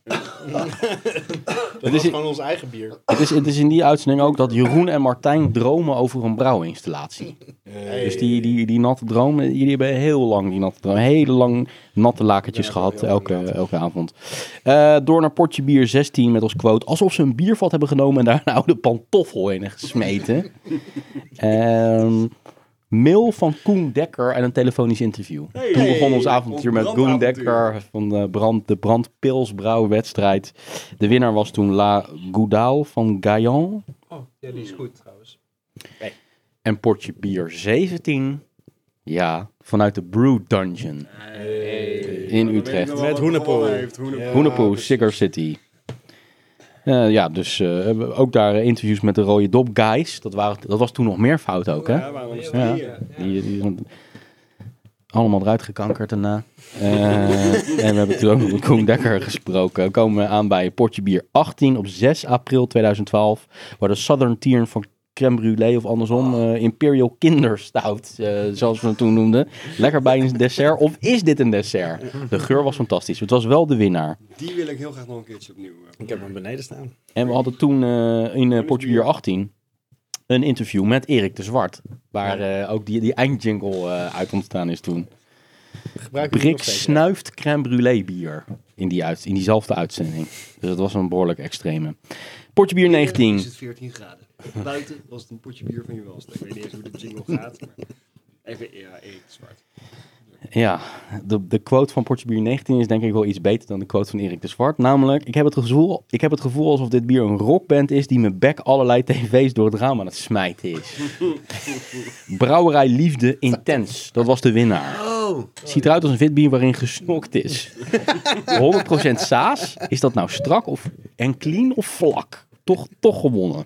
S9: Dat
S1: is-
S9: is gewoon ons eigen bier.
S1: Het is, het is in die uitzending ook dat Jeroen en Martijn dromen over een brouwinstallatie. Dus die, die, die natte dromen, jullie hebben heel lang die natte dromen, hele lang natte lakentjes gehad elke, elke avond. Eh, door naar Portje Bier 16 met als quote, alsof ze een biervat hebben genomen en daar een oude pantoffel in gesmeten. Ehm, mail van Koen Dekker en een telefonisch interview. Toen begon ons avontuur met Koen
S6: brandavontuur.
S1: Dekker van de, brand, de brandpilsbrouwwedstrijd. De winnaar was toen La Goudal van Gaillon.
S10: Oh, ja, die is goed trouwens.
S1: En potje bier 17. Ja, vanuit de Brew Dungeon. In Utrecht.
S6: Met
S9: hoenepoel.
S1: Hoenepoel, Cigar City. Eh, ja, dus eh, we hebben ook daar eh, interviews met de rode dop guys. Dat, waren, dat was toen nog meer fout ook, hè?
S6: Ja, waarom is
S1: Ja.
S6: die hier?
S1: Die, die zijn allemaal eruit gekankerd daarna. Eh, en we hebben toen ook met Koen Dekker gesproken. We komen aan bij Portje Bier 18 op 6 april 2012. Waar de Southern Tier van crème brûlée of andersom eh, Imperial Kinderstout, eh, zoals we het toen noemden. Lekker bij een dessert. Of is dit een dessert? De geur was fantastisch. Het was wel de winnaar.
S6: Die wil ik heel graag nog een keertje opnieuw. eh.
S9: Ik heb hem beneden staan.
S1: En we hadden toen eh, in eh Portje Bier 18 een interview met Erik de Zwart. Waar eh, ook die, die eindjingle eh, uit ontstaan is toen.
S9: Gebruik ik
S1: Brik
S9: nog steeds.
S1: snuift crème brûlée bier in, die uit, in diezelfde uitzending. Dus dat was een behoorlijk extreme. Portje bier 19.
S6: Is het 14 graden. Buiten was het een potje bier van je welste. Ik weet niet eens hoe de jingle gaat, maar... Even, ja, eet zwart.
S1: Ja, de, de quote van Portje bier 19 is denk ik wel iets beter dan de quote van Erik de Zwart. Namelijk, ik heb het gevoel, ik heb het gevoel alsof dit bier een rockband is die mijn bek allerlei tv's door het raam aan het smijten is. Brouwerij Liefde Intens, dat was de winnaar. Ziet eruit als een witbier waarin gesnokt is. 100% saas. Is dat nou strak of, en clean of vlak? Toch, toch gewonnen.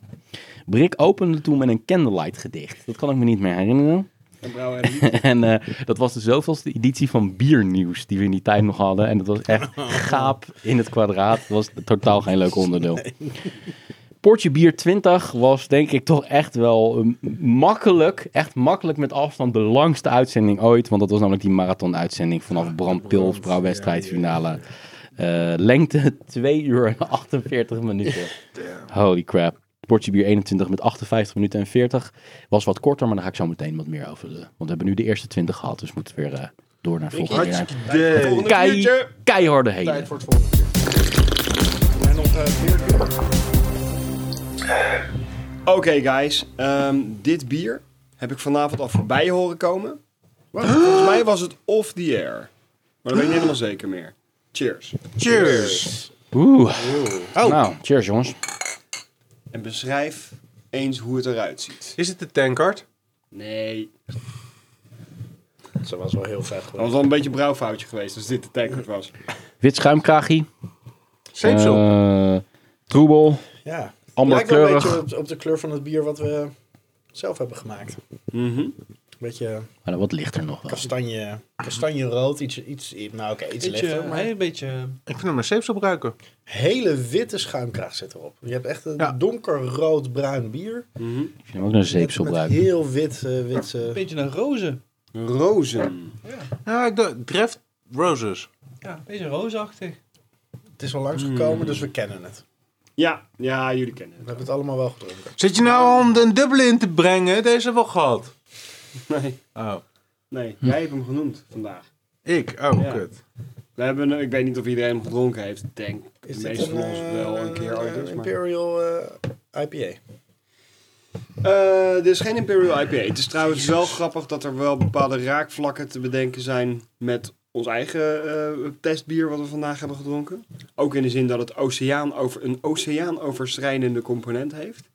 S1: Brik opende toen met een candlelight gedicht. Dat kan ik me niet meer herinneren.
S6: En brouwen en liefde.
S1: En eh, dat was de zoveelste editie van Biernieuws die we in die tijd nog hadden. En dat was echt gaap in het kwadraat. Dat was totaal geen leuk onderdeel. Portje Bier 20 was denk ik toch echt wel eh, makkelijk, echt makkelijk met afstand de langste uitzending ooit. Want dat was namelijk die marathon-uitzending vanaf Brandpils, brouwwedstrijdfinale. Eh, lengte 2 uur en 48 minuten. Holy crap. Portje bier 21 met 58 minuten en 40. Was wat korter, maar daar ga ik zo meteen wat meer over. eh, want we hebben nu de eerste 20 gehad, dus moeten we weer eh, door naar volgende keer.
S9: Hartstikke idee.
S1: Kei, keiharde heen.
S9: Tijd voor het volgende keer. En nog eh, bier.
S6: Oké, guys. ehm, dit bier heb ik vanavond al voorbij horen komen. Maar Volgens mij was het off the air. Maar dat weet ik niet helemaal zeker meer. Cheers.
S5: Cheers!
S1: Oeh. Nou, cheers jongens.
S6: En beschrijf eens hoe het eruit ziet.
S5: Is het de tankard?
S6: Nee.
S9: Ze was wel heel vet
S6: Dat
S9: geworden.
S6: was al een beetje een brouwfoutje geweest als dit de tankard was.
S1: Wit schuimkraagje.
S5: Zeepsel.
S1: eh, troebel.
S9: Ja. Lijkt wel een
S1: Amberkleurig.
S9: beetje op, op de kleur van het bier wat
S6: Mhm.
S9: we zelf hebben gemaakt. Een beetje
S1: Maar dan wat lichter nog wel.
S9: kastanje.
S3: kastanje rood, iets, iets, iets- nou oké, iets lichter. maar
S10: een beetje...
S5: Ik vind hem maar zeep gebruiken.
S3: hele witte schuimkraag zit erop. Je hebt echt een donkerrood-bruin bier.
S1: Ik vind hem ook naar
S3: Met-
S1: zeepsel
S3: met
S1: ruiken.
S3: heel wit, eh, wit eh,
S10: Een beetje naar rozen.
S6: Rozen.
S5: Ja, ik dacht, Dreft Roses.
S10: Ja, een beetje roosachtig.
S3: het is al
S6: Mm.
S3: langsgekomen, dus we kennen het.
S6: Ja, ja, jullie kennen
S3: We
S6: het.
S3: hebben het allemaal wel gedronken.
S5: Zit je nou om een dubbele in te brengen? Deze hebben we al gehad.
S6: Nee,
S5: Oh.
S6: nee jij hebt hem genoemd vandaag.
S5: Ik? Oh,
S6: Ja.
S5: kut.
S6: We hebben, eh, ik weet niet of iedereen hem gedronken heeft. Ik Denk de
S3: Is
S6: meeste
S3: dit
S6: van
S3: een,
S6: ons
S3: eh,
S6: wel een keer ooit.
S3: een
S6: dus, maar-
S3: Imperial eh, IPA?
S6: Eh, dit is geen Imperial IPA. Het is trouwens wel grappig dat er wel bepaalde raakvlakken te bedenken zijn met ons eigen eh, testbier wat we vandaag hebben gedronken. Ook in de zin dat het oceaan over, een oceaanoverschrijdende component heeft.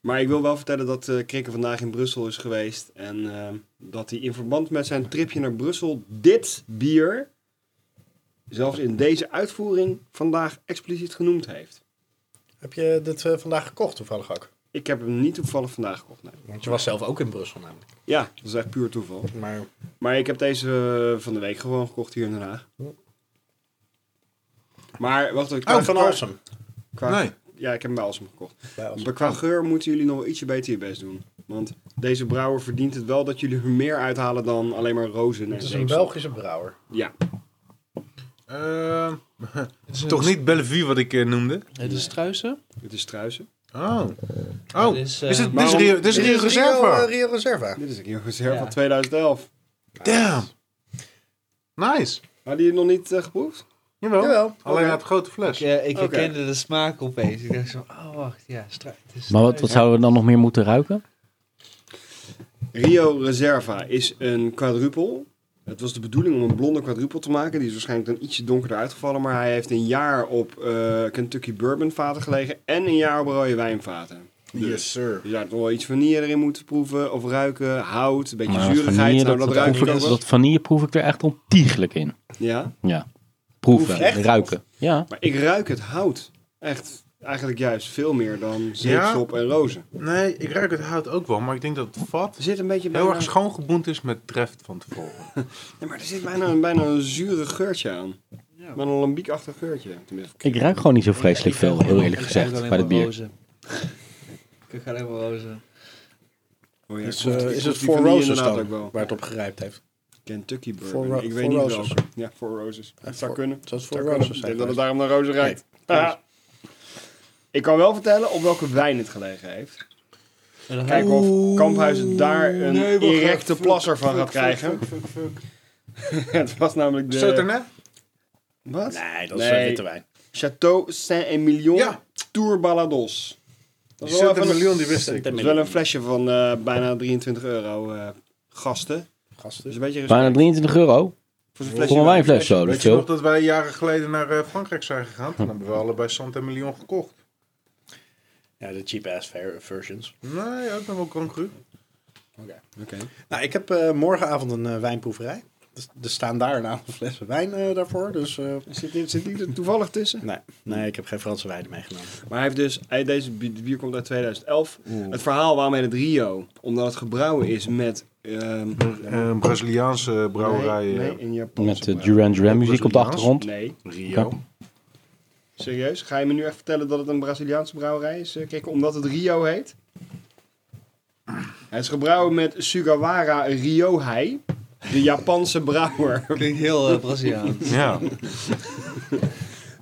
S6: Maar ik wil wel vertellen dat eh Krikke vandaag in Brussel is geweest. En eh, dat hij in verband met zijn tripje naar Brussel dit bier, zelfs in deze uitvoering, vandaag expliciet genoemd heeft.
S3: Heb je dit eh, vandaag gekocht toevallig ook?
S6: Ik heb hem niet toevallig vandaag gekocht. nee.
S3: Want je was zelf ook in Brussel namelijk.
S6: Ja, dat is echt puur toeval.
S3: Maar
S6: Maar ik heb deze eh, van de week gewoon gekocht hier in Den Haag. Maar wacht even. Qua,
S3: oh, van
S6: qua-
S3: Alsem.
S6: qua-
S5: Nee.
S6: Ja, ik heb hem bij Alsem gekocht.
S3: Bij Alsem.
S6: Maar qua geur moeten jullie nog wel ietsje beter je best doen. Want deze brouwer verdient het wel dat jullie er meer uithalen dan alleen maar rozen.
S3: Het
S6: en
S3: is een
S6: zeepsel.
S3: Belgische brouwer.
S6: Ja.
S5: Ehm, toch niet Bellevue wat ik eh, noemde?
S10: Het is struisen.
S6: Het is struisen.
S5: Oh. Oh,
S10: Het
S5: is,
S10: is, eh,
S5: het, dit is
S6: waarom-
S5: Rio, dit is Rio
S3: Rio, eh,
S5: Reserva.
S3: Rio Reserva.
S6: Dit is een keer een reserve
S10: Ja.
S6: van 2011.
S5: Damn. Nice.
S6: Hadden jullie het nog niet eh, geproefd?
S5: Jawel.
S3: Jawel.
S5: Alleen uit grote fles.
S10: Ik, eh, ik
S6: Oké.
S10: herkende de smaak opeens. Ik dacht zo, oh wacht, ja, strui. het is
S1: Maar wat,
S10: struis.
S1: wat zouden we dan nog meer moeten ruiken?
S6: Rio Reserva is een quadrupel. Het was de bedoeling om een blonde quadrupel te maken. Die is waarschijnlijk dan ietsje donkerder uitgevallen. Maar hij heeft een jaar op eh, Kentucky bourbon vaten gelegen. En een jaar op rode wijnvaten. Dus
S5: Yes, sir.
S6: Je zou toch wel iets vanille erin moeten proeven of ruiken. Hout, een beetje
S1: Maar
S6: zurigheid.
S1: vanille,
S6: Nou, dat,
S1: dat,
S6: ruik
S1: proef
S6: ik
S1: ik-
S6: ook wel.
S1: dat vanille proef ik er echt ontiegelijk in.
S6: Ja,
S1: Ja.
S6: Proef
S1: Proeven,
S6: je echt?
S1: ruiken. Ja.
S6: maar ik ruik het hout. Echt, eigenlijk juist veel meer dan zeepsop en rozen.
S5: Nee, ik ruik het hout ook wel, maar ik denk dat het vat
S6: Er zit een beetje bijna,
S5: heel erg schoongeboend is met treft van tevoren.
S6: nee, maar er zit bijna, een- bijna een zure geurtje aan. Maar een lambiekachtig geurtje. Tenminste.
S1: Ik ruik gewoon niet zo vreselijk
S10: Ik ruik
S1: veel,
S4: Oh,
S1: heel
S10: alleen-
S1: eerlijk
S10: ik ruik
S1: gezegd,
S10: alleen
S1: bij het
S10: maar
S1: bier.
S10: rozen. Ik ga alleen maar rozen.
S6: Oh ja,
S3: Dus,
S6: ik proef-
S3: eh,
S6: ik
S3: is
S6: proef
S3: het
S6: die
S3: voor
S6: vanille
S3: Roses
S6: inderdaad
S3: dan?
S6: ook wel.
S3: Waar het op gerijpt heeft.
S6: Kentucky Bourbon.
S3: Voor ro-
S6: ik
S3: voor
S6: weet niet
S3: roses. Eh,
S6: welke. Ja, voor roses. Het zou
S3: voor-
S6: kunnen.
S3: Het zou voor
S6: Zou kunnen.
S3: Roses
S6: Ik
S3: zijn.
S6: denk dat het
S3: geweest.
S6: daarom naar rozen ruikt. Ah. Ik kan wel vertellen op welke wijn het gelegen heeft. Kijk of Kamphuizen daar een directe plasser van gaat krijgen. het was namelijk de...
S5: Sauternes?
S6: Wat?
S3: Nee, dat is eh,
S6: Nee.
S3: witte wijn.
S6: Château Saint-Emilion
S5: Ja.
S6: Tour Balados. Dat is wel even een-
S5: Sautermillion, die wist ik.
S6: dat is wel een flesje van eh, bijna 23 euro eh, gasten. Dus
S3: Gasten.
S6: een beetje
S1: Bijna
S6: respect
S1: 23 euro.
S6: voor zo'n flesje
S1: Voor een
S6: wijn.
S1: wijnfles zo, dat
S5: Weet
S1: is
S5: je nog
S1: veel.
S5: dat wij jaren geleden naar eh, Frankrijk zijn gegaan? Toen hebben we allebei Saint-Emilion gekocht.
S3: Ja, de cheap ass ver- versions.
S5: Nee, ook nog wel congru.
S3: Nou, ik heb eh, morgenavond een eh, wijnproeverij. Dus er staan daar een aantal flessen wijn eh, daarvoor. Dus eh,
S6: Zit die, zit die er toevallig tussen?
S3: nee. nee, ik heb geen Franse wijn meegenomen.
S6: Maar hij heeft dus, hij, deze bi- bier komt uit 2011. Het verhaal waarom hij het Rio, omdat het gebrouwen is met... ehm
S5: Een Braziliaanse brouwerij.
S6: nee, nee,
S5: eh,
S6: in Japan.
S1: Met de Duran Duran muziek op de
S5: Braziliaans?
S1: achtergrond.
S6: Nee,
S5: Rio.
S1: Oké.
S6: serieus? Ga je me nu echt vertellen dat het een Braziliaanse brouwerij is? Kijk, omdat het Rio heet? Hij is gebrouwen met Sugawara Riohei, de Japanse brouwer
S10: Klinkt heel eh, Braziliaans.
S5: Ja.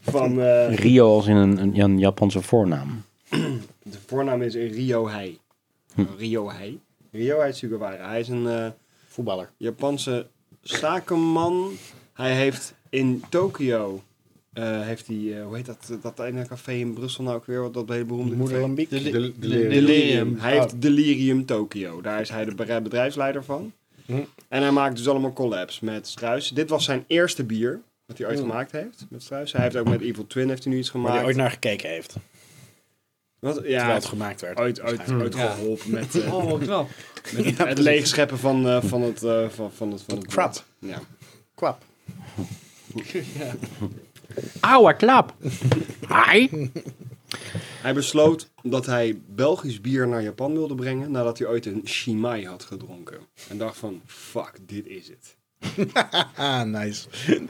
S6: van... eh,
S1: Rio als in een, een, een Japanse voornaam.
S6: De voornaam is Riohei. Riohei. Riohei Sugawara. Hij is een eh,
S3: Voetballer.
S6: Japanse zakenman. Hij heeft in Tokio, eh, heeft hij, eh, hoe heet dat, dat ene café in Brussel nou ook weer, wat dat hele beroemde café?
S3: Moederlambiek.
S10: De-
S5: De- de-
S6: Delirium. Hij
S3: Oh.
S6: heeft Delirium Tokio. Daar is hij de bere- bedrijfsleider van.
S3: Hm.
S6: En hij maakt dus allemaal collabs met Struis. Dit was zijn eerste bier, wat hij ooit gemaakt heeft met Struis. Hij heeft ook met Evil Twin heeft hij nu iets
S3: Waar hij
S6: gemaakt.
S3: Hm. ooit naar gekeken heeft.
S6: Wat-
S3: Terwijl
S6: ja,
S3: het gemaakt werd.
S6: ooit, ooit, ooit geholpen met... eh,
S10: Oh, wat knap.
S6: Met het, het leegscheppen van, eh, van het... eh, van, van het, van het
S3: Krap.
S6: Ja.
S3: Kwap.
S1: Auwe klap! Hi!
S6: Hij besloot dat hij Belgisch bier naar Japan wilde brengen... nadat hij ooit een shimai had gedronken. En dacht van, fuck, dit is het.
S3: Ah, nice.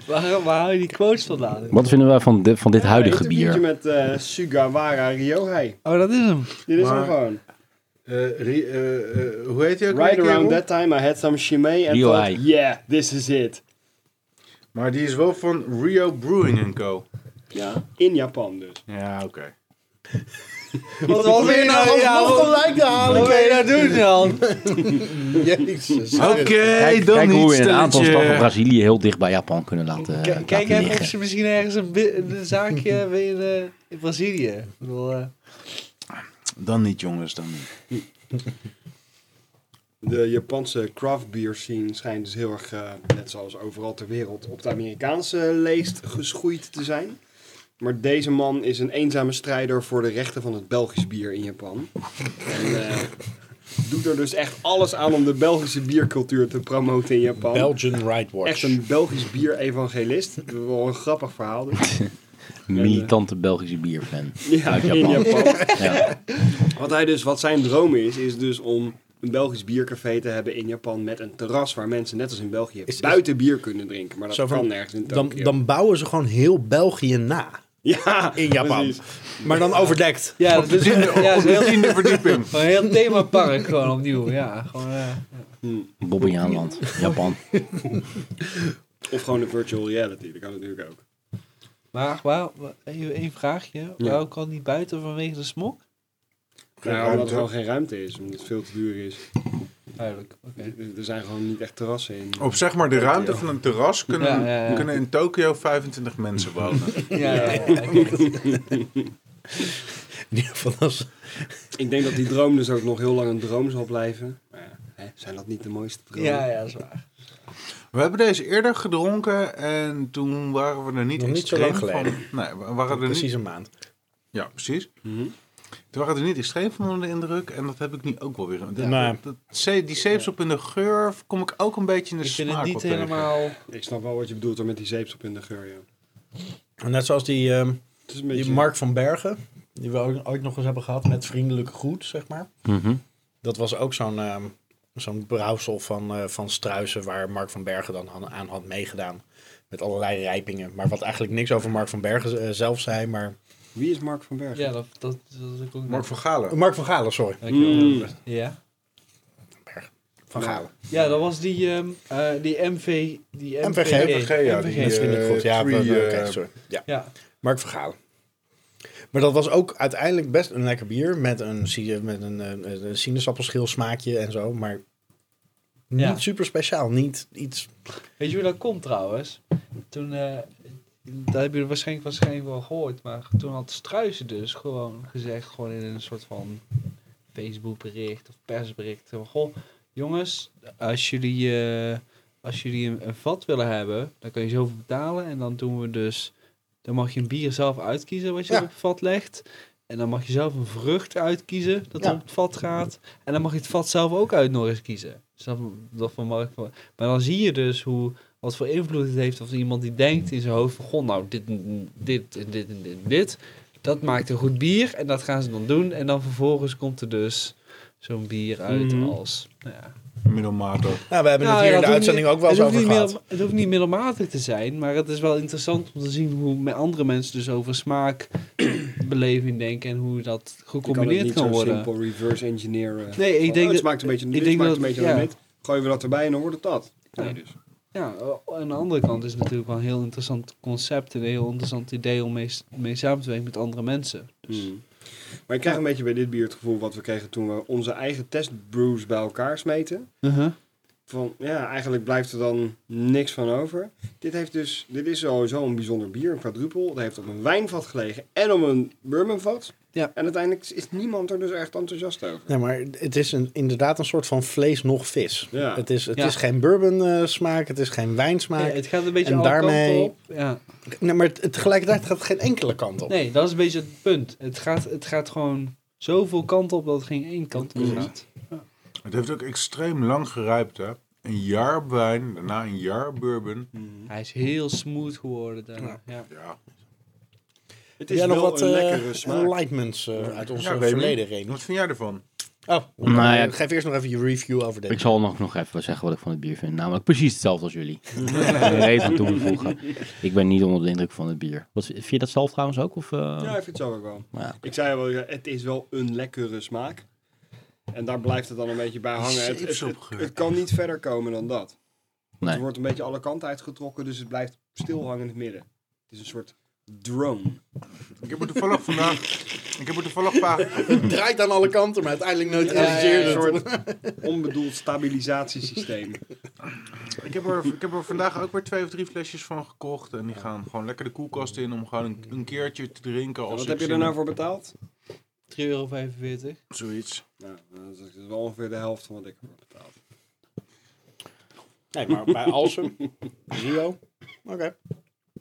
S4: Waar, waar haal je die quotes vandaan?
S1: Wat vinden wij van, dit- van dit huidige
S6: Een interviewtje
S1: bier?
S6: met eh, Sugawara Ryohei.
S4: Oh, dat is hem.
S6: Dit is
S5: Maar-
S6: hem gewoon.
S5: Eh, Ri- eh, eh, hoe heet hij ook
S6: Right
S5: alweer,
S6: around
S5: kerel?
S6: that time I had some shimei and
S1: Ryohei.
S6: thought, yeah, this is it.
S5: Maar die is wel van Rio Brewing Co.
S6: Ja, in Japan dus.
S5: Ja, oké.
S4: Wat was je nou? Ja, wat
S3: gelijk te halen.
S4: wil je nou doen dan?
S3: Jezus.
S5: Oké,
S1: Kijk,
S5: dan
S1: kijk
S5: niet,
S1: hoe we in een aantal
S5: stelletje.
S1: stappen Brazilië heel dicht bij Japan kunnen laten,
S4: K-
S1: laten
S4: Kijk even of
S1: liggen.
S4: ze misschien ergens een, bi- een zaakje hebben in, eh, in Brazilië. Ik bedoel, eh,
S5: Dan niet, jongens, dan niet.
S6: De Japanse craft beer scene schijnt dus heel erg, eh, net zoals overal ter wereld, op de Amerikaanse leest geschoeid te zijn. Maar deze man is een eenzame strijder voor de rechten van het Belgisch bier in Japan. En eh, doet er dus echt alles aan om de Belgische biercultuur te promoten in Japan.
S3: Belgian Right Watch.
S6: echt een Belgisch bier-evangelist. Wel een grappig verhaal. dus.
S1: Militante Belgische bierfan.
S6: Ja,
S1: Uit
S6: in
S1: Japan.
S6: Japan.
S1: Ja.
S6: Wat, hij dus, wat zijn droom is, is dus om een Belgisch biercafé te hebben in Japan met een terras waar mensen, net als in België,
S3: Is- is-
S6: buiten bier kunnen drinken. Maar dat
S3: Zo van-
S6: kan nergens in
S3: Dan,
S6: Tokio.
S3: dan bouwen ze gewoon heel België na.
S6: ja,
S3: In Japan.
S6: precies.
S3: Maar dan overdekt.
S4: ja, dat is ja, dat is heel-
S5: Tiende verdieping.
S4: gewoon een heel themapark gewoon opnieuw. Ja, gewoon, eh,
S1: Bobbejaanland, Japan.
S6: Of gewoon een virtual reality, dat kan natuurlijk ook.
S4: maar waar, waar- even één vraagje.
S6: Ja.
S4: Waarom kan die buiten vanwege de smok?
S6: Nou,
S5: ruimte.
S6: omdat er gewoon geen ruimte is, omdat het veel te duur is. Eh,
S4: Duidelijk. oké.
S6: Er- Er zijn gewoon niet echt terrassen in.
S3: Oh.
S5: Op zeg maar de ruimte van een terras kunnen,
S4: Ja, ja, ja.
S5: kunnen in Tokio 25 mensen wonen.
S4: Ja, ja, ja.
S3: In ieder geval als-
S6: Ik denk dat die droom dus ook nog heel lang een droom zal blijven. Maar ja, hè, zijn dat niet de mooiste dromen?
S4: ja, ja, dat is waar.
S5: We hebben deze eerder gedronken en toen waren we er niet
S3: Nog niet zo
S5: extreem
S3: lang geleden.
S5: van. Nee, we waren er
S3: Precies
S5: niet.
S3: een maand.
S5: Ja, precies.
S6: Mhm.
S5: Toen waren we er niet extreem van onder de indruk en dat heb ik nu ook wel weer. Dat,
S3: Nee.
S5: dat, zee- die zeepsop in de geur kom ik ook een beetje in de
S4: Ik
S5: smaak
S4: vind het
S5: op
S4: niet
S5: tegen.
S4: helemaal...
S6: Ik snap wel wat je bedoelt door met die zeepsop in de geur, ja.
S3: En net zoals die, ehm,
S6: Het is een
S3: die
S6: beetje...
S3: Mark van Bergen, die we ook- ooit nog eens hebben gehad met vriendelijke groet, zeg maar.
S1: Mhm.
S3: Dat was ook zo'n ehm zo'n brouwsel van, eh, van Struisen waar Mark van Bergen dan aan, aan had meegedaan. Met allerlei rijpingen. Maar wat eigenlijk niks over Mark van Bergen eh, zelf zei, maar...
S6: Wie is Mark van Bergen?
S4: Ja, dat, dat, dat, dat kon ik
S5: Mark van Galen.
S3: Oh, Mark van Galen, sorry.
S6: Mm.
S4: Ja.
S3: Van Galen.
S4: ja, dat was die, ehm eh die MV... Die
S3: MVG,
S5: MVG, ja, die,
S3: Met
S5: eh,
S3: vriendelijk groet. Ja,
S5: three,
S3: we- oké,
S5: eh,
S3: sorry. Ja.
S4: Ja.
S3: Mark van Galen. Maar dat was ook uiteindelijk best een lekker bier. Met een, si- met een, eh, een sinaasappelschil smaakje en zo. Maar niet
S4: Ja.
S3: super speciaal. Niet iets...
S4: Weet je hoe dat komt trouwens? Toen, eh dat hebben jullie waarschijnlijk, waarschijnlijk wel gehoord, maar toen had Struisen dus gewoon gezegd, gewoon in een soort van Facebook-bericht of persbericht, van, goh, jongens, als jullie, eh, als jullie een, een vat willen hebben, dan kan je zoveel betalen en dan doen we dus, dan mag je een bier zelf uitkiezen wat je
S3: Ja.
S4: op het vat legt. En dan mag je zelf een vrucht uitkiezen dat
S3: Ja.
S4: op het vat gaat. En dan mag je het vat zelf ook uit nog eens kiezen. Dus dat, dat van Mark van- Maar dan zie je dus hoe, wat voor invloed het heeft of iemand die denkt in zijn hoofd van, goh, nou, dit, en dit, en dit, en dit, en dit. Dat maakt een goed bier en dat gaan ze dan doen. En dan vervolgens komt er dus zo'n bier uit
S6: Mhm.
S4: als, nou ja.
S5: Middelmatig.
S3: Nou, we hebben
S4: Nou,
S3: het hier
S4: ja,
S3: in de
S4: hoeft
S3: uitzending
S4: niet-
S3: ook wel eens
S4: het hoeft
S3: over
S4: niet
S3: gehad.
S4: middel- het hoeft niet middelmatig te zijn, maar het is wel interessant om te zien hoe met andere mensen dus over smaakbeleving denken en hoe dat
S6: Je kan het
S4: gecombineerd
S6: niet
S4: kan,
S6: zo
S4: worden.
S6: simpel reverse engineeren.
S4: Nee, ik
S6: Van,
S4: denk
S6: oh, het
S4: dat-
S6: smaakt een beetje,
S4: ik
S6: dit
S4: denk
S6: smaakt
S4: dat-
S6: een beetje
S4: ja.
S6: naar dit. Gooien we dat erbij en dan wordt het dat.
S4: Ja.
S6: Nee, dus.
S4: Ja, eh, aan de andere kant is het natuurlijk wel een heel interessant concept en een heel interessant idee om mee, mee samen te werken met andere mensen.
S6: Hmm. Maar ik krijg een beetje bij dit bier het gevoel wat we kregen toen we onze eigen testbrews bij elkaar smeten.
S4: Uh-huh.
S6: Van, ja, eigenlijk blijft er dan niks van over. Dit, heeft dus, dit is sowieso een bijzonder bier, een quadrupel. Dat heeft op een wijnvat gelegen en op een bourbonvat.
S4: Ja.
S6: En uiteindelijk is niemand er dus echt enthousiast over.
S3: Nee, maar het is een, inderdaad een soort van vlees nog vis.
S6: Ja.
S3: Het, is, het
S4: Ja.
S3: is geen bourbon eh, smaak, het is geen
S4: Ja,
S3: wijnsmaak.
S4: Eh, het gaat een beetje
S3: en
S4: alle kanten
S3: daarmee-
S4: op. Ja.
S3: Nee, maar het, het- tegelijkertijd gaat het geen enkele kant op.
S4: Nee, dat is een beetje het punt. Het gaat, het gaat gewoon zoveel kanten op dat het geen één kant op gaat.
S5: Het heeft ook extreem lang gerijpt, hè? Een jaar op wijn, daarna een jaar op bourbon.
S4: Hij is heel smooth geworden daarna. Ja.
S5: Ja,
S6: Het
S3: Heb
S6: is
S3: jij
S6: wel
S3: nog wat eh,
S6: een lekkere smaak.
S3: enlightenments eh, uit ons
S5: Ja,
S3: eh,
S5: Remy.
S3: verleden, Remy?
S5: wat vind jij ervan?
S3: Oh,
S1: Nou ja,
S3: eh, geef eerst nog even je review over dit.
S1: Ik zal nog, nog even zeggen wat ik van het bier vind. Namelijk precies hetzelfde als jullie. Even toevoegen. Ik ben niet onder de indruk van het bier. Wat, vind je dat zelf trouwens ook? Of, eh?
S6: Ja, ik vind het zo ook wel.
S1: Nou ja.
S6: Ik zei wel, ja, het is wel een lekkere smaak. En daar blijft het dan een beetje bij hangen. Het, het, het,
S5: zeepsopgeur.
S6: het kan niet verder komen dan dat.
S1: Nee.
S6: Het wordt een beetje alle kanten uitgetrokken, dus het blijft stil hangen in het midden. Het is een soort drone.
S5: Ik heb er toevallig vandaag... Ik heb er toevallig paar...
S3: Het draait aan alle kanten, maar uiteindelijk neutraliseert
S6: Een
S3: het.
S6: soort onbedoeld stabilisatiesysteem.
S5: Ik heb, er, ik heb er vandaag ook weer twee of drie flesjes van gekocht. En die gaan gewoon lekker de koelkast in om gewoon een, een keertje te drinken. Als
S6: Wat
S5: ik
S6: heb je
S5: zin
S6: er nou
S5: heb.
S6: voor betaald?
S4: 3,45 euro.
S5: Zoiets.
S6: Nou, dat is wel ongeveer de helft van wat ik ervoor betaald.
S3: Nee, maar bij Alsem, Rio. Oké.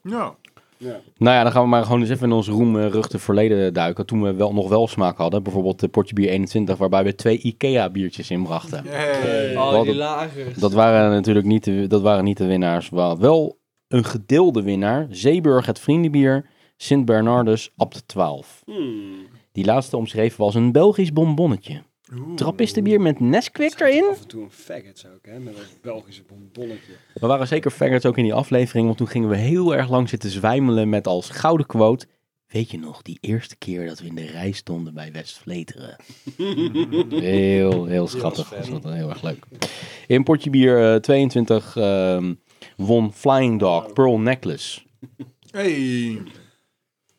S5: Ja.
S6: Ja.
S1: Nou ja, dan gaan we maar gewoon eens even in ons roemruchte verleden duiken. Toen we wel, nog wel smaak hadden. Bijvoorbeeld de Portje Bier 21, waarbij we twee IKEA-biertjes inbrachten.
S5: Hey.
S4: Oh,
S1: Wat
S4: die
S1: een-
S4: lager.
S1: Dat waren natuurlijk niet de, dat waren niet de winnaars. Wel, wel een gedeelde winnaar. Zeeburg het Vriendenbier. Sint Bernardus Abt 12.
S6: Hmm.
S1: Die laatste omschreven was een Belgisch bonbonnetje. Trappistenbier met Nesquik erin.
S6: Af en toe een faggots ook, hè? Met dat Belgische bonbonnetje.
S1: We waren zeker faggots ook in die aflevering, want toen gingen we heel erg lang zitten zwijmelen met als gouden quote... Weet je nog, die eerste keer dat we in de rij stonden bij West Vleteren? heel, heel schattig. Was dat heel erg leuk. In potje bier eh, 22 ehm, won Flying Dog Pearl Necklace.
S5: Hey.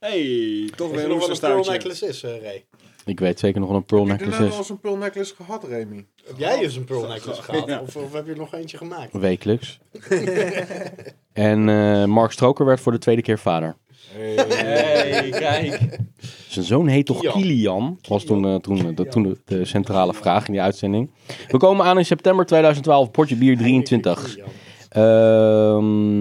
S6: Hey, toch
S3: Weet
S6: weer
S3: je
S6: een
S3: nog wat een pearl
S6: oesterstaartje.
S3: necklace is, eh, Ray?
S1: Ik weet zeker nog wat een Pearl
S5: Heb je
S1: Necklace
S5: nou al
S1: is.
S5: eens een pearl necklace gehad, Remy?
S3: Heb jij eens een pearl necklace gehad?
S6: Ja.
S3: Of, of heb je er nog eentje gemaakt?
S1: Wekelijks. en eh, Mark Stroker werd voor de tweede keer vader.
S4: Hey, kijk.
S1: Zijn zoon heet toch Kilian? Was toen, eh, toen, eh, dat- toen de, de centrale vraag in die uitzending. We komen aan in september 2012, Portje Bier 23. Ehm,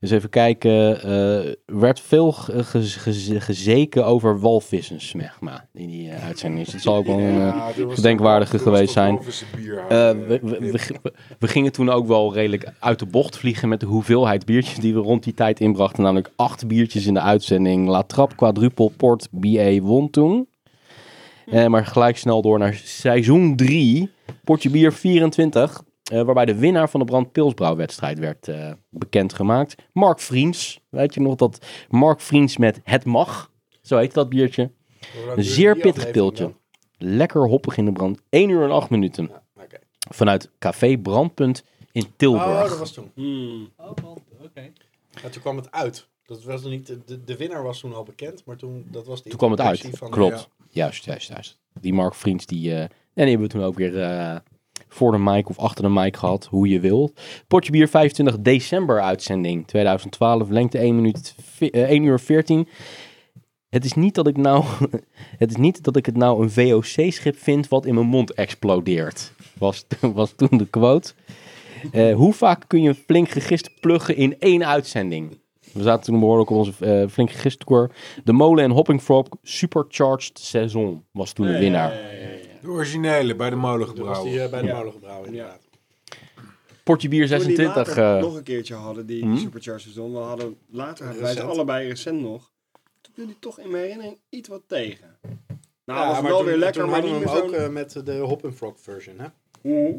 S1: eens even kijken. Er werd veel ge- ge- ge- gezeken over walvissen, zeg maar, in die eh, uitzending. Dus dat zal ook wel een, eh,
S5: er was
S1: gedenkwaardige
S5: toch- er was
S1: geweest
S5: toch
S1: zijn.
S5: over zijn bier
S1: eh,
S5: houden.
S1: we, we, we- we- we gingen toen ook wel redelijk uit de bocht vliegen met de hoeveelheid biertjes die we rond die tijd inbrachten. Namelijk acht biertjes in de uitzending. La Trappe, Quadruple, Port, BA won toen. Eh, maar gelijk snel door naar seizoen 3, Portje Bier 24. eh, waarbij de winnaar van de Brand Pilsbrouwwedstrijd werd eh, bekendgemaakt. Mark Vriends. Weet je nog dat Mark Vriends met Het Mag, zo heet dat biertje. Een zeer pittig piltje. Lekker hoppig in de brand. 1 uur en 8 minuten.
S3: oké.
S1: Vanuit Café Brandpunt in
S3: Oh,
S1: Tilburg.
S3: dat was toen.
S6: Hmm.
S4: Oh, man, oké.
S3: Ja, toen kwam het uit. Dat was nog niet, de, de winnaar was toen al bekend, maar toen, dat was de
S1: Toen kwam het uit.
S3: introductie van- eh,
S1: Klopt. Juist, juist, juist. Die Mark Vriends, die... eh, en die hebben we toen ook weer eh, voor de mic of achter de mic gehad. Hoe je wilt. Potje bier 25 december uitzending 2012. Lengte 1, minuut, vi- eh, 1 uur 14. Het is, niet dat ik nou, het is niet dat ik het nou een VOC-schip vind wat in mijn mond explodeert. Was, was toen de quote. Eh, hoe vaak kun je een flink gegist pluggen in één uitzending? We zaten toen behoorlijk op onze eh, flink gegist tour. De Molen en Hopping Frog Supercharged Saison was toen de winnaar.
S5: De originele, bij de molen
S3: Dat was
S5: gebrouwen.
S3: die eh, bij de molen gebrouwen, inderdaad.
S1: Portje bier
S6: Toen we die
S1: 26.
S6: later
S1: eh, Hmm?
S6: nog een keertje hadden, die Supercharged Zon. We hadden later, hadden wij ze
S3: Recent.
S6: allebei recent nog. Toen viel die toch in mijn herinnering iets wat tegen. Nou,
S3: Ja,
S6: was wel
S3: toen-
S6: weer lekker,
S3: toen
S6: maar niet
S3: hadden
S6: meer
S3: we
S6: zo...
S3: hem ook eh, met de Hop and Frog version, hè? Ah,
S6: Oeh.
S5: Dat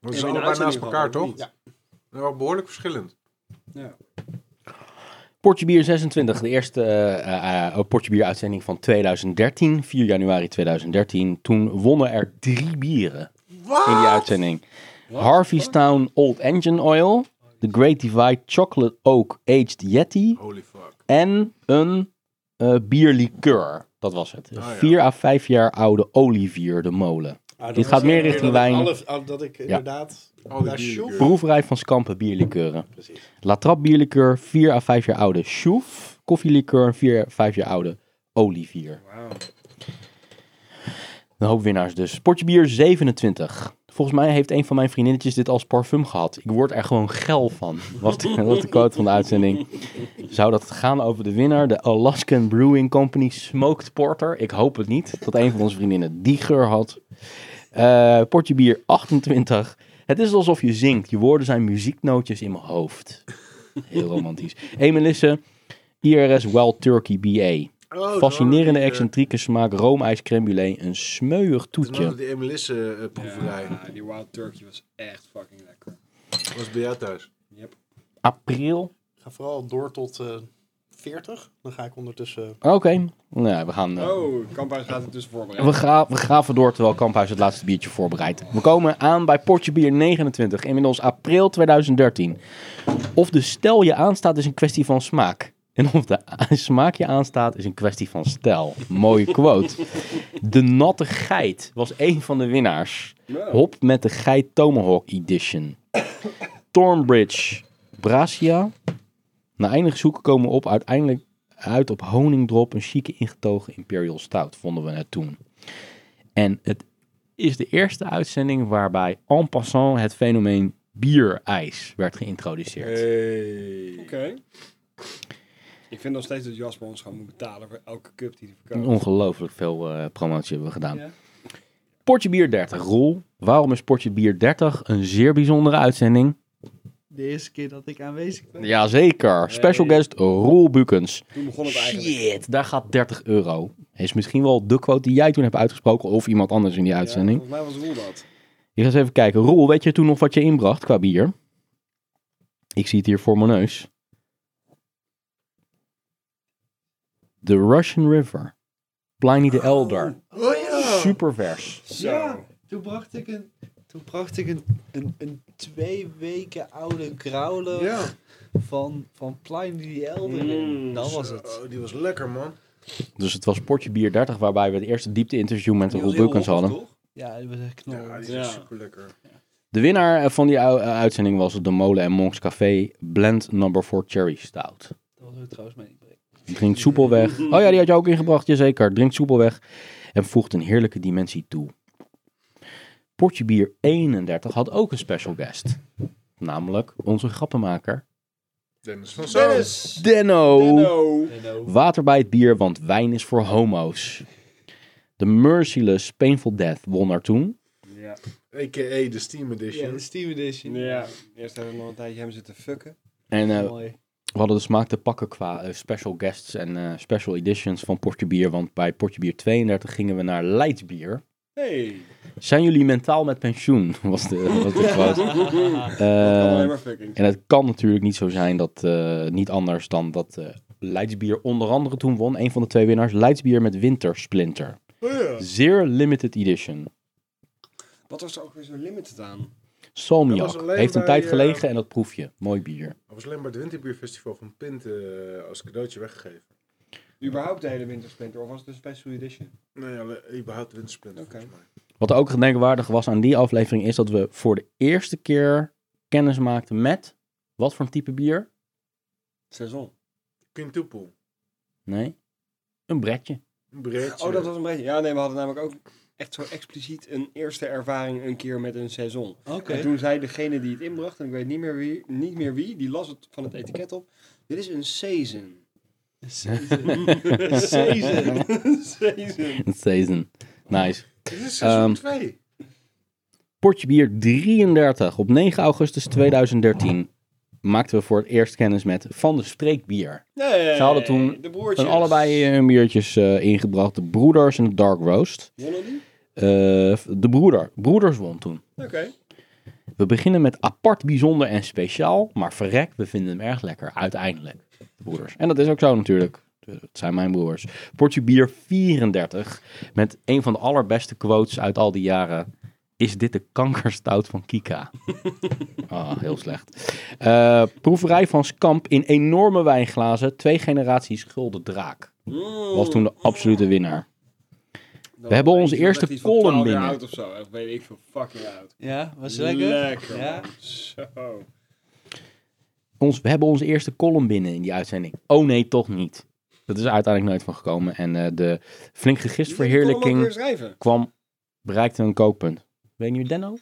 S6: Ja,
S5: is
S6: in de
S5: allebei naast
S6: uitzending
S5: elkaar,
S6: gehad, of
S5: toch?
S6: niet?
S5: Ja. Wel behoorlijk verschillend.
S1: Portje Bier 26, de eerste eh, eh, Portje Bier uitzending van 2013, 4 januari 2013. Toen wonnen er drie bieren in die uitzending. Harvey's Town Old Engine Oil, The Great Divide Chocolate Oak Aged Yeti
S5: Holy fuck.
S1: en een eh bierlikeur. Dat was het. Een
S5: ja.
S1: 4 à 5 jaar oude Olivier de Molen.
S3: Ah, dat
S1: Dit
S3: was
S1: gaat meer
S3: weer
S1: richting
S3: dat ik
S1: wijn.
S3: alle- ah, dat ik inderdaad...
S5: Al die
S3: Daar
S5: bieren.
S3: sjoef.
S1: Proeverij van Skampen bierlikeuren.
S3: Precies.
S1: La Trappe bierlikeur, 4 à 5 jaar oude Sjoef. Koffielikeur, 4 à 5 jaar oude Olivier. Een hoop winnaars dus. Portje bier 27. Volgens mij heeft een van mijn vriendinnetjes dit als parfum gehad. Ik word er gewoon geil van. Was de, was de quote van de uitzending. Zou dat gaan over de winnaar? De Alaskan Brewing Company Smoked Porter. Ik hoop het niet. Dat een van onze vriendinnen die geur had. Eh, portje bier 28. Het is alsof je zingt. Je woorden zijn muzieknootjes in mijn hoofd. Heel romantisch. Emelisse, IRS Wild Turkey BA.
S5: Oh,
S1: Fascinerende,
S5: eh,
S1: excentrieke smaak roomijs crème brûlée. Een smeuig
S5: Toen hadden
S1: toetje.
S5: die eh, Emelisse-proeverij.
S6: Ja, die Wild Turkey was echt fucking lekker.
S5: was bij jou thuis.
S1: April.
S3: Ga vooral door tot eh 40. Dan ga ik ondertussen...
S1: Oké. Nou, ja, we gaan... eh,
S6: Oh, Kamphuis gaat het dus voorbereiden.
S1: We, gra we graven door terwijl Kamphuis het laatste biertje voorbereidt. We komen aan bij Portje Bier 29, inmiddels april 2013. Of de stijl je aanstaat is een kwestie van smaak. En of de a- smaak je aanstaat is een kwestie van stijl. Mooie quote. De natte geit was een van de winnaars.
S6: Ja.
S1: Hop met de geit Tomahawk Edition. Thornbridge Bracia. Na eindig zoeken komen we op uiteindelijk uit op honingdrop, een chique ingetogen Imperial Stout, vonden we het toen. En het is de eerste uitzending waarbij en passant het fenomeen bierijs werd geïntroduceerd.
S6: Oké. Ik vind nog steeds dat Jasper ons gaat moeten betalen voor elke cup die hij verkoopt.
S1: Oh, Ongelooflijk veel eh, promotie hebben we gedaan. Portje Bier 30, Roel. Waarom is Portje Bier 30 een zeer bijzondere uitzending?
S4: De eerste keer dat ik aanwezig ben.
S1: Jazeker. Special guest Roel Bukens.
S6: Toen begon het eigenlijk.
S1: Shit, daar gaat 30 euro. Is misschien wel de quote die jij toen hebt uitgesproken of iemand anders in die
S6: Ja,
S1: uitzending.
S6: volgens mij was Roel dat.
S1: Ik ga eens even kijken. Roel, weet je toen nog wat je inbracht qua bier? Ik zie het hier voor mijn neus. The Russian River. Pliny the Elder.
S4: Oh ja!
S1: Supervers.
S6: Zo.
S4: Ja, toen bracht ik een, toen bracht ik een, een, een twee weken oude grauwler
S5: Ja.
S4: van, van Pliny the Elder
S6: Mm,
S4: in. Dat was het.
S5: Oh, die was lekker, man.
S1: Dus het was Portje Bier 30, waarbij we het eerste diepte interview met Roel Bukens hadden.
S4: Ja, dat was echt knol.
S5: Ja, die
S6: Ja.
S5: was super lekker.
S1: De winnaar eh, van die u- eh, uitzending was de Molen en Monks Café Blend Number 4 Cherry Stout.
S4: Dat was ook trouwens mijn inbreng.
S1: Drinkt soepel weg. Oh ja, die had je ook ingebracht, jazeker. Drinkt soepel weg en voegt een heerlijke dimensie toe. Portje Bier 31 had ook een special guest. Namelijk onze grappenmaker
S5: Dennis van Zo.
S6: Dennis!
S1: Denno.
S6: Denno!
S1: Water bij het bier, want wijn is voor homo's. De Merciless Painful Death won er toen.
S6: Ja.
S5: A.k.a. de Steam
S4: Ja,
S5: Edition.
S4: de Steam Edition.
S6: ja. Eerst hebben we nog een tijdje hem zitten fucken.
S1: En eh,
S4: Mooi.
S1: We hadden de smaak te pakken qua eh, special guests en eh, special editions van Portje Bier. Want bij Portje Bier 32 gingen we naar Leidbier. Eh,
S6: Hey!
S1: Zijn jullie mentaal met pensioen? Was de, was de quote.
S6: Dat kan
S1: Eh,
S6: alleen maar fucking.
S1: en het kan natuurlijk niet zo zijn dat eh, niet anders dan dat eh Leidsbier onder andere toen won. Een van de twee winnaars. Leidsbier met Wintersplinter.
S6: Oh,
S1: Zeer limited edition.
S6: Wat was er ook weer zo limited aan?
S5: Dat was
S1: Salmiak.
S5: alleen
S1: Heeft een
S5: bij,
S1: tijd
S5: eh,
S1: gelegen en dat proef je. Mooi bier.
S5: Dat was alleen bij het Winterbierfestival van Pint eh, als cadeautje weggegeven.
S6: Überhaupt de hele wintersplinter, of was het een special edition?
S5: Nee, Nou ja, le- überhaupt Wintersplinter
S6: Oké.
S5: volgens mij.
S1: Wat ook gedenkwaardig was aan die aflevering is dat we voor de eerste keer kennis maakten met wat voor een type bier?
S6: Saison.
S5: Quintuple.
S1: Nee, een bretje.
S5: Een breedje.
S6: Oh, dat was een beetje. Ja, nee, we hadden namelijk ook echt zo expliciet een eerste ervaring een keer met een saison.
S4: Oké.
S6: En toen zei degene die het inbracht, en ik weet niet meer wie, niet meer wie die las het van het etiket op. Dit is een season. season. season.
S1: Een season. Nice.
S5: Dit is seizoen
S1: Ehm,
S5: 2.
S1: Portje bier 33 op 9 augustus 2013 maakten we voor het eerst kennis met Van de Streekbier.
S6: Nee,
S1: Ze hadden toen
S6: de broertjes.
S1: En allebei eh, hun biertjes eh, ingebracht. De Broeders en de Dark Roast.
S6: Wonnen die?
S1: Eh, de broeder. Broeders won toen.
S6: Oké.
S1: We beginnen met apart, bijzonder en speciaal. Maar verrek, we vinden hem erg lekker. Uiteindelijk, de broeders. En dat is ook zo natuurlijk. Het zijn mijn broers. Portje Bier 34. Met een van de allerbeste quotes uit al die jaren. Is dit de kankerstout van Kika? Ah, heel slecht. Eh, proeverij van Skamp in enorme wijnglazen. Twee generaties Gulden Draak. Was toen de absolute winnaar.
S6: Dan
S1: We hebben onze
S6: Mm. is het
S1: eerste
S6: echt iets van
S1: column
S6: 12 jaar
S1: binnen.
S6: oud of zo, echt weet ik veel fucking oud.
S4: Ja, was het lekker? Ja.
S6: man. Zo.
S1: ons, we hebben onze eerste column binnen in die uitzending. Oh nee, toch niet. Dat is er uiteindelijk nooit van gekomen. En eh, de flink gegist verheerlijking
S6: schrijven.
S1: kwam, bereikte een kookpunt. Weet je nu Denno?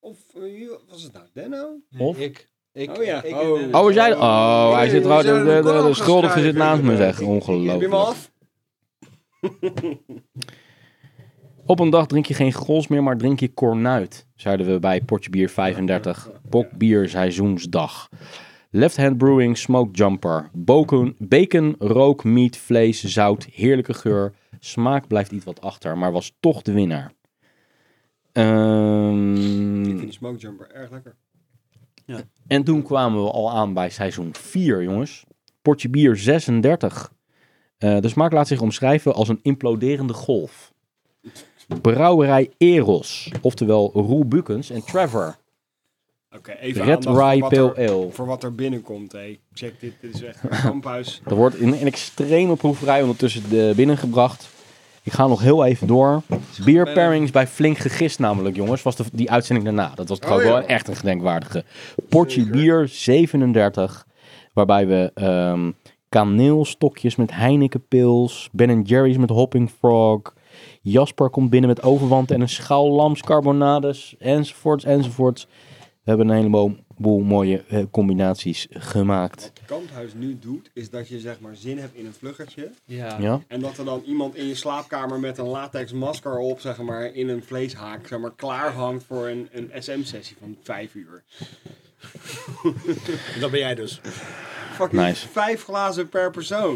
S6: Of eh, wie was het nou? Denno?
S1: Of?
S4: Ik. Ik,
S6: Oh ja.
S4: ik en
S6: Oh.
S4: Dennis.
S1: Oh, was jij? Oh, hij
S5: Nee,
S1: zit
S5: we
S1: trouwens, de,
S5: zouden
S1: de,
S5: een
S1: de,
S5: column gaan
S1: schuldige zit
S5: schrijven.
S1: naast me zeggen.
S6: Heb je hem al
S1: Ongelooflijk.
S6: af?
S1: Op een dag drink je geen grols meer, maar drink je kornuit. Zeiden we bij Portje Bier 35. Bokbier seizoensdag. Left Hand Brewing Smoke Jumper. Bacon, bacon, rook, meat, vlees, zout, heerlijke geur. Smaak blijft iets wat achter, maar was toch de winnaar.
S6: Ik
S1: Ehm
S6: vind die smoke jumper erg lekker.
S1: en toen kwamen we al aan bij seizoen 4, jongens. Potje bier 36. Eh, de smaak laat zich omschrijven als een imploderende golf. Brouwerij Eros, oftewel Roel Bukens en Trevor.
S6: Oké, even
S1: Red
S6: aandacht voor
S1: Rye
S6: wat er-
S1: Pale Ale.
S6: Voor wat er binnenkomt, hé. Check dit, dit is echt een kamphuis.
S1: Er wordt in een extreme proeverij ondertussen de binnengebracht. Ik ga nog heel even door. Beer pairings bij Flink Gegist namelijk, jongens. Was de, die uitzending daarna. Dat was trouwens wel echt een gedenkwaardige. Portje bier 37. Waarbij we ehm, kaneelstokjes met Heinekenpils. Ben Jerry's met Hopping Frog. Jasper komt binnen met overwand en een schaal lamscarbonades. Enzovoorts, enzovoorts. We hebben een heleboel mooie eh, combinaties gemaakt.
S6: Wat kamphuis nu doet, is dat je zeg maar zin hebt in een vluggertje.
S10: Ja.
S1: Ja?
S6: En dat er dan iemand in je slaapkamer met een latex masker op, zeg maar, in een vleeshaak, zeg maar, klaar hangt voor een, een SM-sessie van vijf uur.
S3: Dat ben jij dus.
S6: Fucking
S1: Nice.
S6: vijf glazen per persoon.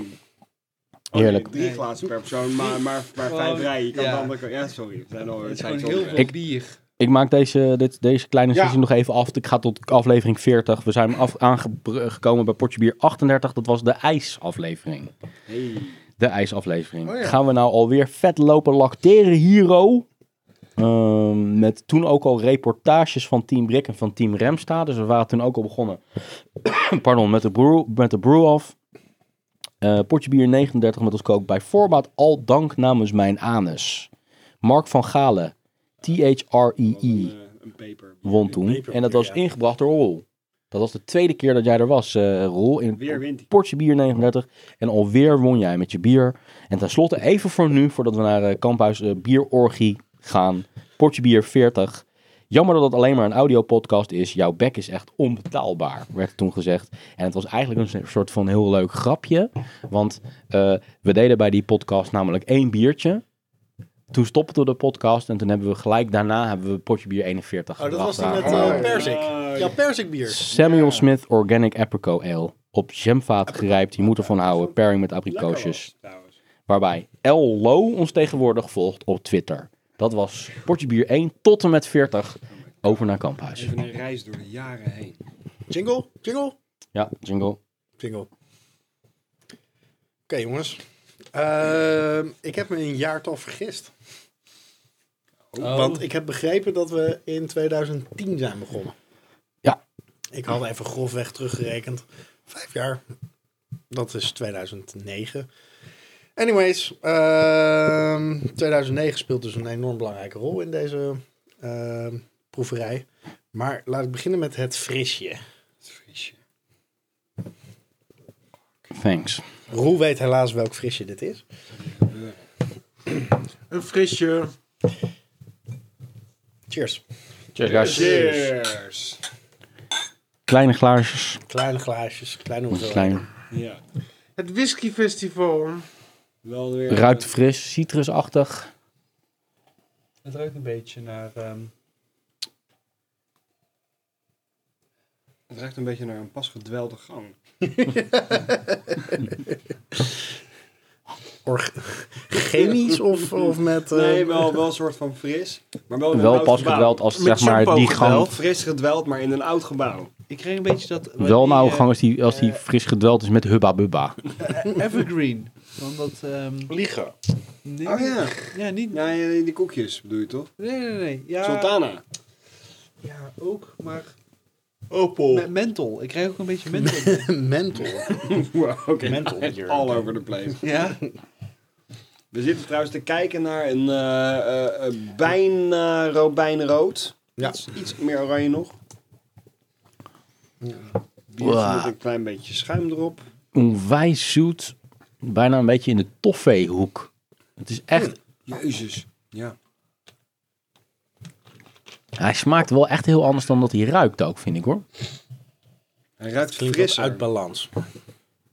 S6: Oh,
S1: Heerlijk.
S6: Nee, drie glazen per persoon, maar, maar, maar vijf rijen. Je kan ja. Dan, ja, sorry. Het zijn al, het zijn
S10: Gewoon heel
S6: zo-
S10: veel
S1: Ik-
S10: bier.
S1: Ik maak deze, dit, deze kleine sessie nog even af. Ik ga tot aflevering 40. We zijn af, aangekomen bij Potje Bier 38. Dat was de ijsaflevering.
S6: Hey.
S1: De ijsaflevering.
S5: Oh ja.
S1: Gaan we nou alweer vet lopen lacteren hiero? Ehm, met toen ook al reportages van Team Brik en van Team Remsta. Dus we waren toen ook al begonnen pardon, met de brew, met de brew off. Eh, potje bier 39 met ons kook bij voorbaat. Al dank namens mijn anus. Mark van Galen. T-H-R-E-E
S6: Wat een, eh, een paper.
S1: won toen. En dat was ingebracht door Roel. Dat was de tweede keer dat jij er was, eh Roel. In
S6: Weer wint hij.
S1: Portje Bier 39. En alweer won jij met je bier. En tenslotte, even voor nu, voordat we naar eh, Kamphuis eh, Bierorgie gaan. Portje Bier 40. Jammer dat het alleen maar een audiopodcast is. Jouw bek is echt onbetaalbaar, werd toen gezegd. En het was eigenlijk een soort van heel leuk grapje. Want eh, we deden bij die podcast namelijk één biertje. Toen stopten we de podcast en toen hebben we gelijk daarna hebben we potje bier 41
S3: Oh, dat
S1: gebracht
S3: was die met
S1: daar.
S3: eh,
S5: Oh.
S3: persik. Ja, persikbier.
S1: Samuel Smith Organic Apricot Ale. Op jamvaat gerijpt, je moet ervan houden. Pairing met
S6: Lekker
S1: abrikoosjes.
S6: was, trouwens.
S1: Waarbij L. Low ons tegenwoordig volgt op Twitter. Dat was potje bier 1 tot en met 40. Over naar Kamphuis.
S6: Even een reis door de jaren heen.
S3: Jingle, jingle,
S1: Ja, jingle.
S3: jingle. Oké, jongens. Ehm, ik heb me een jaartal vergist. Want ik heb begrepen dat we in 2010 zijn begonnen.
S1: Ja.
S3: Ik had even grofweg teruggerekend. Vijf jaar. Dat is 2009. Anyways, ehm, 2009 speelt dus een enorm belangrijke rol in deze ehm, proeverij. Maar laat ik beginnen met het frisje.
S1: Thanks.
S3: Roel weet helaas welk frisje dit is.
S5: Een frisje.
S3: Cheers.
S6: Cheers!
S1: Kleine glaasjes.
S3: Kleine glaasjes, kleine
S1: want het is
S3: hoeveelheid.
S1: Klein.
S6: Ja,
S5: Het whiskyfestival.
S6: wel weer... eh,
S1: Ruikt fris, citrusachtig.
S10: Het ruikt een beetje naar... ehm,
S6: Het ruikt een beetje naar een pas gedwelde gang.
S3: Org- chemisch of, of met... eh,
S6: Nee, wel, wel een soort van fris. Maar wel in een
S1: Wel
S6: oud
S1: pas
S6: gebouw.
S1: gedweld als
S5: Met
S1: zeg maar
S5: shampoo
S1: die
S5: gedweld.
S1: gang.
S6: Wel fris gedweld, maar in een oud gebouw.
S10: ik kreeg een beetje dat...
S1: Wel nou een
S10: die,
S1: oude
S10: eh,
S1: gang als die, als die fris gedweld is met hubba bubba.
S10: Evergreen. Van dat... ehm,
S5: Liegen.
S10: nee,
S6: Oh ja.
S10: Ja, niet...
S6: Ja, ja, die koekjes bedoel je toch?
S10: Nee, nee, nee. Ja,
S6: Sultana.
S10: ja ook, maar...
S5: Opel.
S10: Met menthol. Ik krijg ook een beetje menthol.
S3: menthol.
S6: Wow, oké.
S3: Mental
S6: Echt
S3: hier.
S6: All over the place.
S10: ja?
S6: We zitten trouwens te kijken naar een eh, eh, eh, bijna robijnrood.
S3: Ja.
S6: Iets, iets meer oranje nog. Biertje
S1: Wow.
S6: met een klein beetje schuim erop.
S1: Onwijs zoet. Bijna een beetje in de toffeehoek. Het is echt
S6: Jezus. Ja.
S1: Hij smaakt wel echt heel anders dan dat hij ruikt ook, vind ik hoor.
S6: Hij ruikt
S3: Klinkt wat
S6: fris
S3: uit balans.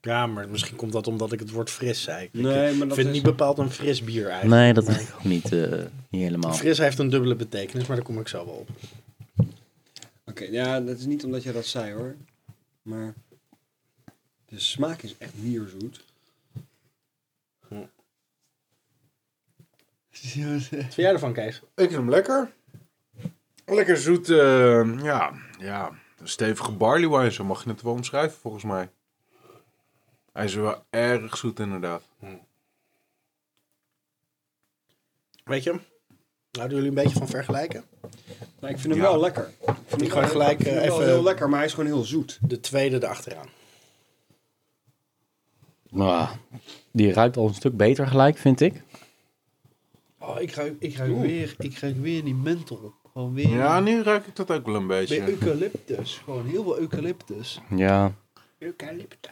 S3: Ja, maar misschien komt dat omdat ik het woord fris zei. Ik eh,
S6: Nee, maar
S3: vind
S6: dat
S3: het
S6: is...
S3: niet bepaald een fris bier eigenlijk.
S1: Nee, dat is ook niet, eh, niet helemaal.
S3: Fris heeft een dubbele betekenis, maar daar kom ik zo wel op.
S6: Oké, ja, dat is niet omdat jij dat zei hoor. Maar De smaak is echt nierzoet.
S3: Wat vind jij ervan, Kees?
S5: Ik vind hem lekker. Lekker zoet, eh, ja, ja, een stevige barley wine, zo mag je het wel omschrijven volgens mij. Hij is wel erg zoet inderdaad.
S3: Weet je hem? Houden jullie een beetje van vergelijken?
S6: Maar ik vind hem
S5: Ja.
S6: wel lekker. Ik vind hem
S3: gewoon
S6: wel-
S3: gelijk,
S6: ik vind hem
S3: eh,
S6: wel
S3: even-
S6: heel lekker, maar hij is gewoon heel zoet.
S3: De tweede erachteraan.
S1: Nou, die ruikt al een stuk beter gelijk, vind ik.
S10: Oh, ik ruik, ik ruik weer, ik ruik weer die menthol. Gewoon weer.
S5: Ja, nu ruik ik dat ook wel een
S10: Weer
S5: Mm. beetje.
S10: eucalyptus. Gewoon heel veel eucalyptus.
S1: Ja.
S6: Eucalyptus.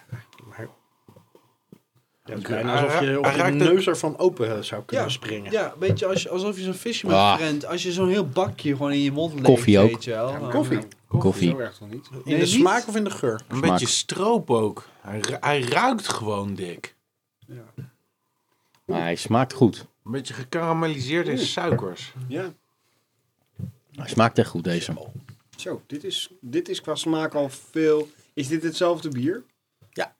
S3: Ja, het is
S5: Oké,
S3: bijna
S5: hij
S3: alsof je
S5: raakt-
S3: of
S5: hij
S3: je
S5: raakt
S3: de
S5: het-
S3: neus ervan open eh, zou kunnen springen.
S10: Ja, een beetje als, alsof je zo'n visje met
S1: Ah.
S10: friend. Als je zo'n heel bakje gewoon in je mond leegt.
S1: Koffie ook.
S10: Weet je wel. Dan-
S6: Koffie.
S1: Koffie.
S6: Zo erg toch niet?
S3: In
S10: Nee,
S3: de
S10: niet.
S3: smaak of in de geur?
S5: Een
S1: Smaak.
S5: beetje stroop ook. Hij, ru- hij ruikt gewoon dik.
S1: Maar hij smaakt goed.
S5: Een beetje gekarameliseerd in suikers.
S6: Ja.
S1: Hij smaakt echt goed, deze.
S6: Zo, dit is, dit is qua smaak al veel. Is dit hetzelfde bier?
S3: Ja.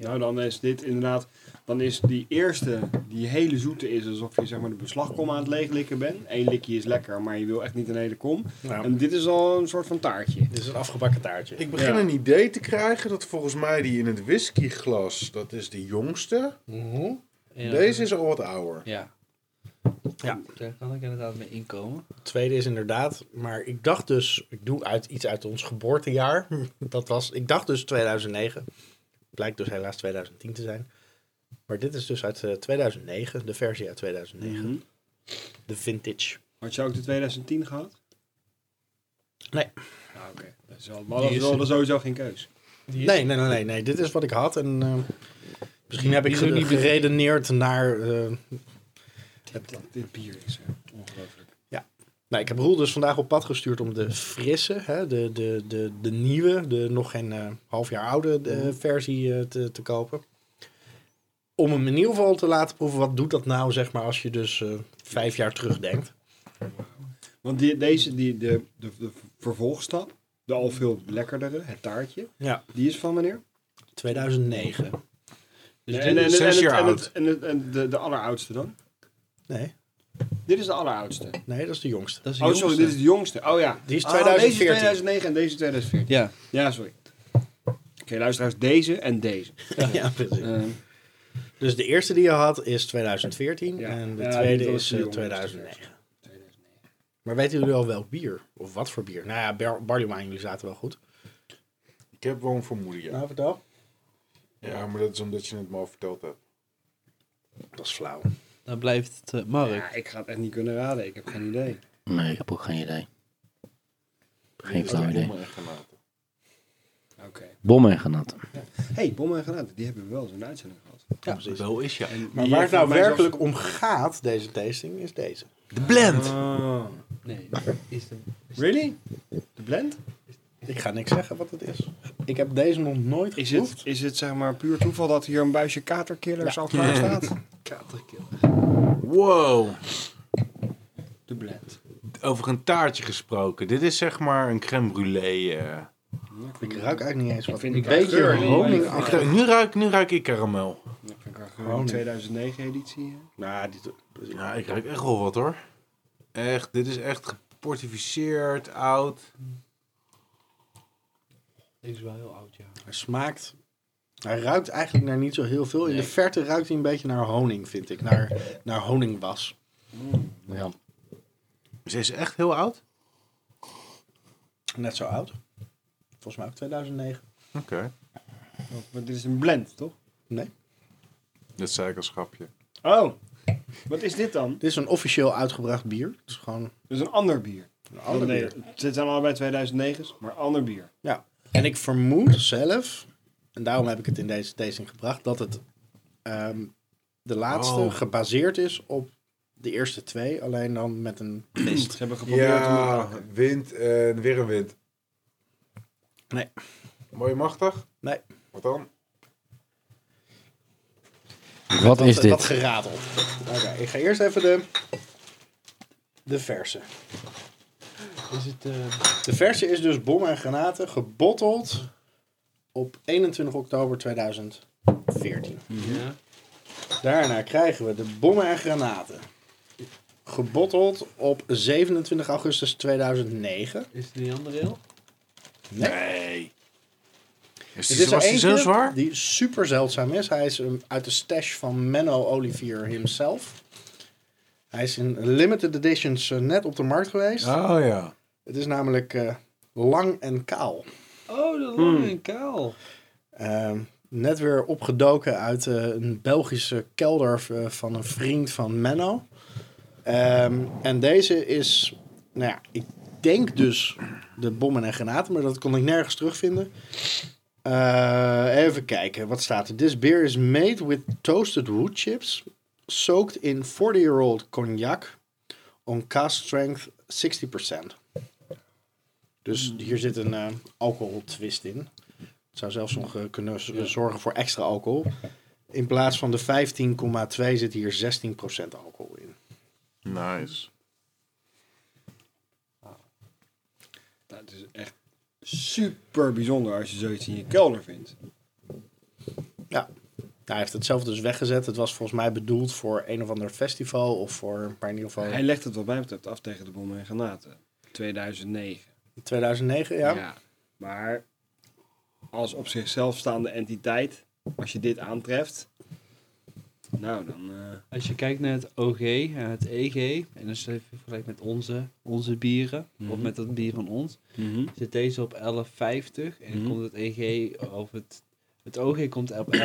S6: Nou, dan is dit inderdaad. Dan is die eerste, die hele zoete, is alsof je zeg maar de beslagkom aan het leeglikken bent. Eén likje is lekker, maar je wil echt niet een hele kom.
S3: Nou,
S6: En dit is al een soort van taartje.
S3: dit is een afgebakken taartje.
S5: Ik begin een idee te krijgen dat volgens mij die in het whiskyglas, dat is de jongste.
S3: Mhm.
S10: Ja.
S5: Deze is al wat ouder.
S10: Ja.
S3: Ja.
S10: Daar kan ik inderdaad mee inkomen.
S3: De tweede is inderdaad, maar ik dacht dus, ik doe uit, iets uit ons geboortejaar. Dat was, ik dacht dus 2009. Blijkt dus helaas 2010 te zijn. Maar dit is dus uit eh, 2009, de versie uit 2009.
S6: Mhm.
S3: De vintage.
S6: Had je ook de 2010 gehad?
S3: Nee.
S6: Ah, oké. Dat is wel, maar dat is wel dat is sowieso geen keus.
S3: Nee, nee, nee, nee, nee. Dit is wat ik had. En eh, misschien heb ik
S10: is ook
S3: ge-
S10: niet-
S3: geredeneerd naar. eh,
S6: Dit, dit bier is eh, ongelooflijk.
S3: nou, ik heb Roel dus vandaag op pad gestuurd om de frisse, hè, de, de, de, de nieuwe, de nog geen eh, half jaar oude eh, versie eh, te, te kopen. Om hem in ieder geval te laten proeven. Wat doet dat nou, zeg maar, als je dus eh, vijf jaar terugdenkt?
S6: Want die, deze, die, de, de, de vervolgstap, de al veel lekkerdere, het taartje,
S3: Ja.
S6: die is van wanneer?
S3: 2009.
S6: Dus
S5: dit is zes jaar
S6: en,
S5: oud.
S6: het- en, het- en de, de alleroudste dan?
S3: Nee,
S6: Dit is de alleroudste.
S3: nee, dat is de jongste.
S10: Dat is
S6: Oh, sorry, dit is de jongste. Oh ja.
S3: Die is
S6: Ah, deze
S3: 2014.
S6: is 2009 en deze 2014.
S10: Ja.
S6: Ja, sorry. Oké, luisteraars, deze en deze.
S3: Ja, precies.
S6: Eh,
S3: Dus de eerste die je had is 2014
S6: Ja.
S3: en de
S6: Ja,
S3: tweede
S6: die was
S3: is
S6: de
S3: eh,
S6: jongste.
S3: 2009. Maar weten jullie al welk bier? Of wat voor bier? Nou ja, bar- barley wine, jullie zaten wel goed.
S5: Ik heb wel een vermoeden, ja.
S3: vertel.
S5: Ja, maar dat is omdat je het me al verteld hebt.
S3: Dat is flauw.
S10: Dan blijft het eh, Mark.
S6: ja, ik ga het echt niet kunnen raden. Ik heb geen idee.
S1: Nee, ik heb ook geen idee. Geen
S5: Dat is
S3: Oh,
S1: flauw
S5: een
S1: idee.
S5: bommen en granaten.
S6: Oké.
S1: Bommen en granaten.
S6: hey, bommen en granaten, die hebben we wel eens in de uitzending gehad.
S3: Ja, precies.
S5: Zo is ja.
S6: En
S3: Maar
S6: die
S3: waar het
S6: heeft
S3: nou
S6: volgens mij
S3: werkelijk om gaat, deze tasting, is deze.
S5: De blend!
S6: zelfs- Ah.
S10: Nee. Is de...
S6: Really? De blend?
S3: Ik ga niks zeggen wat het is. Ik heb deze nog nooit
S6: Is
S3: geproefd.
S6: het, is het zeg maar puur toeval dat hier een buisje katerkillers al klaar staat?
S5: Wow!
S6: De blend.
S5: Over een taartje gesproken. Dit is zeg maar een crème brûlée. eh.
S3: Ik ruik eigenlijk niet eens wat.
S6: vind
S3: Een
S6: ik haar geur
S3: beetje
S6: niet.
S3: honing
S5: Ik ruik- nu, ruik, nu ruik ik karamel.
S6: Dat vind ik wel gewoon 2009 editie. hè?
S3: Nou, dit,
S5: Ja, ik ruik echt wel wat hoor. Echt, dit is echt geportificeerd, oud.
S10: Deze is wel heel oud, ja.
S3: hij smaakt... Hij ruikt eigenlijk naar niet zo heel veel. In de verte ruikt hij een beetje naar honing, vind ik. Naar, naar honingwas. Ja.
S5: Ze is echt heel oud.
S3: Net zo oud. Volgens mij ook 2009.
S5: Oké.
S6: Want dit is een blend, toch?
S3: Nee.
S5: Dat zei ik als grapje.
S6: Oh, wat is dit dan?
S3: Dit is een officieel uitgebracht bier. Het is gewoon
S6: Dit is een ander bier.
S3: een ander
S6: Nee,
S3: bier.
S6: Dit zijn allebei 2009's, maar ander bier.
S3: Ja. En ik vermoed zelf, en daarom heb ik het in deze tasting gebracht, dat het ehm, de laatste
S5: Oh.
S3: gebaseerd is op de eerste twee, alleen dan met een
S6: Ze hebben geprobeerd om...
S5: Ja, wind en weer een wind.
S3: Nee.
S5: Mooi machtig.
S3: Nee.
S5: Wat dan?
S1: Wat is
S3: wat
S1: dit?
S3: gerateld. Oké, ik ga eerst even de, de verse.
S10: Is het... eh,
S3: De verse is dus bom en granaten, gebotteld op 21 oktober 2014. Daarna krijgen we de bommen en granaten. Gebotteld op 27 augustus 2009.
S4: Is het niet andere heel?
S5: Nee. Is
S3: Het
S5: die,
S3: is er
S5: was die zo
S3: eentje
S5: zwaar?
S3: die super zeldzaam is. Hij is um, uit de stash van Menno Olivier himself. Hij is in limited editions eh, net op de markt geweest.
S5: Oh ja.
S3: Het is namelijk eh, lang en kaal.
S4: Oh, de lange en kaal.
S3: Ehm, net weer opgedoken uit eh, een Belgische kelder eh, van een vriend van Menno. Ehm, en deze is, nou ja, ik denk dus de bommen en granaten, maar dat kon ik nergens terugvinden. Eh, even kijken, wat staat er? This beer is made with toasted wood chips, soaked in 40-year-old cognac, on cast strength 60%. Dus hier zit een eh, alcohol twist in. Het zou zelfs nog eh, kunnen z- zorgen voor extra alcohol. In plaats van de 15,2 zit hier 16% alcohol in.
S5: Nice.
S6: Nou, het is echt super bijzonder als je zoiets in je kelder vindt.
S3: Ja. Nou, hij heeft het zelf dus weggezet. Het was volgens mij bedoeld voor een of ander festival of voor maar in ieder geval
S6: Hij legt het wat mij betreft af tegen de bommen en granaten. 2009.
S3: 2009, ja.
S6: Maar als op zichzelf staande entiteit, als je dit aantreft, nou dan... eh,
S4: Als je kijkt naar het OG en het EG, en als je het vergelijkt met onze, onze bieren, of met dat bier van ons, zit deze op 11,50 en dan
S6: Mhm.
S4: komt het EG of het, het OG komt op 11,50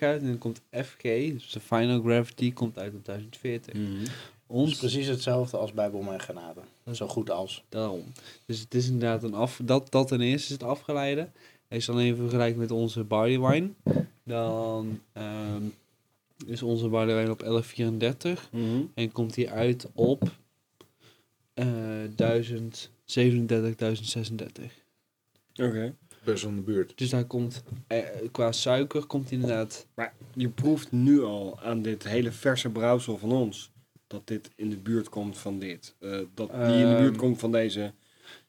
S4: uit en dan komt FG, dus de Final Gravity, komt uit op 1040.
S6: Mhm.
S3: Het is
S4: Ons
S3: Dus precies hetzelfde als bij bommen en granaten. Zo goed als.
S4: daarom. Dus het is inderdaad een af, dat, dat ten eerste is het afgeleide. Als je dan even vergelijkt met onze barley wine, dan ehm, is onze barley wine op 11,34 En komt die uit op eh 1037, 1036.
S6: Oké.
S5: Best aan de buurt.
S4: Dus daar komt, eh, qua suiker komt die inderdaad...
S6: Maar je proeft nu al aan dit hele verse brouwsel van ons, dat dit in de buurt komt van dit. Eh, dat die in de
S4: Ehm,
S6: buurt komt van deze.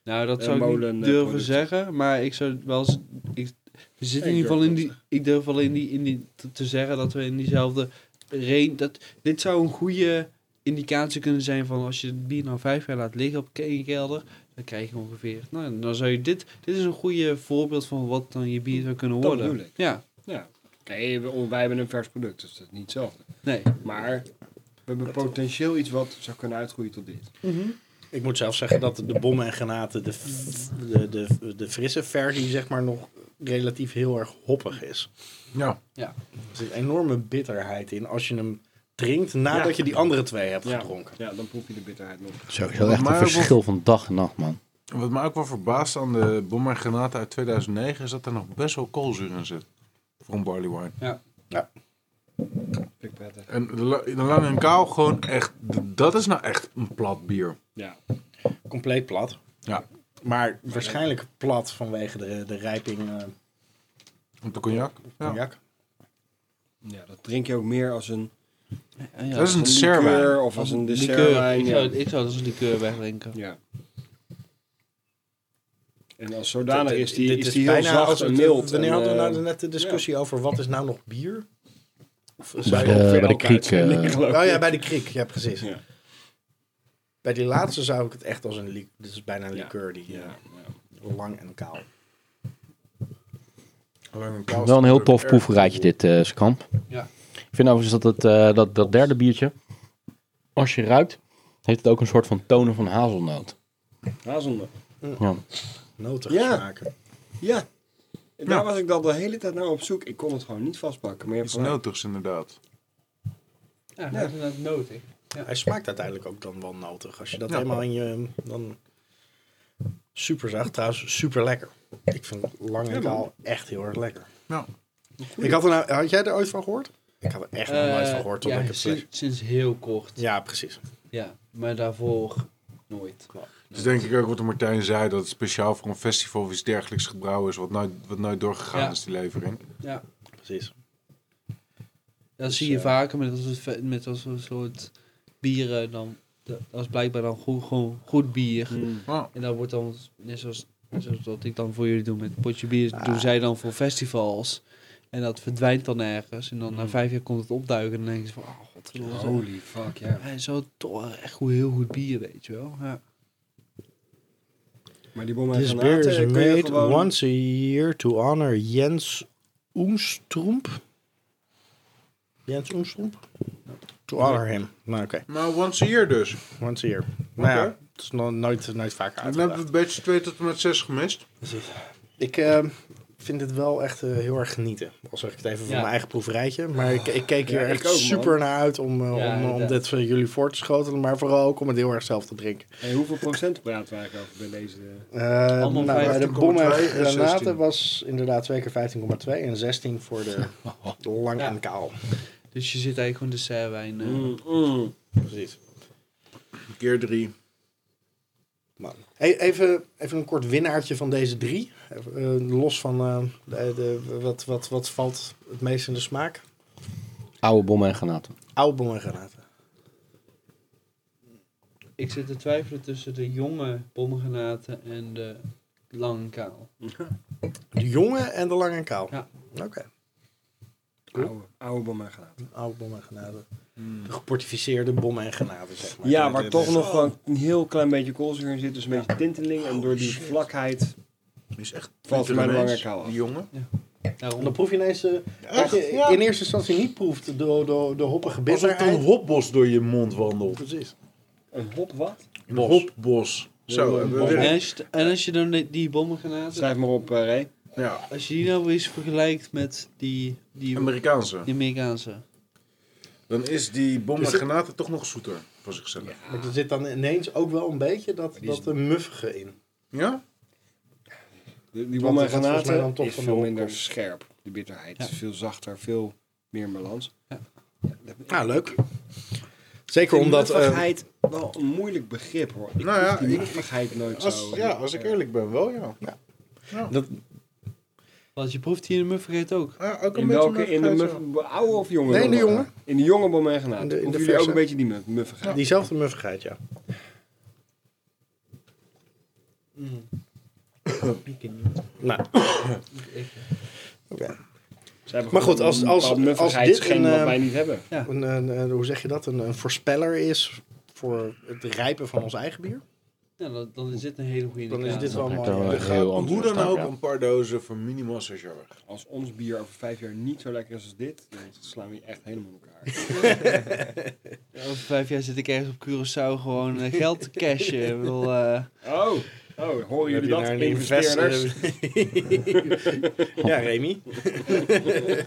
S4: Nou, dat
S6: Eh,
S4: zou ik
S6: molen,
S4: niet
S6: eh,
S4: durven
S6: producten.
S4: zeggen. Maar ik zou wel... z- Ik, we
S6: Ik
S4: zitten in ieder
S6: durf
S4: geval in
S6: dat
S4: die... Ik durf wel in die, in die te, te zeggen dat we in diezelfde... Re, dat, dit zou een goede indicatie kunnen zijn van... Als je het bier nou vijf jaar laat liggen op een kelder... Dan krijg je ongeveer... Nou, dan zou je dit... Dit is een goede voorbeeld van wat dan je bier zou kunnen
S6: Dat
S4: worden.
S6: bedoel ik.
S4: Ja,
S6: Ja. Kijk, we- wij hebben een vers product, dus dat is niet hetzelfde.
S4: nee.
S6: Maar we hebben potentieel iets wat zou kunnen uitgroeien tot dit.
S3: Ik moet zelf zeggen dat de bommen en granaten, de, f- de, de, de frisse versie, zeg maar, nog relatief heel erg hoppig is.
S5: Ja.
S3: Er zit enorme bitterheid in als je hem drinkt nadat
S6: Ja.
S3: je die andere twee hebt
S6: Ja.
S3: gedronken.
S6: Ja, dan proef je de bitterheid nog.
S1: Sowieso
S5: echt
S1: echt
S5: een
S1: een
S5: Maar- verschil
S1: verschil van dag en nacht, man.
S5: Wat mij ook wel verbaast aan de Bomber Granata uit 2009 is dat er nog best wel koolzuur in zit. Voor een barley wine.
S6: Vind ik prettig.
S5: En de, la- de lange en kaal gewoon echt, dat is nou echt een plat bier.
S6: Ja.
S3: Compleet plat.
S5: Ja.
S3: Maar waarschijnlijk plat vanwege de, de rijping eh
S5: Op de cognac. Ja.
S3: cognac.
S6: ja, dat drink je ook meer als een,
S4: Ja,
S5: Dat is een
S6: als
S5: serwijn.
S6: liqueur of als een
S4: dus, Liqueur.
S6: dessertwijn.
S4: Ik
S6: Ja.
S4: zou, ik zou dat als een liqueur wegdrinken.
S6: ja. En als zodanig
S3: Dit-
S6: is die,
S3: dit
S6: is die heel zacht
S3: als-
S6: en mild.
S3: Wanneer
S6: en,
S3: hadden we
S6: eh,
S3: nou net de discussie over wat is nou nog bier? Of
S1: Bij
S3: zou je-
S1: de,
S6: Ongeveer
S1: bij de
S6: elke
S1: kriek. eh,
S6: uitzending, geloof
S3: oh
S6: ik.
S3: ja, bij de kriek. Ja, precies.
S6: Ja.
S3: Bij die laatste zou ik het echt als een liqueur... Dit is bijna een
S6: Ja.
S3: liqueur die
S6: Ja,
S3: eh, lang en kaal.
S5: Lang en kaal
S1: Wel een heel
S5: staat er
S1: tof
S5: erg
S1: proefrijtje
S5: op.
S1: dit, eh Skamp.
S4: Ja.
S1: Ik vind overigens dat, het, eh, dat dat derde biertje, als je ruikt, heeft het ook een soort van tonen van hazelnoot.
S6: Hazelnoot.
S1: Ja.
S3: Notig
S6: Ja.
S3: smaken.
S6: Ja. En Daar was ik dan de hele tijd naar op zoek. Ik kon het gewoon niet vastpakken. Maar je hebt
S5: Iets
S6: gelijk.
S5: notigs inderdaad.
S4: Ja, dat is inderdaad nodig.
S3: Hij smaakt uiteindelijk ook dan wel notig. Als je dat
S5: Ja.
S3: helemaal in je... Dan... Super zacht, trouwens super lekker. Ik vind lang en kaal echt heel erg lekker.
S5: Ja.
S3: Ik had, er nou, had jij er ooit van gehoord? Eh, Ik had er echt nog nooit van gehoord. Tot
S4: ja,
S3: ik het
S4: sinds, sinds heel kort. Ja.
S3: ja, precies.
S4: maar daarvoor nooit.
S5: Dus denk ik ook wat de Martijn zei, dat het speciaal voor een festival of iets dergelijks gebrouwen is, wat nooit, wat nooit doorgegaan
S4: Ja.
S5: is, die levering.
S4: Ja.
S3: precies.
S4: Dat zie je vaker met dat soort, ve- met dat soort soort bieren. Dan, dat is blijkbaar dan goed, gewoon goed bier.
S5: Ja.
S4: En dat wordt dan, net zoals Zoals wat ik dan voor jullie doe met potje bier, doen zij dan voor festivals. En dat verdwijnt dan ergens. En dan na vijf jaar komt het opduiken en dan denk je van, oh god, zo,
S6: Holy fuck, ja.
S4: en zo toch echt goed, heel goed bier, weet je wel. Ja.
S6: Maar die bommen en
S3: This beer is
S6: granaten kun je
S3: made
S6: gewoon...
S3: once a year to honor Jens Oemstromp. Jens Oemstromp? To honor him. Nou, oké.
S5: Maar once a year dus.
S3: Once a year. Nou ja,
S5: Oké.
S3: het is nog nooit, nooit vaak
S5: En dan hebben
S3: uitgedaagd.
S5: we badge 2 tot en met 6 gemist.
S3: Ik eh, vind het wel echt eh, heel erg genieten. Al zeg ik het even voor mijn eigen proeverijtje. Maar ik, ik keek hier
S6: Ja,
S3: echt
S6: ik ook, man.
S3: super naar uit om, eh, om, eh, om dit voor jullie voor te schotelen. Maar vooral ook om het heel erg zelf te drinken.
S6: Hey, hoeveel procent praten we eigenlijk over bij deze... eh,
S3: Eh nou, bij de
S5: 15,2
S3: bommen
S5: en
S3: en granaten
S5: 16.
S3: was inderdaad twee keer 15,2 en 16 voor de lang en kaal.
S4: Dus je zit eigenlijk gewoon dessertwijn. eh
S3: Mm.
S6: Mm,
S3: Precies.
S5: Keer 3.
S3: Man. Hey, E-, even, even een kort winnaartje van deze drie. Even, eh, los van eh, de, de- wat, wat, wat valt het meest in de smaak?
S1: Oude bommen en granaten.
S3: Oude bommen en granaten.
S4: Ik zit te twijfelen tussen de jonge bomgranaten en de lang en kaal.
S3: De jonge en de lang en kaal.
S4: Ja.
S3: Oké.
S6: Oude, oude bommen en granaten.
S3: Oude bommen en granaten. De geportificeerde bommen en granaten, zeg maar.
S6: Ja,
S3: Dit-
S6: waar
S3: dit
S6: toch
S3: is- Oh.
S6: nog gewoon een heel klein beetje koolzuur in zit. Dus een beetje tinteling. En door die vlakheid
S5: Is echt
S6: valt het mij
S5: Mens,
S6: langer kou
S5: Die
S6: af.
S5: jongen.
S3: En dan proef je ineens... eh, wat je
S5: ja.
S3: In eerste instantie niet proeft de, de, de hoppige
S5: Alsof er een
S3: bitterheid.
S5: hopbos door je mond wandelt.
S3: Precies.
S6: Een hop wat?
S5: Een hopbos. Zo, hebben we
S4: En
S5: weer-
S4: als, je, en als je dan die- die bomgranaten,
S6: Schrijf maar op, eh, Ray.
S5: Ja,
S4: als je die nou eens vergelijkt met die, die,
S5: Amerikaanse.
S4: die Amerikaanse.
S5: Dan is die bom en granaten toch nog zoeter voor zichzelf. Ja?
S3: Maar er zit dan ineens ook wel een beetje dat, dat eh, muffige in.
S6: Die, die bommen en
S3: Want dat is volgens mij
S6: granaten
S3: dan toch
S6: is
S3: van
S6: veel
S3: de
S6: minder
S3: opkomst.
S6: scherp. De bitterheid.
S4: Ja.
S6: Veel zachter, veel meer in balans. Ja, dat-
S3: Nou, leuk.
S6: Ik
S3: Zeker
S6: vind
S3: omdat... eh,
S6: muffigheid wel een moeilijk begrip hoor. Ik
S5: Nou
S6: proef
S5: ja,
S6: die
S5: ik-
S6: muffigheid nooit
S5: Als,
S6: zo. Eh,
S5: ja, als ik eerlijk ben, wel ja.
S3: dat,
S4: Want je proeft hier de muffigheid ook.
S5: Ja, ook een
S6: In
S5: beetje
S6: welke? In de
S5: muffigheid, ja.
S6: muff, oude of jonge?
S3: Nee, in de
S6: bommen?
S3: jonge.
S6: In de jonge bommen en
S3: In
S6: granaten.
S3: de- in de
S6: Proeven jullie ook
S3: verse.
S6: een beetje die muff- muffigheid?
S3: Diezelfde muffigheid, ja. Nou. Oké.
S6: Ze hebben
S3: Maar
S6: gewoon
S3: goed, als-
S6: een
S3: als- als
S6: bepaald muffigheidsschema
S3: dit een,
S6: wat
S3: eh,
S6: wij niet hebben.
S3: Een, een, een- hoe zeg je dat? Een, een voorspeller is voor het rijpen van ons eigen bier.
S4: Ja, dan, dan is dit een hele goede
S3: Dan is dit wel
S1: dat
S3: mooi.
S1: lijkt wel
S3: Ja.
S5: Er
S1: Heel
S5: gaat
S1: anders
S5: hoe dan
S1: staan,
S5: ook
S1: ja.
S5: een paar dozen voor minimaal 6 jaar weg.
S6: Als ons bier over vijf jaar niet zo lekker is als dit, dan slaan we je echt helemaal in elkaar.
S4: Over vijf jaar zit ik ergens op Curaçao gewoon eh, geld te cashen. Ik bedoel, eh,
S6: Oh, oh horen
S3: Heb
S6: jullie
S3: je
S6: dat,
S3: daar een
S6: investeerders?
S3: ja, Remy.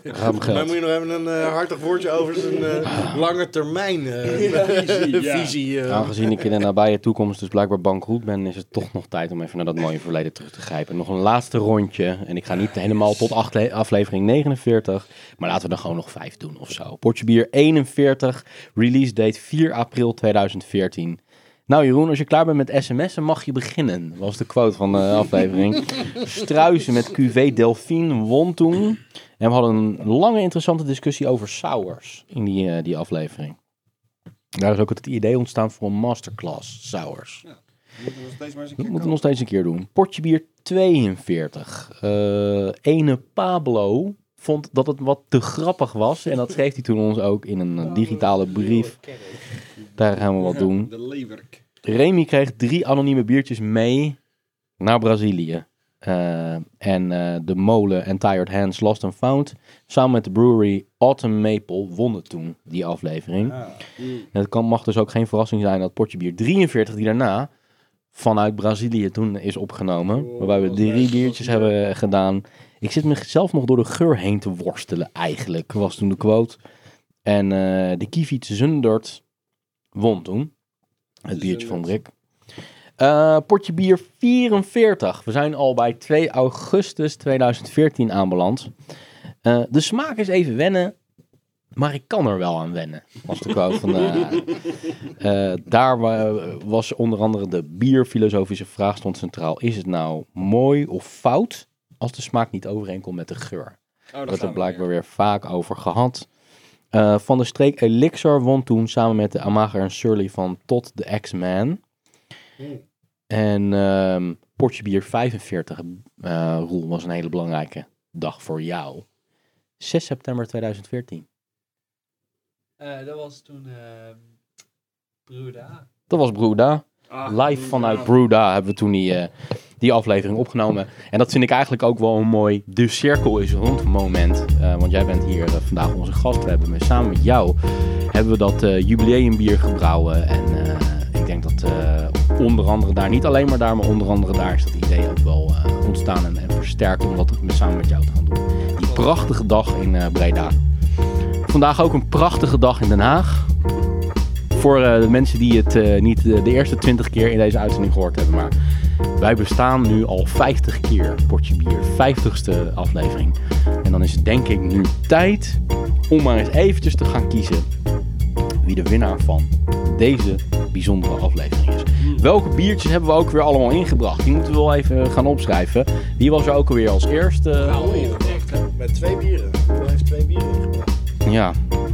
S1: Ruim
S3: Maar
S1: geld.
S3: moet je nog even een eh, hartig woordje over zijn eh, lange termijn eh,
S6: Visie, ja.
S3: visie. eh.
S1: Aangezien ik in de nabije toekomst dus blijkbaar bankroet ben, is het toch nog tijd om even naar dat mooie verleden terug te grijpen. Nog een laatste rondje. En ik ga niet helemaal tot acht le- aflevering 49. Maar laten we dan gewoon nog vijf doen of zo. Potje bier 41. Release date 4 april 2014. Nou Jeroen, als je klaar bent met sms'en mag je beginnen. Was de quote van de aflevering. Struisen met QV Delphine won toen. En we hadden een lange interessante discussie over sours in die, eh, die aflevering. Daar is ook het idee ontstaan voor een masterclass sours.
S6: We moeten nog steeds maar eens een
S1: Dat
S6: keer
S1: moeten we
S6: komen.
S1: nog steeds een keer doen. Portje bier 42. Eh, ene Pablo vond dat het wat te grappig was. En dat schreef hij toen ons ook in een eh, digitale brief. Daar gaan we wat doen.
S3: Mm-hmm.
S6: De leverk.
S1: Remy kreeg drie anonieme biertjes mee naar Brazilië. Eh, en eh, de molen en Tired Hands Lost and Found samen met de brewery Autumn Maple wonnen toen die aflevering.
S6: Ah.
S1: En het kan, mag dus ook geen verrassing zijn dat potje bier 43 die daarna vanuit Brazilië toen is opgenomen.
S6: Oh,
S1: waarbij we
S6: dat
S1: drie
S6: lijkt
S1: biertjes
S6: alsof je-
S1: hebben gedaan. Ik zit mezelf nog door de geur heen te worstelen eigenlijk, was toen de quote. En eh, de Kiviet Zundert won toen. Het biertje van Brik. Eh, potje bier 44. We zijn al bij 2 augustus 2014 aanbeland. Eh, de smaak is even wennen, maar ik kan er wel aan wennen. Was de quote van de- Eh, daar wa- was onder andere de bierfilosofische vraag stond centraal. Is het nou mooi of fout als de smaak niet overeenkomt met de geur?
S6: Oh,
S1: We
S6: dat
S1: hebben
S6: gaat
S1: het blijkbaar weer vaak over gehad. Eh, van de streek Elixir won toen samen met de Amager en Surly van Tot de X-Man. En ehm, Portje bier 45, eh Roel, was een hele belangrijke dag voor jou. 6 september 2014.
S10: Eh, dat was toen eh Bruda.
S1: Dat was Bruda. Live vanuit Bruda hebben we toen die, eh, die aflevering opgenomen. En dat vind ik eigenlijk ook wel een mooi de cirkel is rond moment. Eh, want jij bent hier eh, vandaag onze gast. We hebben met- samen met jou hebben we dat eh, jubileumbier gebrouwen. En eh, ik denk dat eh, onder andere daar, niet alleen maar daar, maar onder andere daar is dat idee ook wel eh, ontstaan en, en versterkt om dat ook met- samen met jou te gaan doen. Die prachtige dag in eh, Breda. Vandaag ook een prachtige dag in Den Haag. Voor eh, de mensen die het eh, niet de, de eerste 20 keer in deze uitzending gehoord hebben, maar wij bestaan nu al 50 keer Potje Bier, 50ste aflevering. En dan is het denk ik nu tijd om maar eens eventjes te gaan kiezen wie de winnaar van deze bijzondere aflevering is. Welke biertjes hebben we ook weer allemaal ingebracht? Die moeten we wel even gaan opschrijven. Wie was er ook alweer als eerste?
S10: Oh,
S4: Nou,
S3: Met twee bieren. Hij heeft twee bieren ingebracht.
S1: Ja,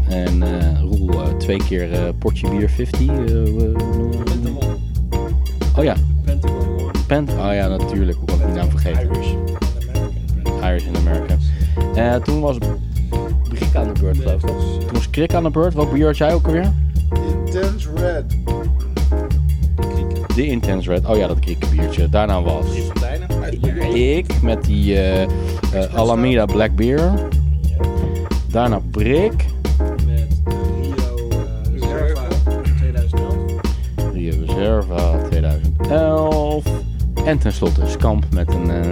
S1: en eh Roel eh, twee keer eh, potje bier 50. eh, we- oh ja, Pent. Oh ja, natuurlijk. Hoe kan ik die naam vergeten?
S3: Irish.
S1: Irish in America. Eh, toen was Brik aan de beurt, geloof ik. Toen was Krik aan de beurt. Welk bier had jij ook alweer?
S3: Intense Red.
S1: De Intense Red. Oh ja, dat Krikkenbiertje. Daarna was ik met die eh, eh, Alameda Black Beer. Daarna Brik.
S9: Met Rio Reserva
S10: Eh,
S9: 2011.
S1: Rio Reserva 2011. En tenslotte Skamp met een... eh,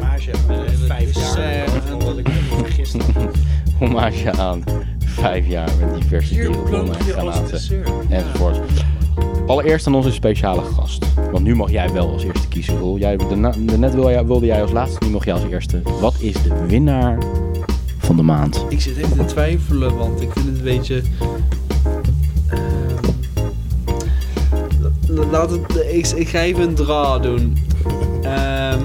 S3: Mage. Vijf jaar. Omdat ik me vergist had.
S1: hommage aan vijf jaar met diverse dierenbommen en granaten enzovoort. Allereerst aan onze speciale gast. Want nu mag jij wel als eerste kiezen, Roel. Jij, daarna- net wil jij- wilde jij als laatste, nu mag jij als eerste. Wat is de winnaar van de maand?
S10: Ik zit even te twijfelen, want ik vind het een beetje. ehm, la- Laat het, ik, ik ga even een dra doen. Ehm,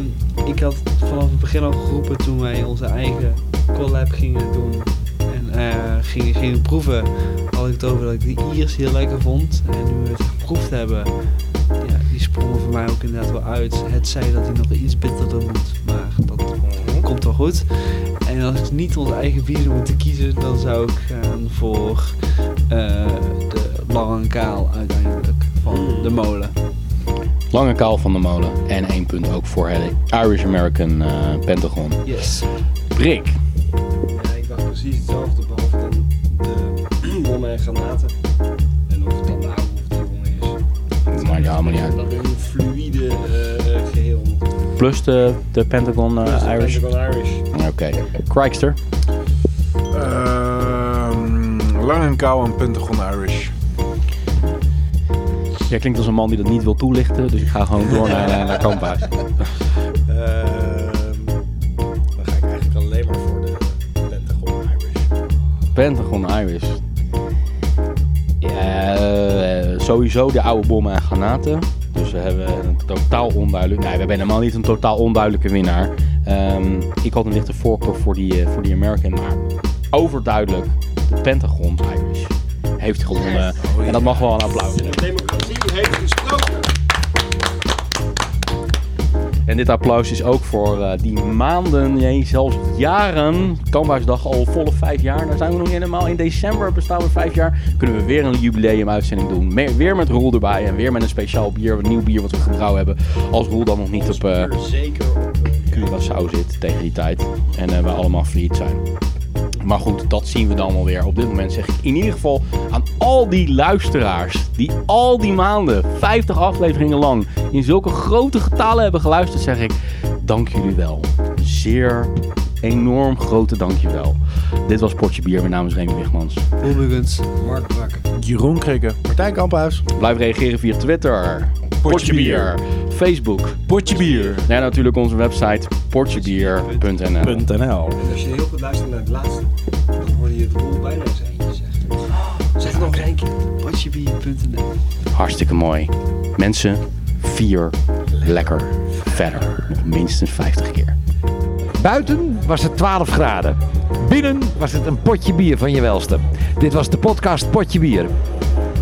S10: ik had vanaf het begin al geroepen toen wij onze eigen collab gingen doen en eh, gingen, gingen proeven. Had ik het over dat ik de Iers heel lekker vond. En nu we het geproefd hebben, ja, die sprongen voor mij ook inderdaad wel uit. Het zei dat hij nog iets bitterder moet, maar dat komt wel goed. En als ik niet onze eigen bier zou moeten kiezen, dan zou ik gaan voor eh, de lang en kaal uiteindelijk van de molen.
S1: Lange kaal van de molen. En één punt ook voor het Irish American eh, Pentagon.
S10: Yes.
S1: Rick.
S6: Ja, Ah, ik dacht precies hetzelfde, behalve dan de bommen en granaten. En of het dan de oude of de jonge is.
S1: Maar ja, maar niet uit.
S6: Dat is een fluïde eh, eh, geheel.
S1: Plus de, de Pentagon eh,
S6: Dus dan
S1: Irish.
S6: ben ik wel Irish.
S1: Oké. Krikster.
S5: Ehm, lang en kou en Pentagon Irish.
S1: Jij klinkt als een man die dat niet wil toelichten. Dus ik ga gewoon door naar, naar, naar Kamphuis.
S3: Ehm, dan ga ik eigenlijk alleen maar voor de Pentagon Irish.
S1: Pentagon Iris. Ja, eh, sowieso de oude bommen en granaten. Dus we hebben een totaal onduidelijk. Nee, we hebben helemaal niet een totaal onduidelijke winnaar. Ehm, ik had een lichte voorkeur voor die, eh, voor die American, maar overduidelijk de Pentagon Irish heeft gewonnen. En dat mag wel een applaus.
S6: De democratie heeft gesproken.
S1: En dit applaus is ook voor eh, die maanden, nee, zelfs jaren. Kamphuisdag al volle vijf jaar. Daar zijn we nog niet helemaal. In december bestaan we vijf jaar. Kunnen we weer een jubileumuitzending doen. Me- weer met Roel erbij en weer met een speciaal bier, een nieuw bier wat we gebrouwen hebben. Als Roel dan nog niet op eh
S6: Zeker op. eh,
S1: Curaçao zit tegen die tijd. En eh, we allemaal failliet zijn. Maar goed, dat zien we dan wel weer. Op dit moment zeg ik in ieder geval aan al die luisteraars. die al die maanden, 50 afleveringen lang. in zulke grote getalen hebben geluisterd. zeg ik: dank jullie wel. Een Zeer enorm grote dankjewel. Dit was Portje Bier. Mijn naam is Remy Wigmans.
S10: Hooligans.
S6: Mark Brak.
S5: Jeroen Krikken.
S3: Martijn Kamphuis.
S1: Blijf reageren via Twitter, Potje Bier, Facebook
S2: Potje bier.
S1: en natuurlijk onze website portjebier.nl.
S2: .nl.
S6: En eh, als je heel goed luistert naar het laatste, dan hoorde je het rol bijna eens eentje zeggen. Oh, Zeg het nog eens één keer.
S10: Potjebier.nl
S1: Hartstikke mooi. Mensen, vier lekker verder. Nog minstens 50 keer.
S11: Buiten was het 12 graden. Binnen was het een potje bier van je welste. Dit was de podcast Potje Bier.